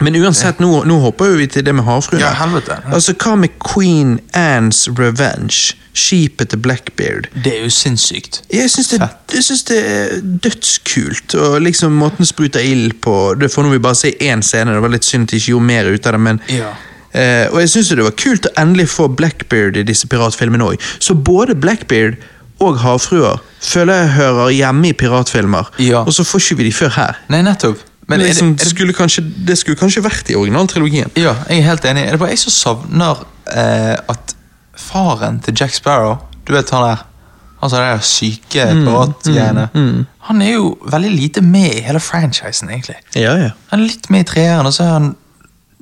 Speaker 2: Men uansett, nå, nå hopper jo vi til det med havfruen.
Speaker 1: Ja, helvete.
Speaker 2: Altså, hva med Queen Anne's Revenge? Skipet til Blackbeard.
Speaker 1: det er jo sinnssykt.
Speaker 2: Jeg syns det, jeg synes det er dødskult, og liksom måten spruter ild på Det får nå vi bare se én scene, det var litt synd at de ikke gjorde mer ut av det, men
Speaker 1: Ja.
Speaker 2: eh, Og jeg syns det var kult å endelig få Blackbeard i disse piratfilmene òg. Så både Blackbeard og Havfruer føler jeg hører hjemme i piratfilmer,
Speaker 1: Ja.
Speaker 2: og så får ikke vi de før her.
Speaker 1: Nei, nettopp. Men
Speaker 2: Men
Speaker 1: er det,
Speaker 2: liksom,
Speaker 1: er det,
Speaker 2: skulle kanskje, det skulle kanskje vært i originaltrilogien.
Speaker 1: ja, jeg er helt enig. Er det bare jeg som savner eh, at faren til Jack Sparrow Du vet han der Han som er der syke
Speaker 2: Mm,
Speaker 1: piratgreiene. Han er jo veldig lite med i hele franchisen, egentlig.
Speaker 2: Ja, ja.
Speaker 1: Han er litt med i treeren, og så er han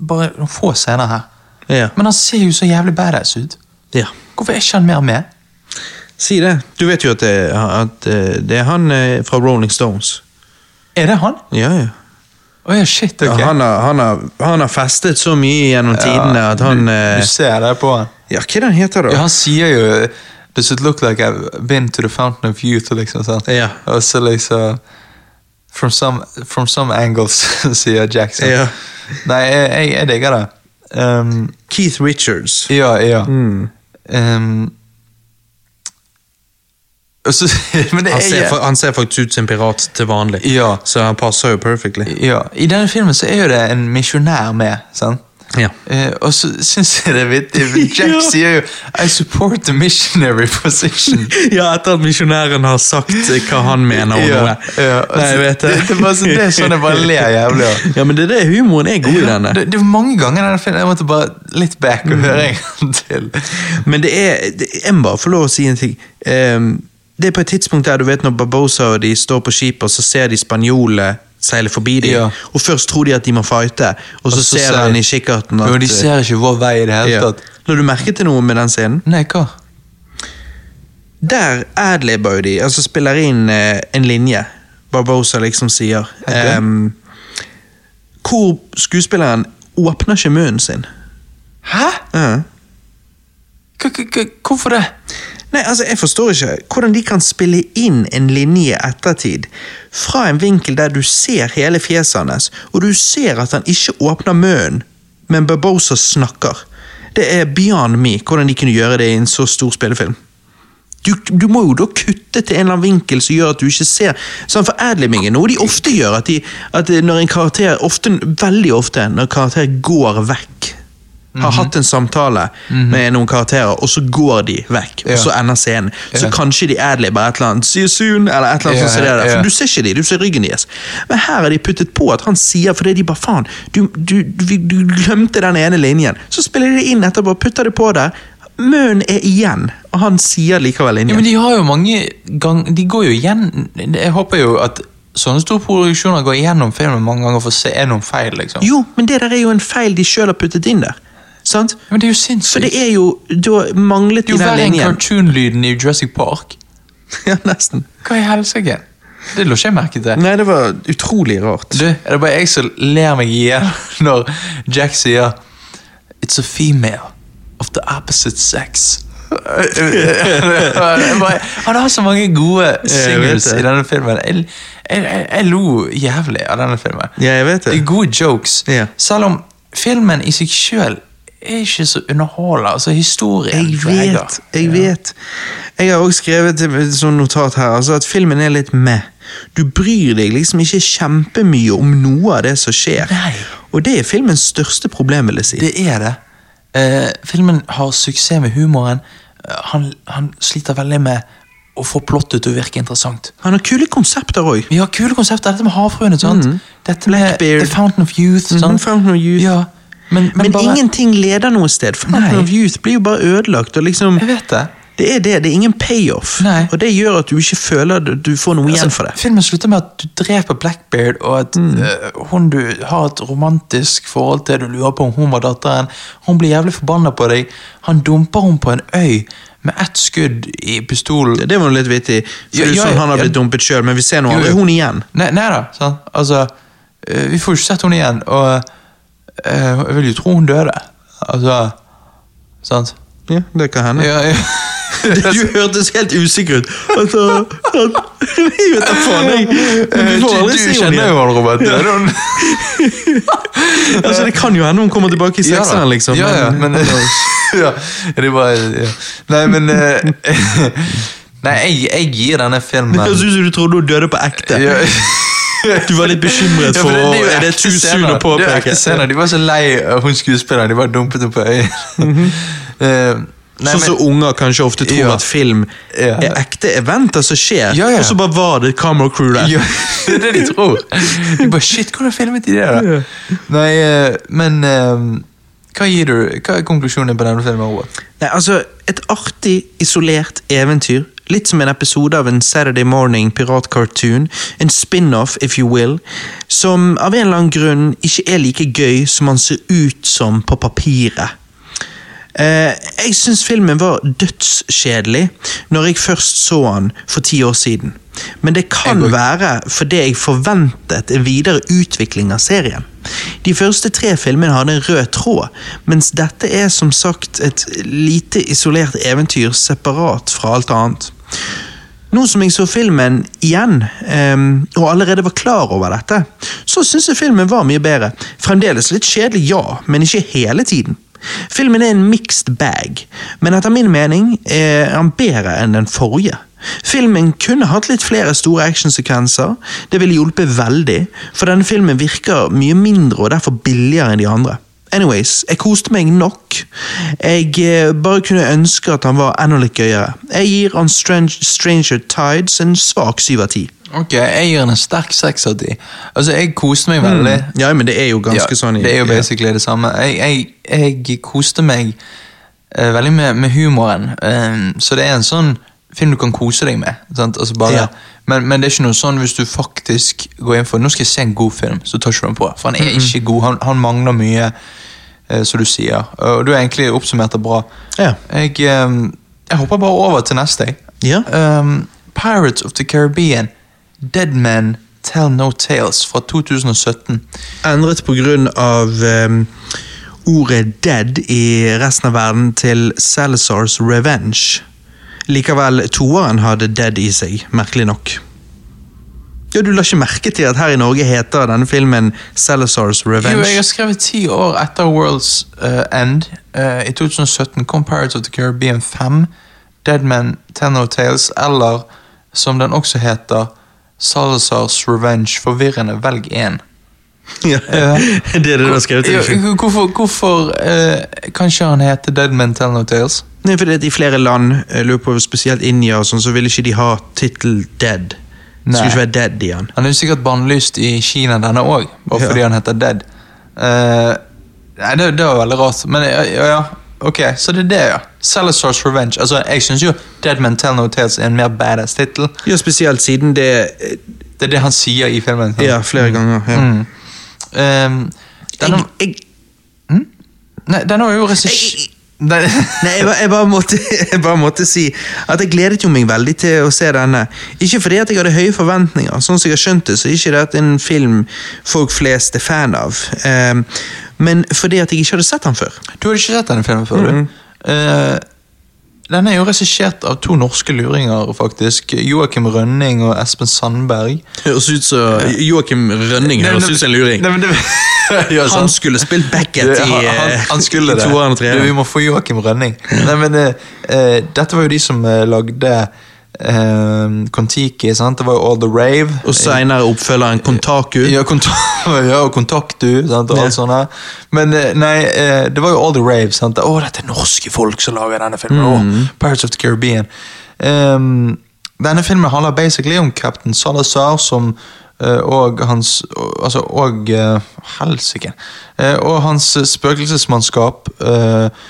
Speaker 1: bare noen få scener her.
Speaker 2: Ja.
Speaker 1: Men han ser jo så jævlig badass ut.
Speaker 2: ja.
Speaker 1: Hvorfor er ikke han mer med?
Speaker 2: Si det. Du vet jo at det, at eh, det er han eh, fra Rolling Stones.
Speaker 1: Er det han?
Speaker 2: Ja, ja.
Speaker 1: Åja, shit, ok.
Speaker 2: Ja, han, har, han, har, han har festet så mye gjennom tidene at han eh,
Speaker 1: Du ser det på han.
Speaker 2: Ja, hva er det han heter,
Speaker 1: Ja,
Speaker 2: da?
Speaker 1: han sier jo Does it look like I've been to the fountain of youth? Liksom, sant?
Speaker 2: Ja.
Speaker 1: Og så liksom From some, from some angles, [LAUGHS] sier Jackson.
Speaker 2: Ja.
Speaker 1: Nei, jeg, jeg, jeg digger det. Um,
Speaker 2: Keith Richards.
Speaker 1: ja, ja.
Speaker 2: Mm.
Speaker 1: Um, og så, [LAUGHS] men det
Speaker 2: Han
Speaker 1: er
Speaker 2: ser, fa- han ser faktisk ut som en pirat til vanlig,
Speaker 1: Ja.
Speaker 2: så han passer jo perfectly.
Speaker 1: ja, I denne filmen så er jo det en misjonær med. sant?
Speaker 2: Ja. [LAUGHS]
Speaker 1: Eh, og så syns jeg det er vittig. for Jack
Speaker 2: Ja.
Speaker 1: sier jo 'I support the missionary
Speaker 2: [LAUGHS]
Speaker 1: position'.
Speaker 2: Ja, etter at misjonæren har sagt eh, hva han mener om
Speaker 1: Ja,
Speaker 2: noe.
Speaker 1: ja, altså,
Speaker 2: Nei, jeg vet
Speaker 1: det- det er bare så- det er sånn jeg bare ler jævlig av.
Speaker 2: [LAUGHS] Ja, men det er det humoren er god i denne. Mm.
Speaker 1: Det, det er mange ganger denne filmen Jeg måtte bare litt back og høre en gang til.
Speaker 2: Men det er det, Jeg må bare få lov å si en ting. Ehm, det er på et tidspunkt der du vet når Barbosa og de står på skipet, og så ser de spanjolene seile forbi dem.
Speaker 1: Ja.
Speaker 2: Og først tror de at de må fighte, og så, ser
Speaker 1: jeg-
Speaker 2: han i kikkerten at eh,
Speaker 1: Jo, de ser ikke vår vei i det hele
Speaker 2: ja.
Speaker 1: tatt.
Speaker 2: La du merke til noe med den scenen?
Speaker 1: Nei, hva?
Speaker 2: Der adlibber jo de, altså spiller inn eh, en linje Barbosa liksom sier.
Speaker 1: Ok.
Speaker 2: Ehm, hvor skuespilleren åpner ikke munnen sin.
Speaker 1: Hæ?
Speaker 2: Ja.
Speaker 1: Hva- hva- hva- Hvorfor det?
Speaker 2: Nei, altså, Jeg forstår ikke hvordan de kan spille inn en linje i ettertid fra en vinkel der du ser hele fjeset hans, og du ser at han ikke åpner munnen, men Barbosa snakker. Det er beyond me hvordan de kunne gjøre det i en så stor spillefilm. Du, du må jo da kutte til en eller annen vinkel som gjør at du ikke ser sånn For adlibbing er noe de ofte gjør, at, de, at når en karakter ofte, veldig ofte når en karakter går vekk har
Speaker 1: Mhm.
Speaker 2: hatt en samtale med noen karakterer, og så går de vekk. Og så
Speaker 1: Ja.
Speaker 2: ender scenen. Så
Speaker 1: Ja.
Speaker 2: kanskje de adlibber et eller annet 'see you soon', eller et eller annet
Speaker 1: Ja,
Speaker 2: sånt. som det der.
Speaker 1: ja.
Speaker 2: For du ser ikke de, du ser ryggen deres. Men her har de puttet på at han sier fordi de bare faen, du, du, du, du glemte den ene linjen. Så spiller de det inn etterpå, putter det på der. Munnen er igjen, og han sier likevel
Speaker 1: Ja,
Speaker 2: linjen.
Speaker 1: men De har jo mange gang... De går jo igjen Jeg håper jo at sånne store produksjoner går igjennom filmen mange ganger for å se er noen feil. liksom.
Speaker 2: Jo, men det der er jo en feil de sjøl har puttet inn der. Sant?
Speaker 1: Men det er jo
Speaker 2: For
Speaker 1: sinnssykt.
Speaker 2: det er jo Da manglet
Speaker 1: Det
Speaker 2: de
Speaker 1: er jo
Speaker 2: den
Speaker 1: verre enn
Speaker 2: linjen.
Speaker 1: cartoon-lyden i Jurassic Park.
Speaker 2: [LAUGHS] ja, nesten.
Speaker 1: Hva i helsike? Det lå ikke jeg merke til.
Speaker 2: Nei, det var utrolig rart.
Speaker 1: Du, er det bare jeg som ler meg igjen [LAUGHS] når Jack sier It's a female of the opposite sex. [LAUGHS] Han har så mange gode singles
Speaker 2: det.
Speaker 1: i denne filmen. Jeg, jeg, jeg, jeg lo jævlig av denne filmen.
Speaker 2: Ja, jeg vet det.
Speaker 1: Det er gode jokes.
Speaker 2: Ja.
Speaker 1: Selv om filmen i seg sjøl er ikke så underholdende. Altså, historien
Speaker 2: Jeg
Speaker 1: drager.
Speaker 2: vet, jeg vet. Jeg har også skrevet et sånt notat her, altså at filmen er litt meh. Du bryr deg liksom ikke kjempemye om noe av det som skjer.
Speaker 1: Nei.
Speaker 2: Og det er filmens største problem, vil jeg si.
Speaker 1: Det er det. Eh, filmen har suksess med humoren. Eh, han, han sliter veldig med å få plottet til å virke interessant.
Speaker 2: Han har kule konsepter òg.
Speaker 1: Vi har kule konsepter. Dette med havfruene. sant?
Speaker 2: Mm.
Speaker 1: Dette med
Speaker 2: Blackbeard.
Speaker 1: The Fountain of Youth. sant?
Speaker 2: Mm-hmm. Fountain of Youth.
Speaker 1: Ja, men, men,
Speaker 2: Men,
Speaker 1: bare,
Speaker 2: ingenting leder noe sted. Fountain
Speaker 1: Nei.
Speaker 2: of Youth blir jo bare ødelagt. og liksom...
Speaker 1: Jeg vet det.
Speaker 2: Det er det, det er ingen payoff,
Speaker 1: Nei.
Speaker 2: og det gjør at du ikke føler at du får noe igjen
Speaker 1: Altså,
Speaker 2: for det.
Speaker 1: Filmen slutter med at du dreper Blackbeard, og at
Speaker 2: Mm.
Speaker 1: eh, hun du har et romantisk forhold til, du lurer på om hun var datteren, hun blir jævlig forbanna på deg. Han dumper henne på en øy med ett skudd i pistolen.
Speaker 2: Det var jo litt vittig, for
Speaker 1: Ja,
Speaker 2: det er jo
Speaker 1: ja,
Speaker 2: sånn han har
Speaker 1: ja.
Speaker 2: blitt dumpet sjøl, men vi ser nå
Speaker 1: Jo,
Speaker 2: aldri
Speaker 1: jo.
Speaker 2: hun igjen.
Speaker 1: Nei, nei da, sant? Altså, eh, vi får jo ikke sett henne igjen, og eh, jeg vil jo tro hun døde. Altså, sant?
Speaker 2: Ja, det kan hende.
Speaker 1: Ja, ja.
Speaker 2: [LAUGHS] Du hørtes helt usikker ut. Altså, [LAUGHS] at- jeg vet da faen, jeg.
Speaker 1: Eh,
Speaker 2: Du får aldri
Speaker 1: du
Speaker 2: se henne
Speaker 1: kjenner
Speaker 2: igjen.
Speaker 1: jo han, Robert. Ja. Hun,
Speaker 2: Altså, det kan jo hende hun kommer tilbake i
Speaker 1: ja, da.
Speaker 2: sekseren, liksom.
Speaker 1: Ja, ja, men, [LAUGHS] ja, det var, ja. Nei, men eh, [LAUGHS] Nei, jeg, jeg gir denne filmen
Speaker 2: Jeg synes du trodde hun døde på ekte.
Speaker 1: Ja.
Speaker 2: Du var litt bekymret
Speaker 1: Ja, for
Speaker 2: for
Speaker 1: det, det er jo
Speaker 2: Er det
Speaker 1: ekte
Speaker 2: too soon
Speaker 1: scener. Det er jo
Speaker 2: å
Speaker 1: ekte
Speaker 2: påpeke?
Speaker 1: scener. De var så lei av hun skuespilleren. De bare dumpet henne på øyet.
Speaker 2: Mm-hmm.
Speaker 1: Eh, nei,
Speaker 2: Sånn som
Speaker 1: men-
Speaker 2: unger kanskje ofte tror
Speaker 1: Ja.
Speaker 2: at film
Speaker 1: Ja.
Speaker 2: er ekte eventer som skjer,
Speaker 1: Ja, ja.
Speaker 2: og så bare var det camera crew
Speaker 1: [LAUGHS]
Speaker 2: der.
Speaker 1: Ja, det er det de tror. De bare Shit, hvordan filmet de det? da?
Speaker 2: Ja.
Speaker 1: Nei, eh, men eh, Hva gir du? Hva er konklusjonen på denne filmen? Robert?
Speaker 2: Nei, altså, et artig, isolert eventyr. Litt som en episode av en Saturday Morning piratcartoon. En spin-off, if you will. Som av en eller annen grunn ikke er like gøy som han ser ut som på papiret. Eh, jeg syns filmen var dødskjedelig når jeg først så han for ti år siden. Men det kan
Speaker 1: Jeg går-
Speaker 2: være fordi jeg forventet en videre utvikling av serien. De første tre filmene hadde en rød tråd, mens dette er som sagt et lite isolert eventyr separat fra alt annet. Nå som jeg så filmen igjen, ehm, og allerede var klar over dette, så syns jeg filmen var mye bedre. Fremdeles litt kjedelig, ja, men ikke hele tiden. Filmen er en mixed bag, men etter min mening er han bedre enn den forrige. Filmen kunne hatt litt flere store actionsekvenser, det ville hjulpet veldig, for denne filmen virker mye mindre og derfor billigere enn de andre. Anyways, jeg koste meg nok. Jeg eh, bare kunne ønske at han var enda litt gøyere. Jeg gir han Strange, Stranger Tides en svak syv av ti.
Speaker 1: Ok, jeg gir den en sterk seks av ti. Altså, jeg koste meg veldig.
Speaker 2: Mm. Ja, men det er jo ganske
Speaker 1: Ja,
Speaker 2: sånn i-
Speaker 1: Det er jo
Speaker 2: ja.
Speaker 1: basically det samme. Jeg, jeg, jeg koste meg eh, veldig med, med humoren, eh, så det er en sånn film du kan kose deg med. Sant? Altså bare,
Speaker 2: Ja.
Speaker 1: men, men det er ikke noe sånn hvis du faktisk går inn for Nå skal jeg se en god film, så tar ikke du den på. For han er ikke god, han, han mangler mye, eh, som du sier. Og du har egentlig oppsummert det bra.
Speaker 2: Ja.
Speaker 1: Jeg, eh, jeg hopper bare over til neste. jeg.
Speaker 2: Ja.
Speaker 1: Um, Pirates of the Caribbean, Dead Men Tell No Tales fra 2017.
Speaker 2: Endret på grunn av ehm, ordet 'dead' i resten av verden til Salazars Revenge. Likevel, toeren hadde 'dead' i seg, merkelig nok. Ja, Du la ikke merke til at her i Norge heter denne filmen Salazars Revenge?
Speaker 1: Jo, jeg har skrevet ti år etter World's eh, End. Eh, I 2017 kom Pirates of the Caribbean 5, Dead Men Tell No Tales, eller som den også heter, Salazars Revenge. Forvirrende, velg én.
Speaker 2: [LAUGHS] Ja, det er det du har skrevet
Speaker 1: Jo,
Speaker 2: til film.
Speaker 1: Hvorfor, hvorfor eh, kan ikke han hete Dead Men Tell No Tales?
Speaker 2: Nei, fordi at I flere land, jeg lurer på spesielt India, og sånn, så ville ikke de ha tittel dead. Det
Speaker 1: Nei.
Speaker 2: skulle ikke være dead i han.
Speaker 1: Han er jo sikkert bannlyst i Kina denne òg, bare
Speaker 2: Ja.
Speaker 1: fordi han heter Dead. Eh, nei, det, det var veldig rart. Men ja, ja, ja, ok, så det er det, ja. Salazar's Revenge. Altså, Jeg syns jo Dead Men Tell No Tales er en mer badass tittel.
Speaker 2: Ja, spesielt siden det eh,
Speaker 1: Det er det han sier i filmen. sant?
Speaker 2: Ja, flere ganger. Ja.
Speaker 1: Mm. Ehm, denne,
Speaker 2: Jeg, jeg,
Speaker 1: nei, denne var jo regissør... Den-
Speaker 2: nei, jeg, bare, jeg, bare måtte, [LAUGHS] jeg bare måtte si at jeg gledet jo meg veldig til å se denne. Ikke fordi at jeg hadde høye forventninger, sånn som jeg har skjønt det, så er ikke dette en film folk flest er fan av. Eh, men fordi at jeg ikke hadde sett den før.
Speaker 1: [LAUGHS] Du hadde ikke sett denne filmen før, du? Eh, den er jo regissert av to norske luringer, faktisk. Joakim Rønning og Espen Sandberg.
Speaker 2: Høres ut som Joakim Rønning
Speaker 1: Nei, men- Nei, men det- Ja, sant.
Speaker 2: Han skulle spilt Beckett
Speaker 1: Du, han-
Speaker 2: i,
Speaker 1: han,
Speaker 2: eh,
Speaker 1: han skulle
Speaker 2: i
Speaker 1: det.
Speaker 2: toeren og treeren.
Speaker 1: Du, vi må få Joakim Rønning. Nei, men, eh, eh, dette var jo de som eh, lagde eh, Kon-Tiki. sant? Det var jo All The Rave.
Speaker 2: Og senere oppfølgeren Kontaku.
Speaker 1: ja, kont [LAUGHS] ja, og Kontakt Du sant? og alt sånt. der. Men eh, nei, eh, det var jo All The Rave. sant? Å, dette er norske folk som lager denne filmen! Å, Pirates of the Caribbean. Ehm, denne filmen handler basically om Captain Salazar som eh, og hans og- Altså, og eh, Helsike. Eh, og hans eh, spøkelsesmannskap eh,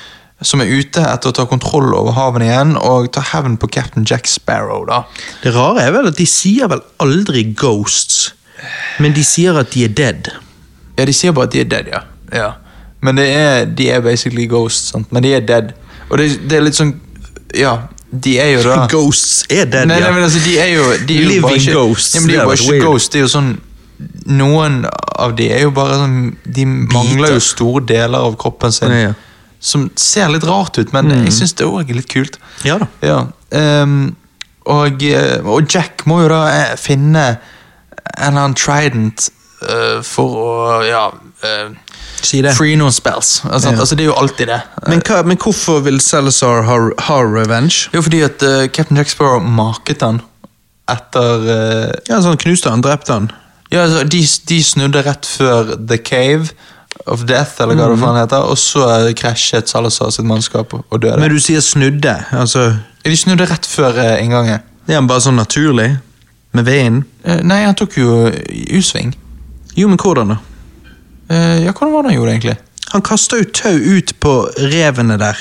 Speaker 1: som er ute etter å ta kontroll over havene igjen og ta hevn på Captain Jack Sparrow. da.
Speaker 2: Det rare er vel at de sier vel aldri ghosts, men de sier at de er dead.
Speaker 1: Ja, de sier bare at de er dead, ja. ja. Men det er, de er basically ghosts, sant? men de er dead. Og det, det er litt sånn Ja, de er
Speaker 2: [LAUGHS]
Speaker 1: jo da
Speaker 2: Ghosts er dead,
Speaker 1: Nei, nei,
Speaker 2: ja.
Speaker 1: men altså, de er jo, de er jo bare
Speaker 2: Living
Speaker 1: ikke,
Speaker 2: ghosts,
Speaker 1: Ja, men de er
Speaker 2: det
Speaker 1: jo bare
Speaker 2: hadde vært
Speaker 1: ikke
Speaker 2: weird.
Speaker 1: ghosts. Det er jo sånn Noen av de er jo bare sånn De mangler jo store deler av kroppen sin.
Speaker 2: Ja, ja.
Speaker 1: Som ser litt rart ut, men jeg syns det òg er litt kult.
Speaker 2: Ja da.
Speaker 1: Ja, ehm, og, eh, og Jack må jo da eh, finne en eller annen trident eh, for å ja, eh,
Speaker 2: Si det.
Speaker 1: free noen spells. Altså,
Speaker 2: Ja.
Speaker 1: altså, det er jo alltid det.
Speaker 2: Men, hva, men hvorfor vil Salazar ha, ha revenge?
Speaker 1: Det er jo fordi at eh, Captain Jack Sparrow maket han etter eh,
Speaker 2: Ja, så Han knuste han, drepte han.
Speaker 1: Ja, altså, de, de snudde rett før The Cave of Death, eller
Speaker 2: Mhm.
Speaker 1: hva det faen heter, og så eh, krasjet Salazar sitt mannskap og og døde.
Speaker 2: Men du sier snudde. altså...
Speaker 1: de snudde rett før eh, inngangen.
Speaker 2: Er han bare sånn naturlig? Med veien?
Speaker 1: Eh, nei, han tok jo eh, U-sving.
Speaker 2: Jo, men hvordan da?
Speaker 1: Eh, ja, hvordan var det han gjorde, egentlig?
Speaker 2: Han kasta jo tau ut på revene der.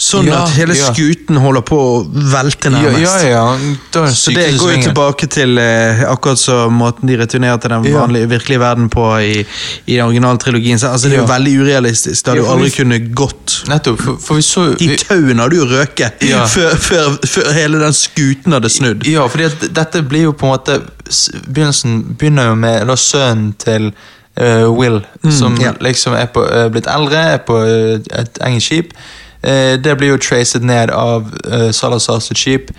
Speaker 2: Sånn
Speaker 1: Ja,
Speaker 2: at hele
Speaker 1: ja.
Speaker 2: skuten holder på å velte
Speaker 1: Ja,
Speaker 2: nærmest.
Speaker 1: ja, ja. Da
Speaker 2: Så det går jo tilbake til eh, akkurat så måten de returnerer til den
Speaker 1: Ja.
Speaker 2: vanlige, virkelige verden på i, i den originale trilogien. Så, altså, det er jo
Speaker 1: Ja.
Speaker 2: veldig urealistisk. Det hadde
Speaker 1: Ja,
Speaker 2: jo
Speaker 1: for
Speaker 2: aldri
Speaker 1: vi-
Speaker 2: kunnet gått.
Speaker 1: Nettopp, for, for vi så
Speaker 2: De
Speaker 1: vi,
Speaker 2: tauene hadde jo røket
Speaker 1: Ja.
Speaker 2: [LAUGHS] før, før, før hele den skuten hadde snudd.
Speaker 1: Ja, fordi at dette blir jo på en måte s- Begynnelsen begynner jo med da sønnen til eh, Will, som
Speaker 2: Mm, ja.
Speaker 1: liksom er på, eh, blitt eldre, er på eh, et engelsk skip. Eh, det blir jo traced ned av uh, Salazar sitt skip.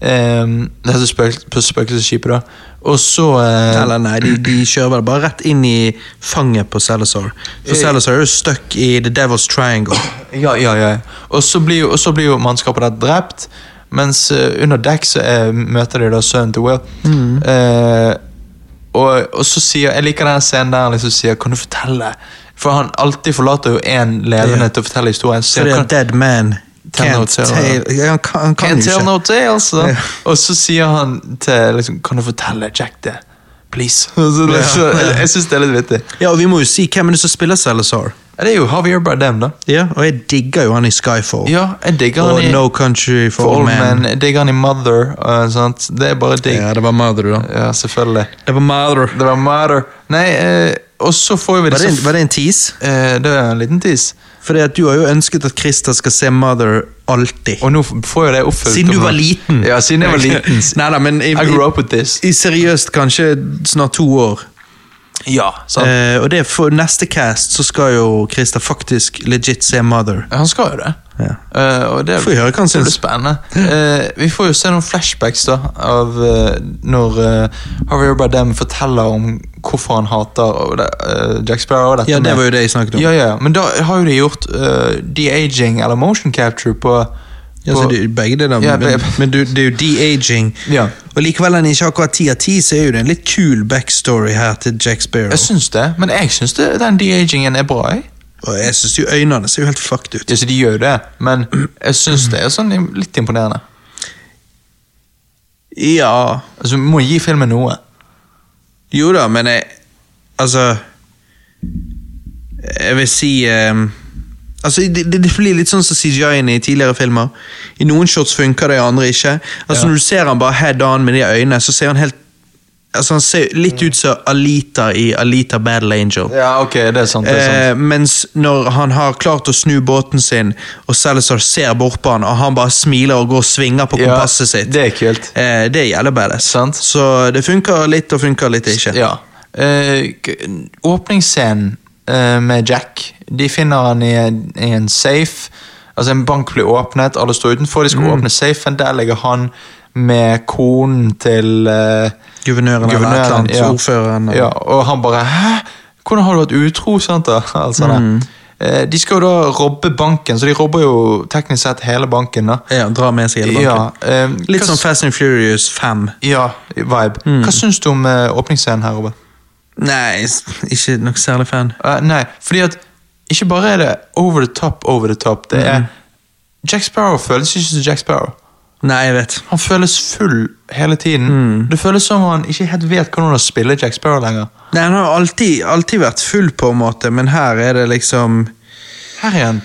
Speaker 1: Um, dette spøk spøkelsesskipet, da. Og så eh,
Speaker 2: Eller nei, de, de kjører vel bare rett inn i fanget på Salazar. For
Speaker 1: Eh.
Speaker 2: Salazar er jo stuck i The Devil's Triangle.
Speaker 1: Ja, ja, ja. Og så blir jo, og så blir jo mannskapet der drept, mens eh, under dekk så eh, møter de da sønnen til Will. Eh, og, og så sier Jeg liker den scenen der han liksom sier Kan du fortelle? For han alltid forlater jo én levende
Speaker 2: Ja.
Speaker 1: til å fortelle historien. Så
Speaker 2: Fordi
Speaker 1: sier, han,
Speaker 2: at dead man
Speaker 1: Tell no
Speaker 2: can't
Speaker 1: tale.
Speaker 2: tale Ja, Han kan, han kan
Speaker 1: Can't
Speaker 2: jo
Speaker 1: tell
Speaker 2: ikke.
Speaker 1: no tales, da.
Speaker 2: Ja.
Speaker 1: altså?» Og så sier han til liksom, Kan du fortelle Jack det? Please. [LAUGHS] Og så,
Speaker 2: Ja.
Speaker 1: så, jeg jeg syns det er litt vittig.
Speaker 2: Ja, og vi må jo si hvem er det som spiller Salazar.
Speaker 1: Ja, Det er jo Javier Bardem, da.
Speaker 2: Ja, og jeg digger jo han i Skyfall.
Speaker 1: Ja, jeg digger
Speaker 2: og
Speaker 1: han i
Speaker 2: No Country for,
Speaker 1: For Oh. Old
Speaker 2: Men.
Speaker 1: Man. Jeg digger han i Mother. og sånt. Det er bare digg.
Speaker 2: Ja, det var Mother, da.
Speaker 1: Ja, selvfølgelig.
Speaker 2: Det var Mother.
Speaker 1: Det var Mother. Nei, eh, og så får vi
Speaker 2: Var det,
Speaker 1: disse
Speaker 2: en, var det en tease?
Speaker 1: eh, Det er en liten tiss.
Speaker 2: Fordi at du har jo ønsket at Christer skal se Mother alltid.
Speaker 1: Og nå f- får jo det oppfylt.
Speaker 2: Siden du
Speaker 1: om-
Speaker 2: var liten.
Speaker 1: Ja, siden
Speaker 2: [LAUGHS]
Speaker 1: jeg var liten.
Speaker 2: Neida, men i,
Speaker 1: I grew up with this.
Speaker 2: i, i seriøst kanskje snart to år.
Speaker 1: Ja, sant.
Speaker 2: Eh, og det er for neste cast så skal jo Christer faktisk legit se Mother.
Speaker 1: Han skal jo det.
Speaker 2: Ja.
Speaker 1: Eh, og det,
Speaker 2: Får vi høre hva han
Speaker 1: det blir
Speaker 2: syns.
Speaker 1: spennende. Eh, vi får jo se noen flashbacks da av eh, når eh, Javier Bardem forteller om hvorfor han hater og det, eh, Jack Sparrow. og dette
Speaker 2: Ja, det
Speaker 1: med-
Speaker 2: var jo det jeg snakket om.
Speaker 1: Ja, ja, ja. Men da har jo de gjort eh, de-aging eller motion capture på,
Speaker 2: Ja,
Speaker 1: på
Speaker 2: så det, er jo begge deler,
Speaker 1: Ja,
Speaker 2: men,
Speaker 1: det-
Speaker 2: men du, det er jo de-aging.
Speaker 1: Ja.
Speaker 2: Og likevel er den ikke akkurat 10 av 10, så er jo det en litt kul backstory her til Jack Sparrow.
Speaker 1: Jeg syns det, men jeg syns det- den de-agingen er bra. Jeg.
Speaker 2: Og jeg syns jo øynene ser jo helt fucked ut.
Speaker 1: Ja, så de gjør jo det, men jeg syns det er sånn im- litt imponerende.
Speaker 2: Ja
Speaker 1: Altså, Vi må gi filmen noe.
Speaker 2: Jo da, men jeg Altså Jeg vil si ehm, Altså, det, det det blir litt sånn som CGI-en i tidligere filmer. I noen shots funker det, i andre ikke. Altså
Speaker 1: Ja.
Speaker 2: Når du ser han bare head on med de øynene, så ser han helt Altså Han ser litt ut som Alita i Alita Battle Angel.
Speaker 1: Ja, ok, det er sant. det er sant.
Speaker 2: Eh, mens når han har klart å snu båten sin, og Salazar ser bort på han, og han bare smiler og går og svinger på
Speaker 1: Eh, Ja,
Speaker 2: kompasset sitt.
Speaker 1: det er kult.
Speaker 2: Eh, det gjelder badass.
Speaker 1: Sant.
Speaker 2: Så det funker litt og funker litt ikke.
Speaker 1: Ja. Eh, k- åpningsscenen eh, med Jack De finner han i en, i en safe. Altså En bank blir åpnet, alle står utenfor, de skal åpne safen. Der ligger han med konen til eh,
Speaker 2: Guvernøren, eller et eller annet,
Speaker 1: ja.
Speaker 2: ordføreren.
Speaker 1: Ja, og han bare Hæ? Hvordan har du vært utro? sant da? [LAUGHS] Altså,
Speaker 2: Mm.
Speaker 1: eh, De skal jo da robbe banken, så de robber jo teknisk sett hele banken. da.
Speaker 2: Ja, drar med seg hele banken.
Speaker 1: Ja, eh,
Speaker 2: Litt
Speaker 1: hva
Speaker 2: sånn Mm.
Speaker 1: s-
Speaker 2: Fast and Furious 5.
Speaker 1: Ja, vibe. Hva syns du om eh, åpningsscenen her, Robert?
Speaker 2: Nei, s- ikke noe særlig fan.
Speaker 1: Eh, nei, fordi at ikke bare er det over the top, over the top. Det
Speaker 2: Mm.
Speaker 1: er Jack Sparrow føles ikke som Jack Sparrow.
Speaker 2: Nei, jeg vet.
Speaker 1: Han føles full hele tiden.
Speaker 2: Mm.
Speaker 1: Det føles som han ikke helt vet hvordan han spiller Jack Sparrow lenger.
Speaker 2: Nei, Han har alltid, alltid vært full, på en måte, men her er det liksom
Speaker 1: Her igjen.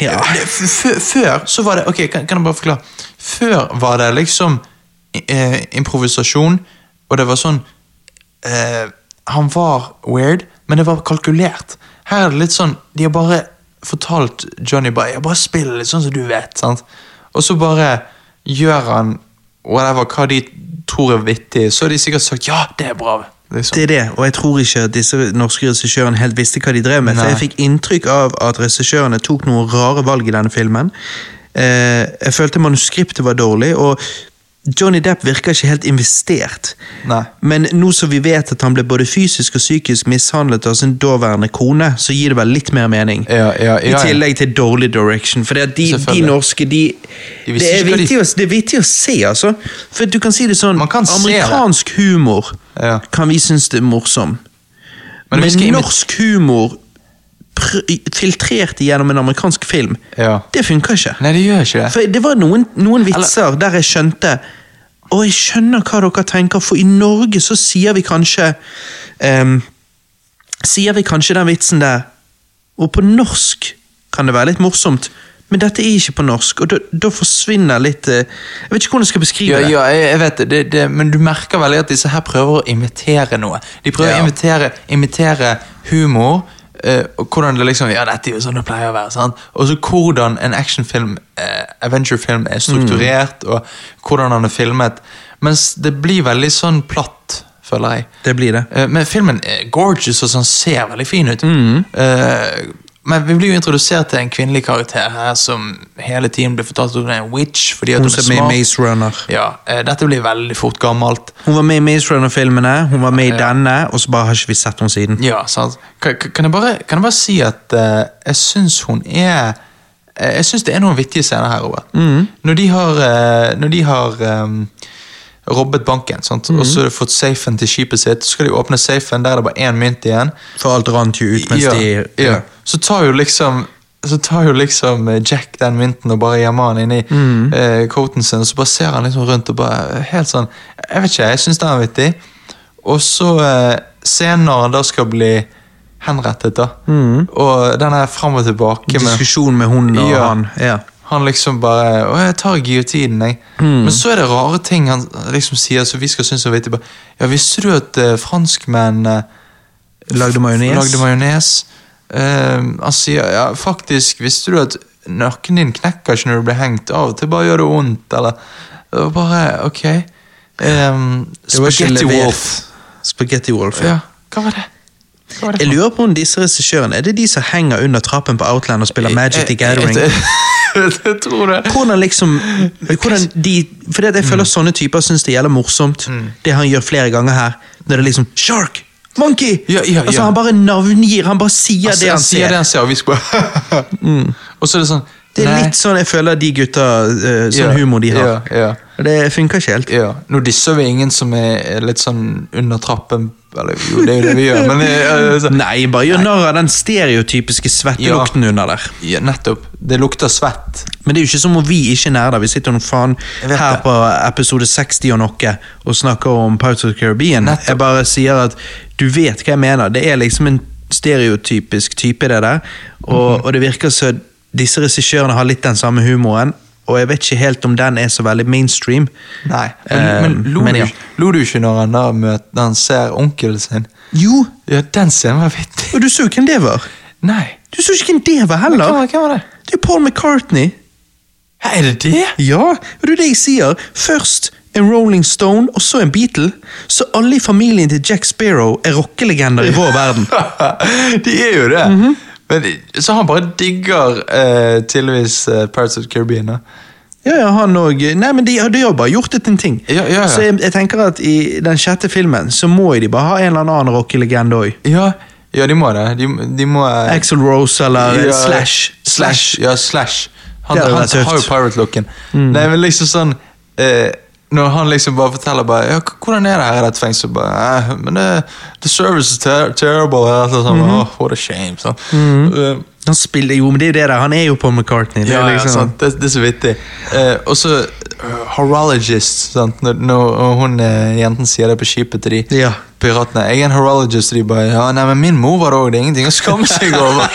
Speaker 2: Ja.
Speaker 1: Det- f- f- Før så var det Ok, kan, kan jeg bare forklare? Før var det liksom eh, improvisasjon, og det var sånn eh, Han var weird, men det var kalkulert. Her er det litt sånn De har bare fortalt Johnny bare, «Jeg bare spill litt sånn som du vet. sant? Og så bare gjør han whatever, hva de tror er vittig. Så har de sikkert sagt 'ja, det er bra'. Liksom.
Speaker 2: Det er det, og jeg tror ikke at disse norske regissørene helt visste hva de drev med. For
Speaker 1: Nei.
Speaker 2: jeg fikk inntrykk av at regissørene tok noen rare valg i denne filmen. Eh, jeg følte manuskriptet var dårlig, og Johnny Depp virker ikke helt investert.
Speaker 1: Nei.
Speaker 2: Men nå som vi vet at han ble både fysisk og psykisk mishandlet av sin daværende kone, så gir det vel litt mer mening.
Speaker 1: Ja, ja, ja, ja.
Speaker 2: I tillegg til dårlig direction. For det at de, de
Speaker 1: Selvfølgelig.
Speaker 2: norske, de,
Speaker 1: De visste
Speaker 2: det, er
Speaker 1: ikke hva de-
Speaker 2: vittig å, det er vittig å se, altså. For du kan si det sånn,
Speaker 1: Man kan se det.
Speaker 2: amerikansk humor
Speaker 1: Ja.
Speaker 2: kan vi synes det er morsom.
Speaker 1: Men
Speaker 2: Men,
Speaker 1: vi skal imi-
Speaker 2: norsk humor pr filtrert gjennom en amerikansk film,
Speaker 1: Ja.
Speaker 2: det funker ikke.
Speaker 1: Nei, det gjør ikke det.
Speaker 2: For det var noen, noen vitser der jeg skjønte Og jeg skjønner hva dere tenker, for i Norge så sier vi kanskje ehm, Sier vi kanskje den vitsen der Og på norsk kan det være litt morsomt, Men dette er ikke på norsk, og da- da forsvinner litt eh, Jeg vet ikke hvordan jeg skal beskrive
Speaker 1: Ja,
Speaker 2: det.
Speaker 1: ja jeg, jeg vet det, det, det, men du merker veldig at disse her prøver å imitere noe. De prøver
Speaker 2: Ja.
Speaker 1: å imitere, imitere humor. eh, og hvordan det liksom, ja dette er jo sånn det pleier å være sant? Og så hvordan en actionfilm uh, Adventurefilm er strukturert
Speaker 2: Mm.
Speaker 1: Og hvordan han er filmet Mens det blir veldig sånn platt Føler jeg
Speaker 2: Det blir det.
Speaker 1: Eh, Men filmen er gorgeous og sånn ser veldig fin ut.
Speaker 2: Mm.
Speaker 1: Eh, men vi blir jo introdusert til en kvinnelig karakter her som hele tiden blir fortalt at hun er en witch. fordi at hun,
Speaker 2: Hun som er med i
Speaker 1: er
Speaker 2: Maze
Speaker 1: smart.
Speaker 2: Runner.
Speaker 1: Ja, eh, dette blir veldig fort gammelt.
Speaker 2: Hun var med i Maze Runner-filmene, hun var med i denne, og så bare har ikke vi sett henne siden.
Speaker 1: Ja, sant? Kan, kan- kan, jeg bare, kan jeg bare si at eh, jeg syns hun er eh, Jeg syns det er noen vittige scener her, Robert. Når de har, eh, når de har eh, robbet banken, sant? og så har de fått safen til skipet sitt, så skal de åpne safen, der er det bare én mynt igjen.
Speaker 2: For alt rant jo ut mens
Speaker 1: ja,
Speaker 2: de
Speaker 1: ja. Så tar jo liksom så tar jo liksom eh, Jack den mynten og bare gjemmer han inni
Speaker 2: Mm.
Speaker 1: eh, coaten sin, og så bare ser han liksom rundt og bare eh, helt sånn Jeg vet ikke, jeg syns den er vittig. Og så eh, scenen når han da skal bli henrettet, da,
Speaker 2: Mm.
Speaker 1: og den er fram og tilbake med
Speaker 2: Diskusjon med hun og
Speaker 1: Ja.
Speaker 2: han. Ja.
Speaker 1: han liksom bare Å, jeg tar giotinen, jeg.
Speaker 2: Mm.
Speaker 1: Men så er det rare ting han liksom sier som vi skal synes er vittig. bare, Ja, visste du at eh, franskmenn eh,
Speaker 2: Lagde majones?
Speaker 1: Lagde majones. Ehm, han sier ja, faktisk Visste du at nakken din knekker ikke når du blir hengt? Av og til bare gjør det vondt, eller og Bare ok. Ehm,
Speaker 2: Det var ikke
Speaker 1: Spaghetti
Speaker 2: levert.
Speaker 1: Wolf.
Speaker 2: Spaghetti Wolf, ja.
Speaker 1: Ja, hva var det? Hva var det
Speaker 2: Jeg
Speaker 1: for-
Speaker 2: lurer på om disse regissørene Er det de som henger under trappen på Outland og spiller Magic the
Speaker 1: Jeg-
Speaker 2: Gathering?
Speaker 1: Jeg, jeg, Eh, [LAUGHS] jeg tror det.
Speaker 2: Hvordan liksom hvordan de, Fordi at jeg
Speaker 1: Mm.
Speaker 2: føler sånne typer syns det gjelder morsomt. Det han gjør flere ganger her. Når det er liksom Shark! Monkey!
Speaker 1: Ja, ja,
Speaker 2: Altså
Speaker 1: ja.
Speaker 2: Han bare navngir, han bare sier
Speaker 1: Altså,
Speaker 2: det han
Speaker 1: sier
Speaker 2: ser.
Speaker 1: det han sier, og vi skal bare [LAUGHS] Og så er det sånn
Speaker 2: Det er
Speaker 1: nei,
Speaker 2: litt sånn jeg føler de gutta eh, Sånn
Speaker 1: ja,
Speaker 2: humor de har.
Speaker 1: Ja, ja,
Speaker 2: Og Det funker ikke helt.
Speaker 1: ja. Nå disser vi ingen som er litt sånn under trappen Eller jo, det er jo det vi gjør, men eh, [LAUGHS] altså,
Speaker 2: Nei, bare gjør narr av den stereotypiske svettelukten under der.
Speaker 1: ja, Nettopp. Det lukter svett.
Speaker 2: Men det er jo ikke som om vi ikke er nære der. Vi sitter nå faen
Speaker 1: vet
Speaker 2: her
Speaker 1: det.
Speaker 2: på episode 60 og noe og snakker om Pirates of the Caribbean.
Speaker 1: Nettopp.
Speaker 2: Jeg bare sier at du vet hva jeg mener. Det er liksom en stereotypisk type, det der. Og,
Speaker 1: Mhm.
Speaker 2: og det virker som disse regissørene har litt den samme humoren. Og jeg vet ikke helt om den er så veldig mainstream.
Speaker 1: Nei. Men, men,
Speaker 2: Eh,
Speaker 1: lo,
Speaker 2: men
Speaker 1: du,
Speaker 2: ja.
Speaker 1: lo du ikke når han da møter, når han ser onkelen sin?
Speaker 2: Jo,
Speaker 1: Ja, den scenen var vittig.
Speaker 2: og du så jo hvem det var.
Speaker 1: Nei.
Speaker 2: Du så ikke hvem det var
Speaker 1: Hvem
Speaker 2: heller.
Speaker 1: var, hvem var det?
Speaker 2: Det er Paul McCartney.
Speaker 1: Hæ, er det det? [LAUGHS]
Speaker 2: Ja, og det er det jeg sier. Først en Rolling Stone, og så en Beatle. Så alle i familien til Jack Sparrow er rockelegender i vår verden.
Speaker 1: De er jo det.
Speaker 2: Mhm.
Speaker 1: men, så han bare digger eh, tydeligvis eh, Pirates of the Caribbean. Da.
Speaker 2: Ja, ja, han og, Nei, men de, de har bare gjort det til en ting.
Speaker 1: Ja, ja, ja.
Speaker 2: Så jeg, jeg tenker at i den sjette filmen så må de bare ha en eller annen rockelegende òg.
Speaker 1: Ja, ja, de må det. De, de må eh,
Speaker 2: Axel Rose eller
Speaker 1: ja,
Speaker 2: Slash.
Speaker 1: Slash. Ja, Slash. Han,
Speaker 2: Det hadde
Speaker 1: han
Speaker 2: vært tøft. Mm.
Speaker 1: har jo pirate-looken. Nei, men liksom sånn eh, Når han liksom bare forteller bare, ja, k- hvordan er det her i dette fengselet bare, eh, men det, The service is ter terrible. Eller noe sånt. sånn,
Speaker 2: Mhm.
Speaker 1: «Åh, what a shame. Sånn. Eh,
Speaker 2: Han spiller jo, men det er jo det der. Han er jo på McCartney. Det
Speaker 1: ja, ja,
Speaker 2: er liksom, [LAUGHS]
Speaker 1: sant. Det, det er så vittig. Eh, og så eh, horologist, sant? Når, når hun eh, jenten sier det på skipet til de
Speaker 2: Ja.
Speaker 1: piratene. Jeg er en horologist, og de bare ja, nei, men min mor var det òg. Det er ingenting å skamme seg
Speaker 2: [LAUGHS]
Speaker 1: over.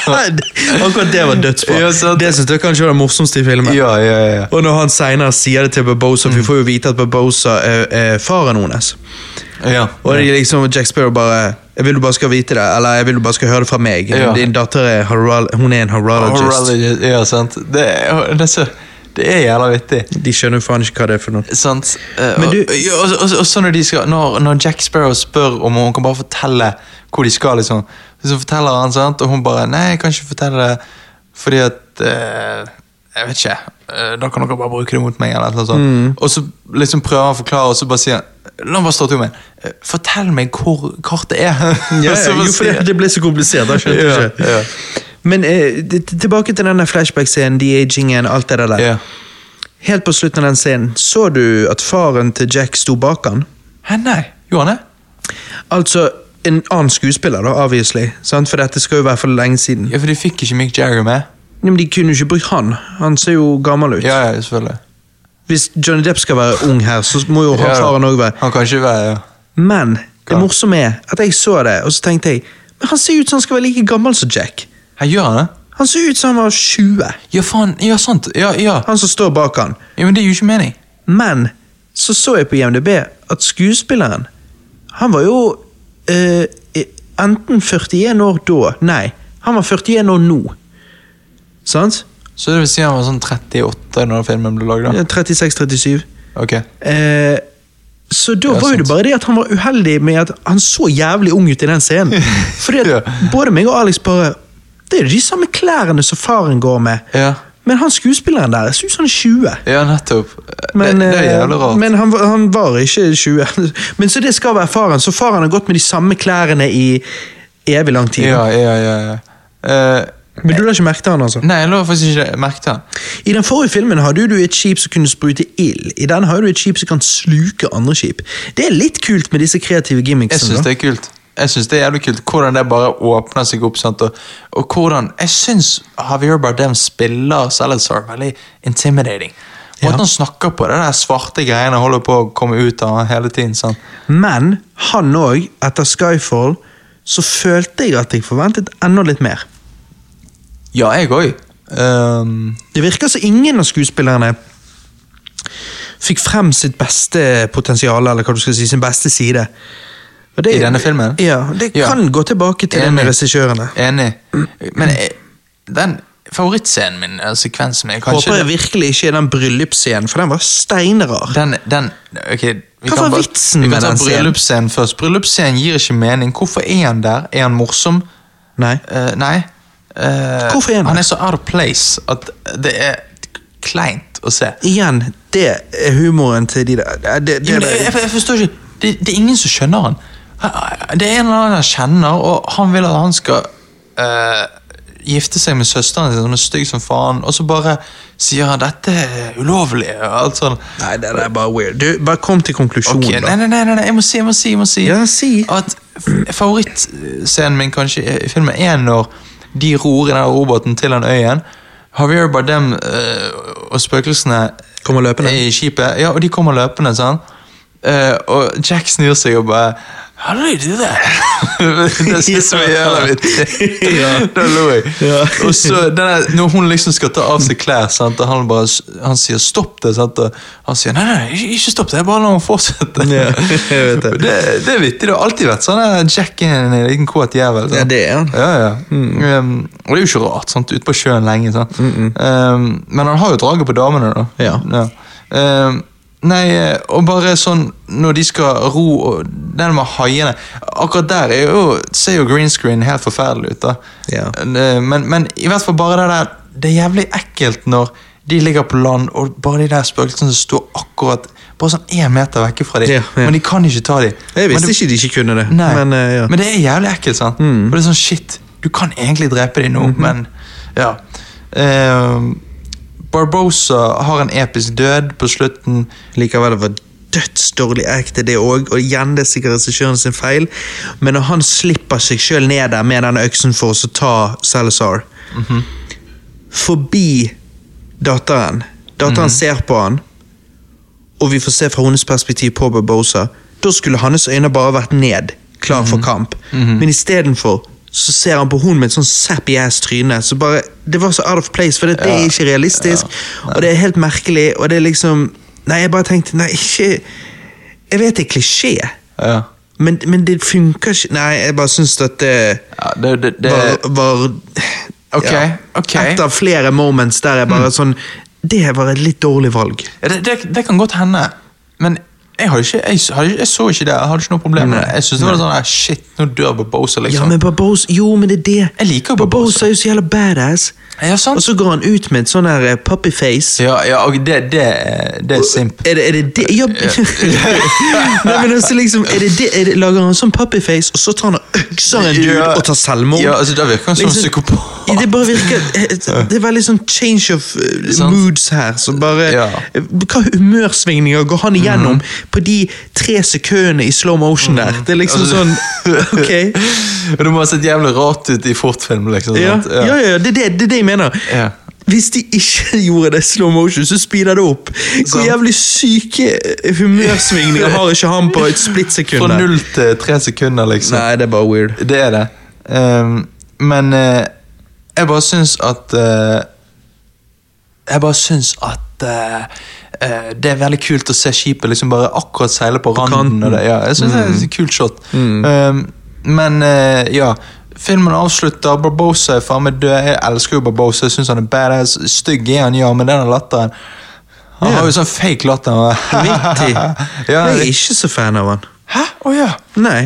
Speaker 2: Akkurat det var dødsbra.
Speaker 1: Ja, sant.
Speaker 2: det syns jeg kanskje var det morsomste i filmen.
Speaker 1: ja, ja, ja.
Speaker 2: Og når han senere sier det til Barbosa, for vi får jo vite at Barbosa er, er faren hennes.
Speaker 1: ja.
Speaker 2: Og det er liksom Jack Sparrow bare Jeg vil du bare skal vite det, eller jeg vil du bare skal høre det fra meg.
Speaker 1: Ja.
Speaker 2: Din datter er horol hun er en horologist.
Speaker 1: Horologist, Ja, sant. Det, er- det, er så, det er jævla vittig.
Speaker 2: De skjønner jo faen ikke hva det er for noe.
Speaker 1: Sant? Eh,
Speaker 2: Men
Speaker 1: og,
Speaker 2: du-
Speaker 1: ja, og, og, og så når, de skal, når, når Jack Sparrow spør om hun kan bare fortelle hvor de skal, liksom, så forteller han, sant? og hun bare Nei, jeg kan ikke fortelle det fordi at eh, Jeg vet ikke. eh, da kan dere bare bruke det mot meg, eller noe sånt. Og så liksom prøver han å forklare, og så bare sier han La meg bare starte om igjen. Eh, Fortell meg hvor kartet er. [LAUGHS]
Speaker 2: Ja, [LAUGHS]
Speaker 1: Og så bare
Speaker 2: jo, for
Speaker 1: sier-
Speaker 2: det, det ble så komplisert. Jeg skjønte
Speaker 1: Ja,
Speaker 2: ikke.
Speaker 1: ja.
Speaker 2: Men eh, t- tilbake til denne flashback-scenen, de-agingen, alt det der.
Speaker 1: Ja.
Speaker 2: Helt på slutten av den scenen, så du at faren til Jack sto bak han?
Speaker 1: Hæ, nei? Gjorde han det?
Speaker 2: Altså en annen skuespiller, da, obviously. Sant? For dette skal jo være for lenge siden.
Speaker 1: Ja, for de fikk ikke Mick Jagger med.
Speaker 2: Ja, Men de kunne jo ikke brukt han. Han ser jo gammel ut.
Speaker 1: Ja, ja, selvfølgelig.
Speaker 2: Hvis Johnny Depp skal være ung her, så må jo han
Speaker 1: Ja, ja.
Speaker 2: faren òg være
Speaker 1: Han kan ikke være ja.
Speaker 2: Men det
Speaker 1: Hva?
Speaker 2: morsomme er at jeg så det, og så tenkte jeg Men han ser ut som han skal være like gammel som Jack.
Speaker 1: Her gjør han det.
Speaker 2: Han så ut som han var 20,
Speaker 1: Ja, faen. Ja, sant. Ja, ja.
Speaker 2: han som står bak han.
Speaker 1: ja men det er jo ikke mening.
Speaker 2: Men så så jeg på IMDb at skuespilleren, han var jo eh, enten 41 år da Nei, han var 41 år nå. Sant?
Speaker 1: Så det vil si han var sånn 38 når filmen ble laget? da?
Speaker 2: 36-37.
Speaker 1: Ok.
Speaker 2: Eh, så da
Speaker 1: Ja,
Speaker 2: var jo det
Speaker 1: sant.
Speaker 2: bare det at han var uheldig med at han så jævlig ung ut i den scenen. Fordi at
Speaker 1: [LAUGHS] Ja.
Speaker 2: både meg og Alex bare Det er jo de samme klærne som faren går med.
Speaker 1: Ja.
Speaker 2: Men han skuespilleren der, jeg syns han er 20.
Speaker 1: Ja, nettopp.
Speaker 2: Men,
Speaker 1: det, det er
Speaker 2: eh,
Speaker 1: jævlig rart.
Speaker 2: men han, var- han var ikke 20. [LAUGHS] Men så det skal være faren. Så faren har gått med de samme klærne i evig lang tid.
Speaker 1: Ja, ja, ja. ja. Eh,
Speaker 2: Men du la ikke merke til han, altså?
Speaker 1: nei, jeg lå faktisk ikke det. merke til han.
Speaker 2: I den forrige filmen hadde du et skip som kunne sprute ild. I den har du et skip som kan sluke andre skip. Det er litt kult med disse kreative
Speaker 1: Jeg
Speaker 2: gimmicksene.
Speaker 1: syns
Speaker 2: da.
Speaker 1: det er kult. Jeg synes det er jævlig kult Hvordan det bare åpner seg opp. sant? Og, og hvordan Jeg syns Javier Bardem spiller Salazar veldig intimidating. Måten
Speaker 2: Ja.
Speaker 1: han snakker på, det der svarte greiene holder på å komme ut av han hele tiden. sant?
Speaker 2: Men han òg, etter Skyfall, så følte jeg at jeg forventet enda litt mer.
Speaker 1: Ja, jeg òg. Ehm,
Speaker 2: Det virker som ingen av skuespillerne fikk frem sitt beste potensial, eller hva du skal si, sin beste side. Og det-
Speaker 1: I denne filmen?
Speaker 2: Ja, det
Speaker 1: Ja.
Speaker 2: kan gå tilbake til det
Speaker 1: Enig.
Speaker 2: med regissørene.
Speaker 1: enig. Men jeg, den favorittscenen min, eller sekvensen min, er kanskje
Speaker 2: Håper jeg virkelig ikke er den bryllupsscenen, for den var steinrar.
Speaker 1: Den, den ok, vi kan
Speaker 2: Hva var
Speaker 1: bare-
Speaker 2: vitsen
Speaker 1: vi kan
Speaker 2: med
Speaker 1: ta
Speaker 2: den scenen?
Speaker 1: Bryllupsscenen først. Bryllupsscenen gir ikke mening. Hvorfor er han der? Er han morsom?
Speaker 2: Nei.
Speaker 1: Eh, nei. Eh,
Speaker 2: Hvorfor er han der?
Speaker 1: Han er så out of place at det er kleint å se.
Speaker 2: Igjen, det er humoren til de der. Det, det,
Speaker 1: Ja,
Speaker 2: det,
Speaker 1: men jeg, jeg, jeg forstår ikke. Det, det er ingen som skjønner han. Han- Det er en eller annen han kjenner, og han vil at han skal eh, gifte seg med søsteren sin, hun er stygg som faen, og så bare sier han 'dette er ulovlig' og alt sånn.
Speaker 2: Nei, det der er bare weird. Du, bare kom til konklusjonen,
Speaker 1: Ok,
Speaker 2: da.
Speaker 1: nei, nei, nei, nei, nei, jeg må si, jeg må si, jeg må si.
Speaker 2: Ja, si.
Speaker 1: At f- favorittscenen min kanskje i filmen er når de ror i den roboten til den øyen. Javier Bardem eh, og spøkelsene
Speaker 2: Kommer løpende.
Speaker 1: er i skipet. Ja, og de kommer løpende, sånn. Eh, og Jack snur seg og bare How do they do that? [LAUGHS] det synes jeg var jævla vittig.
Speaker 2: [LAUGHS] Ja.
Speaker 1: [LAUGHS] Da lo jeg.
Speaker 2: Ja.
Speaker 1: Og så den der, når hun liksom skal ta av seg klær, sant, og han bare s- han sier 'stopp det', sant, og han sier 'nei, nei, ikke- ikke stopp det, bare la henne fortsette'.
Speaker 2: Ja, jeg
Speaker 1: [LAUGHS]
Speaker 2: vet det.
Speaker 1: det, det er vittig. Det har alltid vært sånn eh, Jack er en liten kåt jævel. sant?
Speaker 2: Ja, det er han. Mm.
Speaker 1: Ja, ja. Um, og det er jo ikke rart, sant, ute på sjøen lenge. Sant? um, men han har jo draget på damene, da.
Speaker 2: Ja.
Speaker 1: Um, nei, eh, og bare sånn når de skal ro og Den med haiene Akkurat der er jo, ser jo green screen helt forferdelig ut, da.
Speaker 2: Ja.
Speaker 1: Eh, Men, men i hvert fall bare det der Det er jævlig ekkelt når de ligger på land, og bare de der spøkelsene som står akkurat Bare sånn én meter vekke fra dem,
Speaker 2: Ja, ja.
Speaker 1: men de kan ikke ta dem.
Speaker 2: Jeg visste ikke de ikke kunne det.
Speaker 1: Nei.
Speaker 2: Men, eh, ja. Mm.
Speaker 1: Men det er jævlig ekkelt, sant? For det er sånn, shit, du kan egentlig drepe dem nå,
Speaker 2: Mhm.
Speaker 1: men ja. Ehm, Barbosa har en episk død på slutten.
Speaker 2: Likevel det var dødsdårlig acted det òg, og igjen det er sikkert regissøren sin feil. Men når han slipper seg sjøl ned der med den øksen for å så ta Salazar Forbi datteren. Datteren ser på han, og vi får se fra hennes perspektiv på Barbosa. Da skulle hans øyne bare vært ned, klar for
Speaker 1: Mhm.
Speaker 2: kamp. Men istedenfor så ser han på hun med et sånn sappy ass tryne. Så bare, det var så out of place, for det, det er
Speaker 1: Ja.
Speaker 2: ikke realistisk. Og det er helt merkelig, og det er liksom Nei, jeg bare tenkte Nei, ikke Jeg vet det er klisjé,
Speaker 1: Ja,
Speaker 2: men, men det funker ikke Nei, jeg bare syns at det
Speaker 1: ja det, det, det
Speaker 2: var, var
Speaker 1: Ok, ok. Mm.
Speaker 2: Et av flere moments der jeg bare sånn Det var et litt dårlig valg.
Speaker 1: Ja, Det, det, det kan godt hende, men jeg, har ikke, jeg, har ikke, jeg så ikke det. Jeg hadde ikke noe problem med det. Jeg synes det var sånn der, Shit, nå dør Barbosa, liksom.
Speaker 2: Ja, men Barbosa Jo, men det er det.
Speaker 1: Jeg liker Barbosa.
Speaker 2: Barbosa er jo så jævla badass.
Speaker 1: Ja, sant.
Speaker 2: Og så går han ut med et sånn her eh, puppyface.
Speaker 1: ja, ja, og det, det, det er simp.
Speaker 2: Er det, er det det? Ja. [LAUGHS] Nei, men altså liksom, er det det? Er det, lager han sånn puppyface, og så tar han og økser en dude og tar selvmord? Liksom,
Speaker 1: Ja, altså, Da virker han som en [LAUGHS] psykopat.
Speaker 2: Det bare virker Det er veldig sånn change of eh,
Speaker 1: Sant.
Speaker 2: moods her. Som bare eh,
Speaker 1: Ja. Mhm.
Speaker 2: Hva humørsvingninger går han igjennom på de tre sekundene i slow motion der? Det er liksom
Speaker 1: Altså,
Speaker 2: sånn
Speaker 1: [LAUGHS]
Speaker 2: Ok.
Speaker 1: Og det må ha sett jævlig rart ut i fortfilm. liksom.
Speaker 2: Ja,
Speaker 1: sant?
Speaker 2: ja, ja, det er det, det, er det jeg mener.
Speaker 1: Ja.
Speaker 2: Hvis de ikke [LAUGHS] gjorde det i slow motion, så speeder det opp. Hvor
Speaker 1: Sant.
Speaker 2: jævlig syke humørsvingninger har ikke han på et splittsekund?
Speaker 1: Fra
Speaker 2: der?
Speaker 1: null til tre sekunder, liksom.
Speaker 2: Nei, det er bare weird.
Speaker 1: Det er det. Ehm, men eh, Jeg bare syns at eh, Jeg bare syns at eh, eh, det er veldig kult å se skipet liksom bare akkurat seile på, randen.
Speaker 2: kanten. Mm.
Speaker 1: Og det, ja, jeg syns det er et kult shot. Um, men eh, ja. Filmen avslutter. Barbosa er faen meg død. Jeg elsker jo Barbosa. Jeg synes han er badass. Stygg er han, ja, men den latteren Han
Speaker 2: Ja.
Speaker 1: har jo sånn fake latter.
Speaker 2: Vittig.
Speaker 1: [LAUGHS] ja,
Speaker 2: jeg er
Speaker 1: det-
Speaker 2: ikke så fan av han.
Speaker 1: Hæ? Å ja.
Speaker 2: Nei.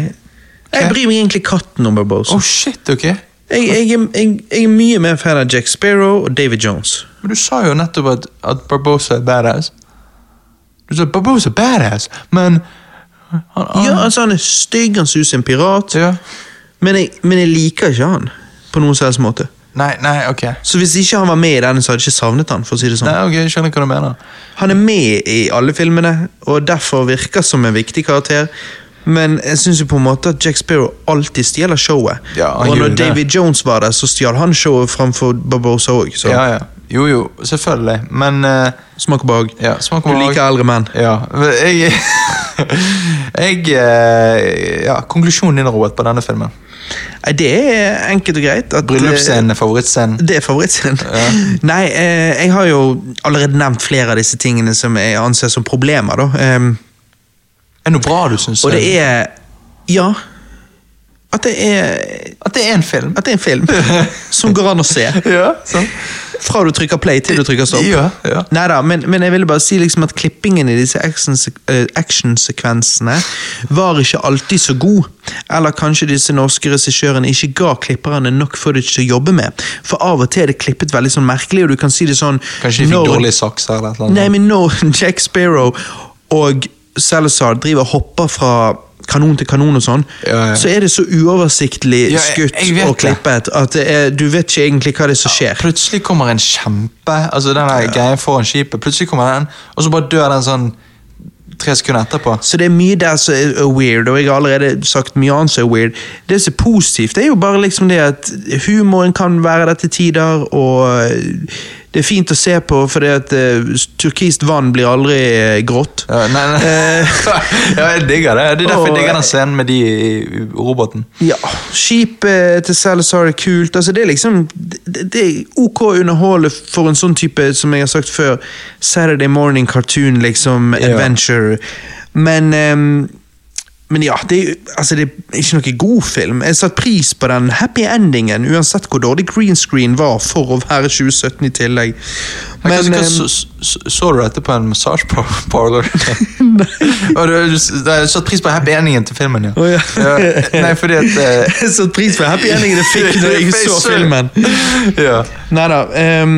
Speaker 2: Jeg bryr meg egentlig katten om Barbosa.
Speaker 1: Oh shit, ok.
Speaker 2: Jeg, jeg, er- jeg, jeg er mye mer fan av Jack Sparrow og David Jones.
Speaker 1: Men du sa jo nettopp at, at Barbosa er badass. Du sa Barbosa er badass, men han, han,
Speaker 2: Ja, altså Han er stygg, han ser ut som en pirat,
Speaker 1: Ja.
Speaker 2: men jeg, men jeg liker ikke han på noen selvs måte.
Speaker 1: Nei, nei, ok.
Speaker 2: Så hvis ikke han var med i denne, så hadde jeg ikke savnet han, for å si det sånn.
Speaker 1: Nei, ok, Jeg skjønner hva du mener.
Speaker 2: Han er med i alle filmene, og derfor virker som en viktig karakter. Men jeg syns jo på en måte at Jack Sparrow alltid stjeler showet.
Speaker 1: Ja, han
Speaker 2: og
Speaker 1: gjør
Speaker 2: når
Speaker 1: det.
Speaker 2: David Jones var der, så stjal han showet framfor Barbosa òg. Så
Speaker 1: Ja, ja. Jo, jo, selvfølgelig. Men eh,
Speaker 2: smak og behag.
Speaker 1: ja, smak og
Speaker 2: Du
Speaker 1: behag.
Speaker 2: liker eldre menn.
Speaker 1: Ja. Jeg, [LAUGHS] jeg eh, Ja, konklusjonen din, Robert, på denne filmen.
Speaker 2: Nei, Det er enkelt og greit. At, eh,
Speaker 1: Bryllupsscenen er favorittscenen.
Speaker 2: Det er favorittscenen. [LAUGHS] Nei, eh, jeg har jo allerede nevnt flere av disse tingene som jeg anser som problemer, da. Em,
Speaker 1: Er noe bra, du syns?
Speaker 2: og det er Ja. At det er
Speaker 1: At det er en film. Sånn.
Speaker 2: at det er
Speaker 1: [LAUGHS]
Speaker 2: en film som går an å se.
Speaker 1: Ja, sant.
Speaker 2: Fra du trykker play til du trykker stopp.
Speaker 1: Ja, ja.
Speaker 2: Neida, men, men jeg ville bare si liksom at klippingen i disse actionsek- eh, actionsekvensene var ikke alltid så god. Eller kanskje disse norske regissørene ikke ga klipperne nok footage til å jobbe med. For av og til er det klippet veldig sånn merkelig, og du kan si det sånn
Speaker 1: Kanskje de fikk
Speaker 2: når-
Speaker 1: dårlig saks eller et eller annet.
Speaker 2: Nei, men når [LAUGHS] Jack Sparrow og Salazar driver og hopper fra kanon til kanon og sånn,
Speaker 1: Ja, ja.
Speaker 2: så er det så uoversiktlig
Speaker 1: Ja, jeg-
Speaker 2: skutt
Speaker 1: jeg vet
Speaker 2: og
Speaker 1: det.
Speaker 2: klippet at det er, du vet ikke egentlig hva det er som skjer.
Speaker 1: Plutselig kommer en kjempe, altså den der greien foran skipet, plutselig kommer den, og så bare dør den sånn tre sekunder etterpå.
Speaker 2: Så det er mye der som er er weird, og jeg har allerede sagt mye annet som er weird. Det som er positivt, det er jo bare liksom det at humoren kan være der til tider, og eh, det er fint å se på, fordi at eh, turkist vann blir aldri eh, grått.
Speaker 1: Ja, nei, nei.
Speaker 2: Eh.
Speaker 1: [LAUGHS] ja, jeg digger det. Det er derfor jeg
Speaker 2: Og-
Speaker 1: digger den scenen med de i i roboten.
Speaker 2: Ja, skipet til Salazar er kult. Altså, det er liksom det, det er OK underholde for en sånn type, som jeg har sagt før, Saturday morning cartoon, liksom,
Speaker 1: Ja.
Speaker 2: adventure. Men ehm, men ja, det er, jo- altså det er ikke noe god film. Jeg satte pris på den happy endingen, uansett hvor dårlig green screen var for å være 2017 i tillegg.
Speaker 1: Men, hva- hva-
Speaker 2: ehm,
Speaker 1: så, så, så du dette på en massage par- parlor?
Speaker 2: [LAUGHS]
Speaker 1: Og du, du, s- nei, jeg satte pris på happy endingen til filmen, ja.
Speaker 2: Å, ja.
Speaker 1: Nei, fordi at eh,
Speaker 2: [LAUGHS] [LAUGHS] jeg satte pris på happy endingen jeg fikk når jeg
Speaker 1: [LAUGHS]
Speaker 2: så filmen.
Speaker 1: ja.
Speaker 2: Nei da. ehm,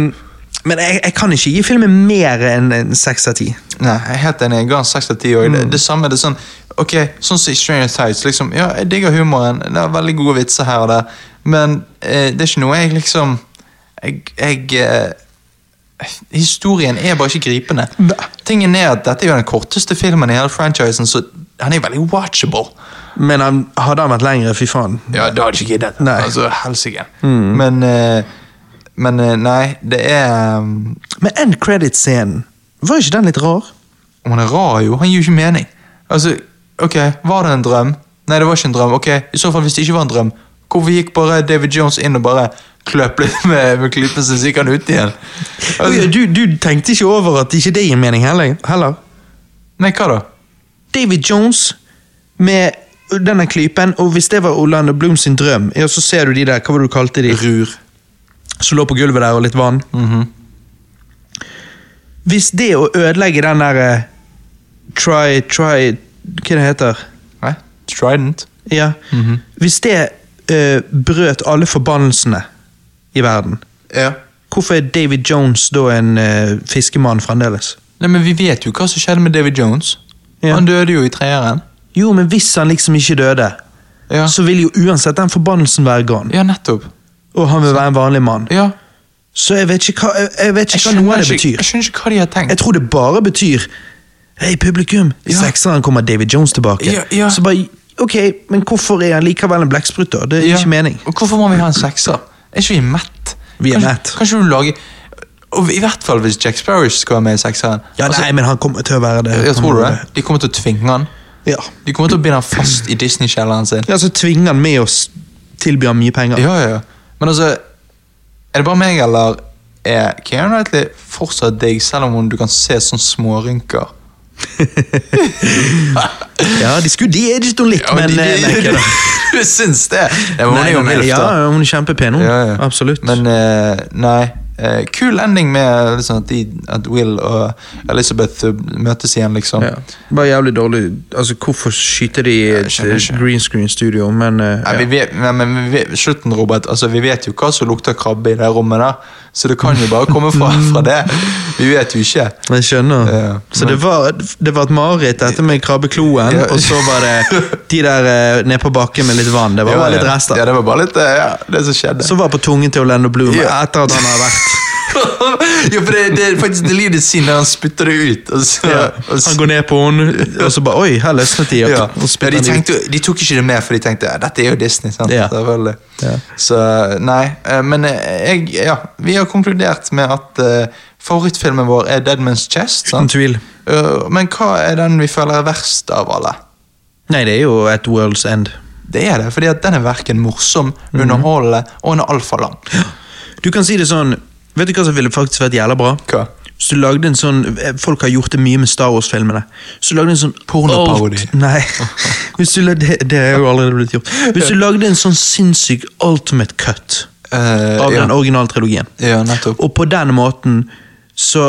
Speaker 2: men jeg, jeg kan ikke gi filmen mer enn en seks av ti.
Speaker 1: Nei, jeg er helt enig. Jeg ga han 6 av 10 år. Det, det samme det er sånn Ok, sånn som i Stranger Tides. Liksom, ja, jeg digger humoren. Det er veldig gode vitser her og der. Men eh, det er ikke noe jeg liksom Jeg, jeg eh, Historien er bare ikke gripende. Tingen er at Dette er jo den korteste filmen i hele franchisen, så han er jo veldig watchable.
Speaker 2: Men han, hadde han vært lengre, fy faen.
Speaker 1: Ja, da hadde jeg ikke giddet.
Speaker 2: Nei.
Speaker 1: Altså, helsike. Men, eh, men eh, nei, det er um,
Speaker 2: Men end credit-scenen, var ikke den litt rar?
Speaker 1: Og han er rar jo, han gir jo ikke mening. Altså, ok, var det en drøm? Nei, det var ikke en drøm. Ok, i så fall hvis det ikke var en drøm, hvorfor gikk bare David Jones inn og bare kløp litt [LAUGHS] med, med klypen, så gikk han ut igjen? Altså,
Speaker 2: du, du tenkte ikke over at ikke det gir mening heller? heller.
Speaker 1: nei, hva da?
Speaker 2: David Jones med denne klypen, og hvis det var Orlando Bloom sin drøm, ja, så ser du de der, hva var det du kalte de? Rur. Som lå på gulvet der, og litt vann.
Speaker 1: Mhm.
Speaker 2: Hvis det å ødelegge den der eh, Try, try Hva det heter
Speaker 1: Nei, Mhm. Trident.
Speaker 2: Ja. Hvis det eh, brøt alle forbannelsene i verden,
Speaker 1: Ja.
Speaker 2: hvorfor er David Jones da en eh, fiskemann fremdeles?
Speaker 1: Nei, men vi vet jo hva som skjedde med David Jones.
Speaker 2: Ja.
Speaker 1: Han døde jo i treeren.
Speaker 2: Jo, men hvis han liksom ikke døde,
Speaker 1: Ja.
Speaker 2: så vil jo uansett den forbannelsen være gone.
Speaker 1: ja, nettopp.
Speaker 2: Og han vil være en vanlig mann.
Speaker 1: Ja.
Speaker 2: Så jeg vet ikke hva, jeg, jeg vet ikke hva noe av det
Speaker 1: ikke, jeg
Speaker 2: betyr.
Speaker 1: skjønner ikke hva de har tenkt.
Speaker 2: Jeg tror det bare betyr Hei, publikum! I
Speaker 1: Ja.
Speaker 2: sekseren kommer David Jones tilbake.
Speaker 1: Ja, ja.
Speaker 2: Så bare Ok, men hvorfor er han likevel en blekksprut, da? Det er
Speaker 1: Ja.
Speaker 2: ikke mening.
Speaker 1: Og hvorfor må vi ha en sekser? Er ikke vi mett?
Speaker 2: Vi er
Speaker 1: Kanskje-
Speaker 2: mett.
Speaker 1: Kanskje du lager og I hvert fall hvis Jack Sparrow skal være med i sekseren.
Speaker 2: Ja,
Speaker 1: Altså,
Speaker 2: nei, Mm. men han kommer til å være det.
Speaker 1: jeg tror det. De kommer til å tvinge han.
Speaker 2: Ja.
Speaker 1: De kommer til å binde han fast i Disney-kjelleren sin.
Speaker 2: ja, så tvinger han med oss tilby han mye penger.
Speaker 1: Ja, ja, ja. Men altså Er det bare meg, eller er Keira Knightley fortsatt digg, selv om hun- du kan se sånne smårynker? [LAUGHS]
Speaker 2: [LAUGHS] Ja, de skulle de-aget henne litt, men eh, nei, ikke da.
Speaker 1: [LAUGHS] Du syns det? Nei, men hun er jo
Speaker 2: Nei,
Speaker 1: milf,
Speaker 2: ja,
Speaker 1: da.
Speaker 2: hun er kjempepen, hun. Absolutt.
Speaker 1: Men eh, nei. eh, kul ending med liksom, at, de, at Will og Elizabeth eh, møtes igjen, liksom.
Speaker 2: ja. Bare jævlig dårlig Altså, hvorfor skyter de i et
Speaker 1: skjønner ikke.
Speaker 2: eh, green screen studio, men eh,
Speaker 1: Nei, vi vet, nei, men vi vet, slutten, Robert. Altså, vi vet jo hva som lukter krabbe i det rommet, da. Så det kan jo bare komme
Speaker 2: [LAUGHS]
Speaker 1: fra, fra det. Vi vet jo ikke.
Speaker 2: ja, Jeg skjønner.
Speaker 1: Ja,
Speaker 2: så det var, det var et mareritt, dette med krabbekloen,
Speaker 1: Ja.
Speaker 2: og så var det de der eh, ned på bakken med litt vann. Det var
Speaker 1: Ja,
Speaker 2: bare litt
Speaker 1: ja.
Speaker 2: rester.
Speaker 1: Ja, det var bare litt eh, ja, det som
Speaker 2: [LAUGHS]
Speaker 1: skjedde. [LAUGHS]
Speaker 2: Som var på tungen til Orlando Bloom
Speaker 1: Ja.
Speaker 2: etter at han har
Speaker 1: [LAUGHS]
Speaker 2: vært
Speaker 1: ja, for det, det er faktisk deleted scene der han spytter det ut. Og så, og så,
Speaker 2: Han går ned på henne, og så bare Oi, her løsnet de.
Speaker 1: ja.
Speaker 2: Og
Speaker 1: ja,
Speaker 2: spytter
Speaker 1: de,
Speaker 2: han ut.
Speaker 1: tenkte, jo- de tok ikke det med, for de tenkte ja, dette er jo Disney. sant?
Speaker 2: Ja.
Speaker 1: Selvfølgelig.
Speaker 2: Ja.
Speaker 1: Så nei, eh, men eh, jeg, ja, vi har konkludert med at eh, favorittfilmen vår er Deadman's Chest.
Speaker 2: Uten
Speaker 1: Sant?
Speaker 2: tvil.
Speaker 1: Eh, men hva er den vi føler er verst av alle?
Speaker 2: Nei, det er jo et world's end.
Speaker 1: Det er det, fordi at den er verken morsom,
Speaker 2: Mhm.
Speaker 1: underholdende og en altfor lang.
Speaker 2: Du kan si det sånn Vet du hva som ville faktisk vært jævla bra?
Speaker 1: Hva?
Speaker 2: Så du lagde en sånn eh, Folk har gjort det mye med Star Wars-filmene. Så du lagde en sånn
Speaker 1: Pornoparodi.
Speaker 2: alt- Nei. [LAUGHS] Hvis du, la- det, det er jo allerede blitt gjort. Hvis du lagde en sånn sinnssyk ultimate cut
Speaker 1: Eh,
Speaker 2: av
Speaker 1: ja.
Speaker 2: den originale trilogien,
Speaker 1: ja, nettopp.
Speaker 2: og på den måten så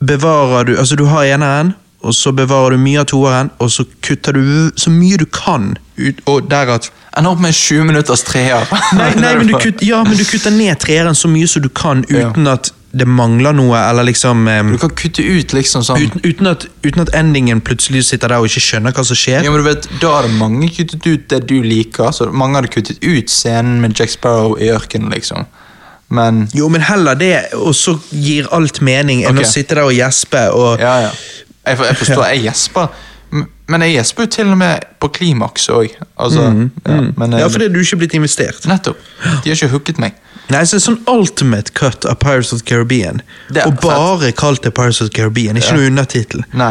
Speaker 2: bevarer du Altså, du har eneren, og så bevarer du mye av toeren, og så kutter du så mye du kan ut, og derat
Speaker 1: Ender opp med en 20 minutters treer. [LAUGHS]
Speaker 2: Nei, nei men, du kutt, ja, men du kutter ned treeren så mye som du kan uten at det mangler noe, eller liksom em,
Speaker 1: Du kan kutte ut liksom sånn
Speaker 2: uten, uten, at, uten at endingen plutselig sitter der og ikke skjønner hva som skjer.
Speaker 1: Ja, men du vet, Da hadde mange kuttet ut det du liker. Så mange hadde kuttet ut scenen med Jack Sparrow i ørkenen, liksom. Men
Speaker 2: Jo, men heller det, og så gir alt mening, enn
Speaker 1: Ok.
Speaker 2: å sitte der og gjespe og
Speaker 1: ja, ja. Jeg, for- jeg forstår, jeg gjesper. M- Men jeg gjesper jo til og med på klimaks òg. Altså, ja, men eh,
Speaker 2: Mm, Ja, fordi du er ikke blitt investert.
Speaker 1: Nettopp. De har ikke hooket meg.
Speaker 2: Nei, så en sånn ultimate cut av Pirates of the Caribbean,
Speaker 1: Det er
Speaker 2: og bare kalt det Pirates of the Caribbean, ikke noe undertittel,
Speaker 1: Nei,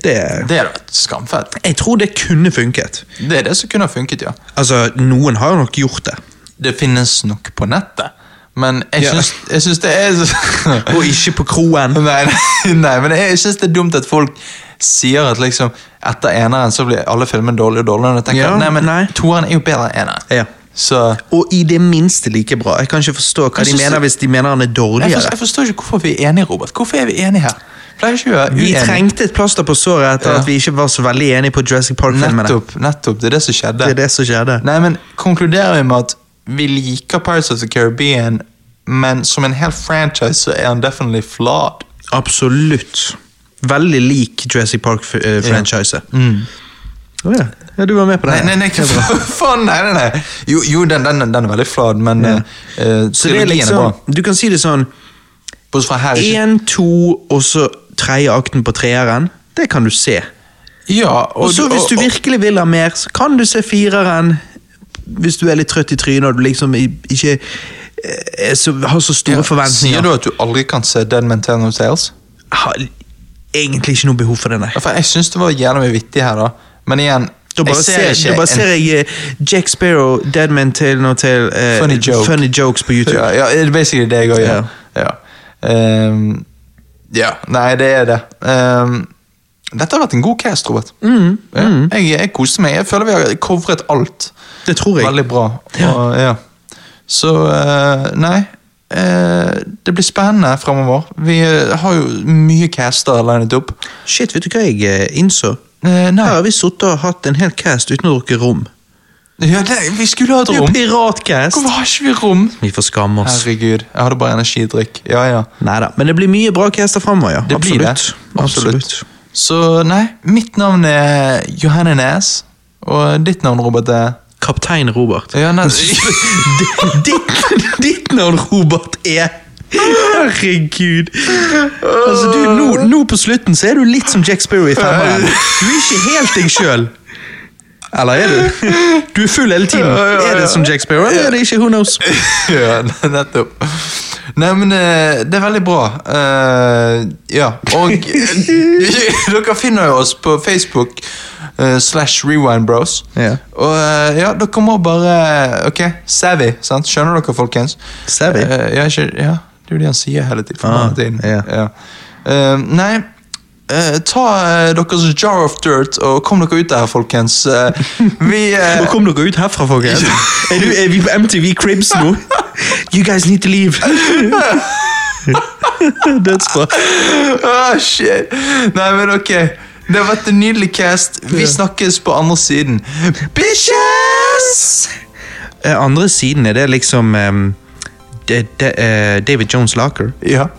Speaker 2: det
Speaker 1: Det er da et skamfett.
Speaker 2: Jeg tror det kunne funket.
Speaker 1: Det er det som kunne ha funket, ja.
Speaker 2: Altså, noen har nok gjort det.
Speaker 1: Det finnes nok på nettet, men jeg
Speaker 2: Ja.
Speaker 1: syns, jeg syns det er så-
Speaker 2: Og ikke på
Speaker 1: [LAUGHS]
Speaker 2: kroen.
Speaker 1: Nei, nei, nei, men jeg synes det er dumt at folk sier at liksom etter eneren så blir alle filmene dårligere og dårligere. Og jeg tenker,
Speaker 2: Ja,
Speaker 1: nei, men
Speaker 2: nei.
Speaker 1: toeren er jo bedre enn eneren.
Speaker 2: Ja.
Speaker 1: Så
Speaker 2: Og i det minste like bra. Jeg kan ikke forstå hva
Speaker 1: Jeg
Speaker 2: de
Speaker 1: synes-
Speaker 2: mener hvis de mener han er
Speaker 1: jeg forstår,
Speaker 2: dårligere.
Speaker 1: jeg forstår ikke hvorfor vi er enige, Robert. Hvorfor er vi enige her? Pleier ikke vi å være
Speaker 2: Vi
Speaker 1: uenige?
Speaker 2: trengte et plaster på såret etter
Speaker 1: Ja.
Speaker 2: at vi ikke var så veldig enige på Jurassic Park-filmene.
Speaker 1: Nettopp, nettopp, det er det som skjedde.
Speaker 2: Det er det som skjedde.
Speaker 1: Nei, men konkluderer vi med at vi liker Pirates of the Caribbean, men som en hel franchise så er han definitely flawed.
Speaker 2: Absolutt. Veldig lik Jurassic Park-franchiset. ja. ja, du var med på det.
Speaker 1: Nei, nei, nei, hva [LAUGHS] faen, nei, nei, nei. Jo, jo den, den, den er veldig flad, men eh, eh,
Speaker 2: Så det er
Speaker 1: trilogien er bra.
Speaker 2: liksom, du kan si det sånn
Speaker 1: Bortsett fra her ikke.
Speaker 2: Én, to, og så tredje akten på treeren. Det kan du se.
Speaker 1: Ja,
Speaker 2: Og så hvis du virkelig vil ha mer, så kan du se fireren. Hvis du er litt trøtt i trynet og du liksom i- ikke eh, er så, har så store
Speaker 1: Sier
Speaker 2: forventninger.
Speaker 1: du at du aldri kan se Dead Man Tell No Tales?
Speaker 2: Jeg har egentlig ikke noe behov for det, nei.
Speaker 1: Ja, For jeg syns det var jævlig mye vittig her, da. Men igjen,
Speaker 2: Da bare
Speaker 1: jeg
Speaker 2: ser, da bare ser jeg eh, Jack Sparrow, Deadman Tale No Tale, eh,
Speaker 1: Funny joke.
Speaker 2: funny Jokes på YouTube.
Speaker 1: ja, ja, det er basically det jeg òg gjør. Ja. Ehm, ja. Nei, det er det. Ehm, dette har vært en god cast, Robert.
Speaker 2: Mm,
Speaker 1: Ja, jeg, jeg koste meg. Jeg føler vi har covret alt.
Speaker 2: Det tror jeg.
Speaker 1: Veldig bra. Og, ja. Så eh, nei. eh, det blir spennende fremover. Vi eh, har jo mye caster linet opp.
Speaker 2: Shit, vet du hva jeg eh, innså?
Speaker 1: Eh, nei.
Speaker 2: Her har vi sittet og hatt en hel cast uten å drukke rom.
Speaker 1: Ja, det, vi skulle ha et
Speaker 2: Det er jo
Speaker 1: rom.
Speaker 2: piratcast!
Speaker 1: Hvorfor har ikke vi rom?
Speaker 2: Vi får skamme oss.
Speaker 1: Herregud, jeg hadde bare energidrikk. Ja, ja.
Speaker 2: Neida, Men det blir mye bra caster fremover, ja.
Speaker 1: Det blir det.
Speaker 2: Absolutt. Absolutt.
Speaker 1: Så nei, mitt navn er Johanne Næs. Og ditt navn, Robert, er
Speaker 2: Kaptein Robert.
Speaker 1: ja, nei,
Speaker 2: D- ditt, ditt navn, Robert, er Herregud. Altså, du, nå, nå på slutten så er du litt som Jack Sparrow i femmeren. Du er ikke helt deg sjøl. Eller er du? Du er full hele tiden.
Speaker 1: Ja, ja, ja.
Speaker 2: Er det som Jack Sparrow, eller er det ikke? Who knows?
Speaker 1: [LAUGHS] ja, nettopp. Nei, men eh, det er veldig bra. [LAUGHS] Eh, ja, og dere finner jo oss på Facebook. eh, eh, slash Rewind Bros.
Speaker 2: Ja.
Speaker 1: Og eh, ja, dere må bare Ok, savvy, sant? Skjønner dere, folkens?
Speaker 2: Savvy?
Speaker 1: Eh, ja, ikke, ja, det er jo det han sier hele tiden.
Speaker 2: Ah,
Speaker 1: hele tiden.
Speaker 2: ja.
Speaker 1: Ja. Eh, nei, eh, ta eh, deres jar of dirt og kom dere ut der, folkens. Eh, vi eh,
Speaker 2: Nå kom dere ut herfra, folkens. Er, du, er vi på MTV Cribs nå? You guys need to leave. Dødsbra.
Speaker 1: Ah, shit. Nei, men ok. Det har vært en nydelig cast. Vi snakkes på andre siden. Bitches!
Speaker 2: Eh, Andre siden er det liksom eh, det- det, eh, David Jones Laker.
Speaker 1: Ja.